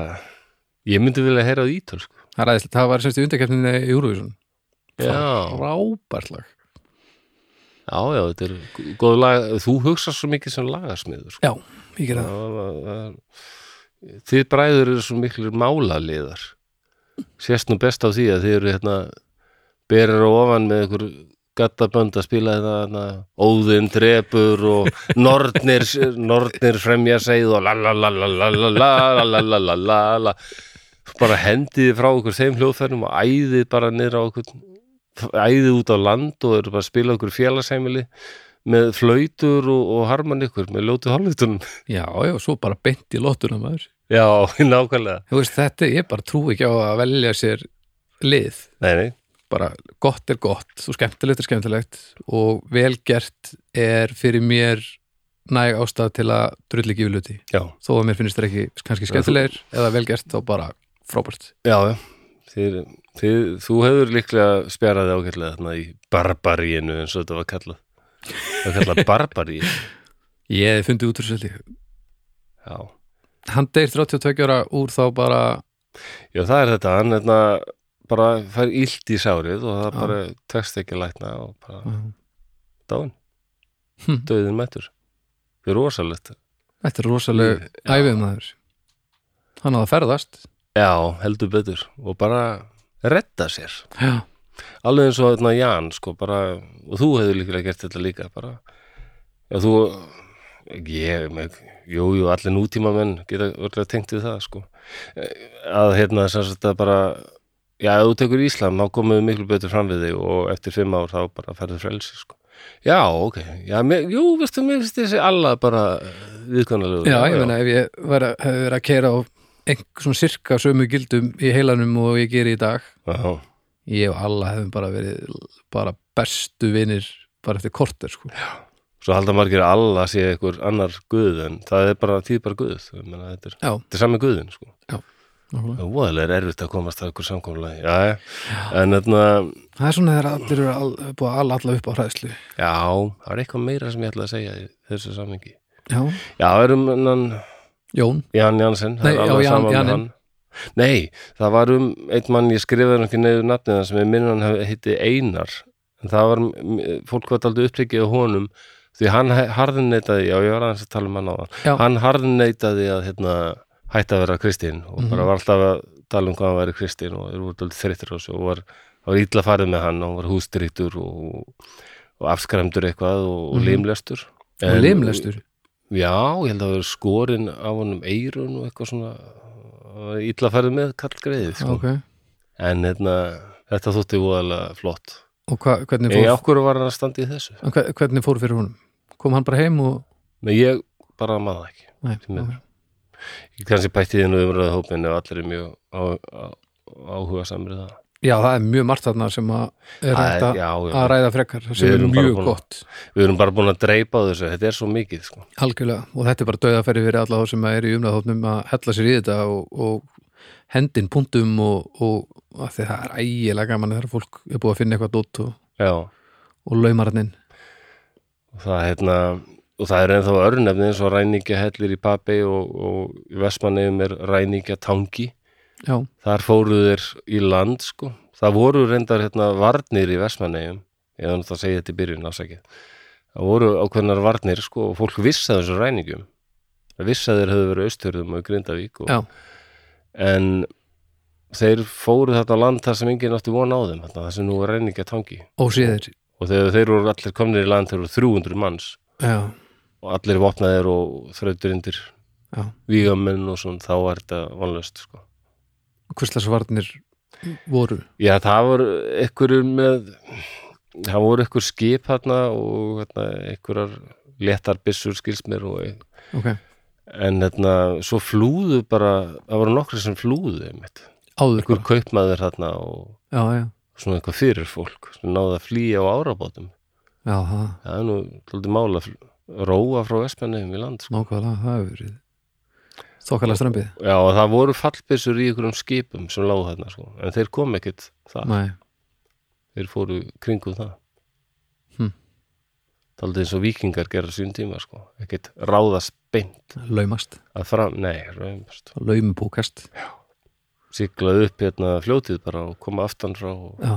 Speaker 1: Ég myndi vilja heyra á ítal sko.
Speaker 2: það, er æðislegt. það var semst í undarkeppninni í Eurovision
Speaker 1: já,
Speaker 2: frábært lag
Speaker 1: já, já, þetta er góð lag Þú hugsar svo mikið sem lagarsmiður sko.
Speaker 2: já, ég gera það
Speaker 1: það, var- það, Þið bræður eru svo miklir málaliðar Sérst nú best á því að þið eru hérna berir á ofan með einhver gattabönd að spila þetta hérna, óðinn drepur og nornir, nornir fremja segið og la la la la la la la la la la la la la bara hendiði frá okkur þeim hljóðferðum og æðið bara niður á okkur æðið út á land og eru bara að spila okkur félagsheimili með flautur og, og harman ykkur með ljótu hálfvitunum
Speaker 2: já, já, svo bara beint í lottuna maður
Speaker 1: Já, nákvæmlega.
Speaker 2: þú veist, þetta, ég bara trú ekki á að velja sér lið
Speaker 1: Nei, nei.
Speaker 2: bara gott er gott og skemmtilegt er skemmtilegt og velgert er fyrir mér næg ástæð til að drulli ekki við luti
Speaker 1: Já,
Speaker 2: þó að mér finnst þér ekki kannski skemmtilegir eða velgert þá bara frábært
Speaker 1: já, já. Þið, þið, þú hefur líklega spjaraði ágætlega þarna í barbaríinu eins og þetta var kallað. Það var kallað barbaríinu.
Speaker 2: ég hef fundið út úr svolítið
Speaker 1: Já.
Speaker 2: hann deyr 32 ára úr þá bara
Speaker 1: já, það er þetta. Hann hérna bara fær illt í sárið og það
Speaker 2: Já.
Speaker 1: bara tekst ekki að lækna og bara
Speaker 2: þetta
Speaker 1: dáin.
Speaker 2: Hm.
Speaker 1: Dauðin mættur. Það er rosalegt.
Speaker 2: er rosaleg
Speaker 1: Já.
Speaker 2: æfið maður hann á að ferðast
Speaker 1: Já, heldur betur. Og bara redda sér.
Speaker 2: já,
Speaker 1: alveg eins og þarna Jan sko bara, og þú hefur líklega gert þetta líka bara, já þú ég, með, jú, jú, allir nútíma menn geta örgulega tengt við það sko Eh, að hérna sem sagt að bara já, ef þú tekur Íslam, þá komum við miklu betur fram við þig og eftir fimm ár þá bara ferðu frelsi sko Já, ok, já, mér, jú, veistu, mér finnst þessi alla bara eh, viðkvæmlega
Speaker 2: já ég meina ef ég var að, hefði verið að keira á einhver svona sirka sömu gildum í heilanum og ég geri í dag
Speaker 1: já,
Speaker 2: ég og alla hefum bara verið bara bestu vinir bara eftir korter sko.
Speaker 1: Svo halda margir að alla sé einhver annar guð en það er bara því bara guð, ég meina, þetta er,
Speaker 2: Já.
Speaker 1: þetta er sami guðin sko
Speaker 2: það
Speaker 1: Það er voðalega erfitt að komast að ykkur samkomulagi já, en þarna já,
Speaker 2: er svona þegar allir eru all, búið að alla alla upp á hræðslu
Speaker 1: það er eitthvað meira sem ég ætla að segja í þessu samhengi
Speaker 2: já.
Speaker 1: Já, er um hann,
Speaker 2: Jón,
Speaker 1: Jan Jansen það
Speaker 2: Nei,
Speaker 1: er
Speaker 2: já,
Speaker 1: alveg
Speaker 2: Jan-
Speaker 1: sama með
Speaker 2: Janinn.
Speaker 1: hann. um Nei, það var um einn mann ég skrifaði nú ekki neyður nafnið hans sem ég minn hann heiti Einar en það var, fólk var aldrei upptekið á honum því hann harðinneitaði, já ég var aðeins að tala um hann á
Speaker 2: Já.
Speaker 1: hann harðinneitaði að hérna, hætta að vera kristinn og
Speaker 2: Mhm.
Speaker 1: bara var alltaf að tala um hvað hann væri kristinn og er út aldrei þreyttur á þessu og var, var illa farið með hann og var hústrítur og, og afskræmdur eitthvað og, og
Speaker 2: Mhm.
Speaker 1: limlestur
Speaker 2: og limlestur
Speaker 1: Já, ég held að það vera skorinn af honum eirun og eitthvað svona íllaferði með kallgreiði sko.
Speaker 2: ok,
Speaker 1: en hérna, þetta þótti voðalega flott.
Speaker 2: og hva, hvernig,
Speaker 1: Ég
Speaker 2: fór,
Speaker 1: okkur var hann að standa í þessu
Speaker 2: en hve- hvernig fór fyrir honum kom hann bara heim og
Speaker 1: en ég bara maður það ekki.
Speaker 2: Nei,
Speaker 1: Sem er-
Speaker 2: ok.
Speaker 1: Ég kannski bætti þínu umræðu hópin ef allir er mjög á, á, áhuga samir það.
Speaker 2: já, það er mjög margt þarna sem að er
Speaker 1: Það
Speaker 2: hægt
Speaker 1: er-
Speaker 2: að-
Speaker 1: já, já.
Speaker 2: að ræða frekar sem
Speaker 1: Við
Speaker 2: er
Speaker 1: erum bara
Speaker 2: mjög
Speaker 1: búin að-
Speaker 2: gott
Speaker 1: Við erum bara búin að dreipa á þessu, þetta er svo mikið sko.
Speaker 2: Algjörlega, og þetta er bara döðafæri fyrir alla þá sem er í umræðhófnum að hella sér í þetta og, og hendin punktum og, og að því það er ægilega gaman þegar fólk er búið að finna eitthvað dótt og,
Speaker 1: Já,
Speaker 2: og laumarinn
Speaker 1: og það hérna og það er ennþá örnefni eins og ræningjahellir í Pappi og, og í Vestmanneum er ræningjatangi
Speaker 2: Já,
Speaker 1: þar fóru þeir í land sko. það voru reyndar hérna varnir í Vestmanneigum eða náttúrulega að segja þetta í byrjun ásækið það voru ákveðnar varnir sko, og fólk vissi af þessum ræningum það vissi að þeir höfðu verið austurðum og í Grindavík og...
Speaker 2: Já.
Speaker 1: en þeir fóru þetta land þar sem enginn átti von á þeim þarna, þar sem nú er ræningatangi
Speaker 2: og síðir
Speaker 1: og þegar þeir voru allir komnir í land þeir voru 300 manns
Speaker 2: Já,
Speaker 1: og allir vopnaðir og þrautur undir
Speaker 2: já,
Speaker 1: vígamenn og svona þá var þetta vonlöst sko.
Speaker 2: hverslasvarnir voru
Speaker 1: Já, það voru einhverjur með það voru einhver skip hérna og hérna, einhverjar léttar byssur skilst mér og,
Speaker 2: okay.
Speaker 1: en hérna, svo flúðu bara, það voru nokkri sem flúðu einmitt.
Speaker 2: áður
Speaker 1: einhver
Speaker 2: bara.
Speaker 1: kaupmaður hérna og
Speaker 2: Já, já,
Speaker 1: svona eitthvað fyrir fólk sem náðu að flýja á árabátum
Speaker 2: já, það,
Speaker 1: það er nú tóldi mála að fl- róa frá Vestmennum í land sko.
Speaker 2: nákvæmlega, það hefur verið þokkalega strömbið
Speaker 1: Já, og það voru fallbyssur í einhverjum skipum sem lágu þarna sko. en þeir kom ekkit það
Speaker 2: Nei,
Speaker 1: þeir fóru kringum það
Speaker 2: Hm.
Speaker 1: Taldið eins og vikingar gera sín tíma sko, ekkert ráðast beint
Speaker 2: laumast,
Speaker 1: að fram, nei, raumast
Speaker 2: laumupúkast
Speaker 1: siglað upp hérna fljótið bara og koma aftan frá og...
Speaker 2: Já,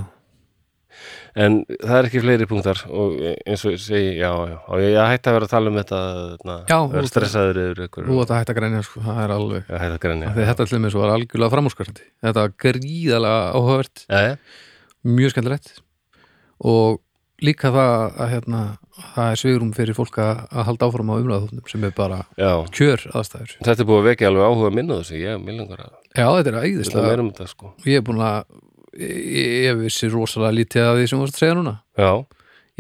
Speaker 1: en það er ekki fleiri punktar og eins og ég segi, já, já og ég ég hætti að vera að tala um þetta na,
Speaker 2: Já,
Speaker 1: vera
Speaker 2: og-
Speaker 1: stressaður yfir ykkur
Speaker 2: þú átt að hætta að grænja sko, það er alveg
Speaker 1: að hætta að
Speaker 2: Já.
Speaker 1: grænja
Speaker 2: Þegar þetta til mér svo var algjörlega framúrskarandi. Þetta var gríðalega áhugavert,
Speaker 1: Jæja,
Speaker 2: mjög skemmtilegt og líka það að hérna, það er svigrum fyrir fólk að, að halda áfram á umræðaþóknum sem er bara
Speaker 1: já,
Speaker 2: kjör aðstæður.
Speaker 1: þetta er búið að vekja alveg áhuga minn á þessu, ég er mjög langar að
Speaker 2: Já, þetta er
Speaker 1: þetta
Speaker 2: æðislega.
Speaker 1: meira um þetta sko
Speaker 2: Ég er búin að, ég, ég vissi rosalega lítið af því sem varst að segja núna.
Speaker 1: já,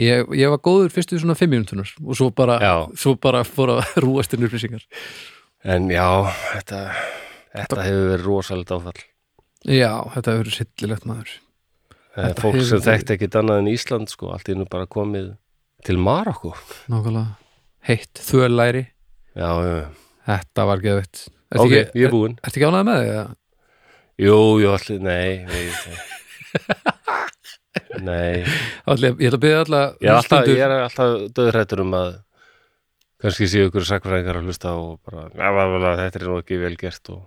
Speaker 2: Ég, ég var góður fyrstu svona fimm minútunar og svo bara,
Speaker 1: Já.
Speaker 2: svo bara fór að rúast inn upplýsingar.
Speaker 1: en já, þetta þetta hefur verið rosalega áfall
Speaker 2: Já, þetta hefur sillilegt maður.
Speaker 1: Það er
Speaker 2: Þetta
Speaker 1: Eh, fólk sem
Speaker 2: hefur-
Speaker 1: þekkti ekkit annað en Ísland sko, allt í nú bara komið til Marokko.
Speaker 2: Nákvæmlega heitt, þölæri.
Speaker 1: Já, já, já.
Speaker 2: Þetta var geðvitt.
Speaker 1: ok, ég er búinn.
Speaker 2: Ertu ekki ánægð með því? eða?
Speaker 1: Jú, jú, allir, nei, nei, nei. nei.
Speaker 2: Allir, ég ætla að byrja alla
Speaker 1: Ég er alltaf,
Speaker 2: hlustendur-
Speaker 1: ég er alltaf döðrættur um að kannski séu ykkur sakfræðingar að hlusta og bara, ja, ja, ja, þetta er nú ekki vel gert og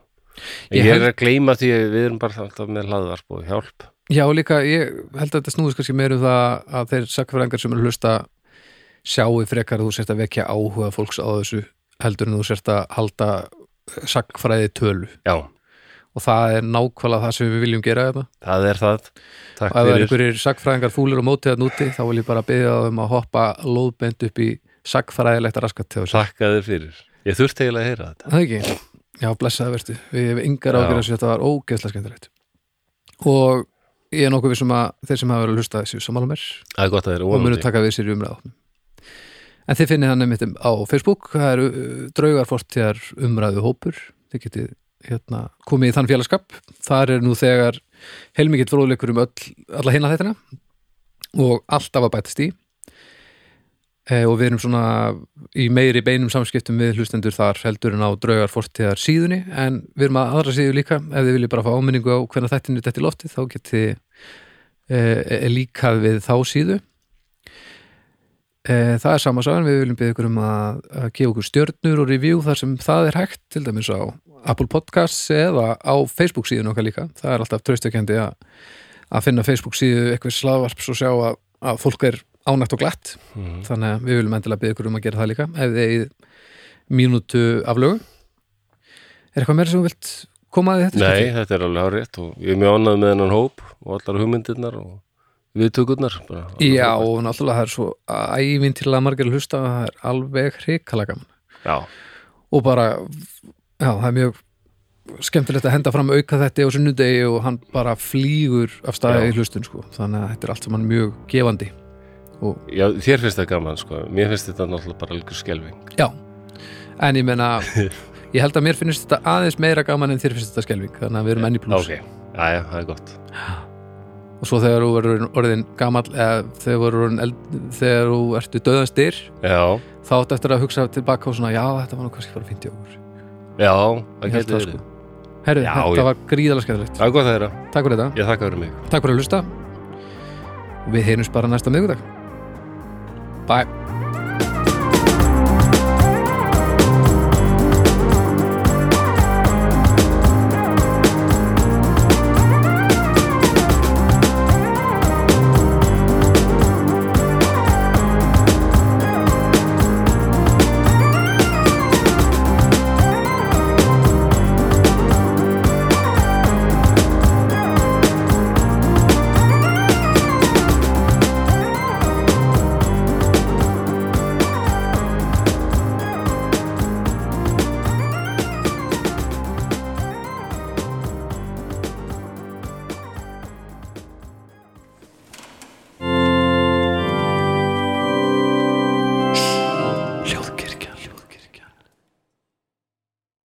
Speaker 2: Ég
Speaker 1: ég, ég er
Speaker 2: held-
Speaker 1: að gleyma því að við erum bara alltaf með hlaðvarp og hjálp.
Speaker 2: Já, líka, ég held að þetta snúðist kannski meir um það að þeir sakfræðingar sem eru að hlusta sjáu frekar að þú sért að vekja áhuga fólks á þessu heldur en þú sért að halda sakfræði tölu
Speaker 1: Já,
Speaker 2: og það er nákvæmlega það sem við viljum gera þetta
Speaker 1: það er það. Takk
Speaker 2: og ef það er
Speaker 1: fyrir.
Speaker 2: einhverjir sakfræðingar fúlir og mótið að núti þá vil ég bara byggja á þeim að hoppa lóðbend upp í sakfræðilegt raskat til þessu.
Speaker 1: Takk að þér fyrir. Ég þurfti eiginlega að heyra þetta.
Speaker 2: Það ekki? Já, blessaði vertu. Við hefum yngar
Speaker 1: Já.
Speaker 2: ágjörð þessu, þetta var ógeðslega skemmtilegt. Og ég er nokkuð vissum að þeir sem hafa verið að hlusta séu sammála mér
Speaker 1: Það er gott að þér,
Speaker 2: og munu
Speaker 1: vonandi.
Speaker 2: taka við sér í umræðum. En þið finnið hann einmitt um- á Facebook, það eru uh, draugar fortíðar umræðu hópur, þið getið hérna, komið í þann félagskap. Þar er nú þegar helmingitt fróðleikur um öll, alla hinna þettina og alltaf að bætast í. E, og við erum svona í meiri beinum samskiptum við hlustendur þar heldur en á draugar fortíðar síðunni en við erum að aðra síðu líka ef þið viljið bara fá áminningu á hvernig þættinu þetta í loftið þá getið e, e, líkað við þá síðu E, það er sama sagan, við viljum byggja ykkur um að, að gefa okkur stjörnur og review þar sem það er hægt, til dæmis á Apple Podcasts eða á Facebook síðun okkar líka það er alltaf traustökendi að, að finna Facebook síðu eitthvað slavarps og sjá að að fólk er ánægt og glatt
Speaker 1: Mhm.
Speaker 2: þannig að við viljum endilega byggja ykkur um að gera það líka ef þið eigið mínútu aflögu Er eitthvað meira sem þú vilt koma að þetta?
Speaker 1: Nei, þetta er alveg hárétt og ég er mjög ánægð með hennan hóp og allar hugmyndirnar og viðtökurnar bara.
Speaker 2: Já, og náttúrulega það er svo ævinn til að margir að hlusta það er alveg hrikalega gaman
Speaker 1: Já,
Speaker 2: og bara, já, það er mjög skemmtilegt að henda fram auka þetta á sunnudegi og hann bara flýgur af staði
Speaker 1: Já.
Speaker 2: í hlustun, sko þannig að þetta er allt saman mjög gefandi
Speaker 1: já, þér finnst það gaman sko, mér finnst þetta náttúrulega bara algjör skelving.
Speaker 2: Já, en ég meina ég held að mér finnst þetta aðeins meira gaman en þér finnst þetta skelving, þannig að við erum enni pluss
Speaker 1: Ok, aðja, það er gott.
Speaker 2: og svo þegar þú verður orðin gamall eða þegar, þú verður orðin eld, þegar þú ertu döðanstyr
Speaker 1: Já,
Speaker 2: þá áttu eftir að hugsa tilbaka og svona já, þetta var nú kannski bara 50 ógur
Speaker 1: já, það
Speaker 2: Ég held það,
Speaker 1: getur verið.
Speaker 2: sko. Herri,
Speaker 1: Já,
Speaker 2: þetta
Speaker 1: já.
Speaker 2: var gríðalega skemmtilegt
Speaker 1: Það er gott að þeirra,
Speaker 2: Takk fyrir þetta,
Speaker 1: ég þakka fyrir mig.
Speaker 2: takk fyrir að hlusta og við heyrjumst bara næsta miðvikudag Bye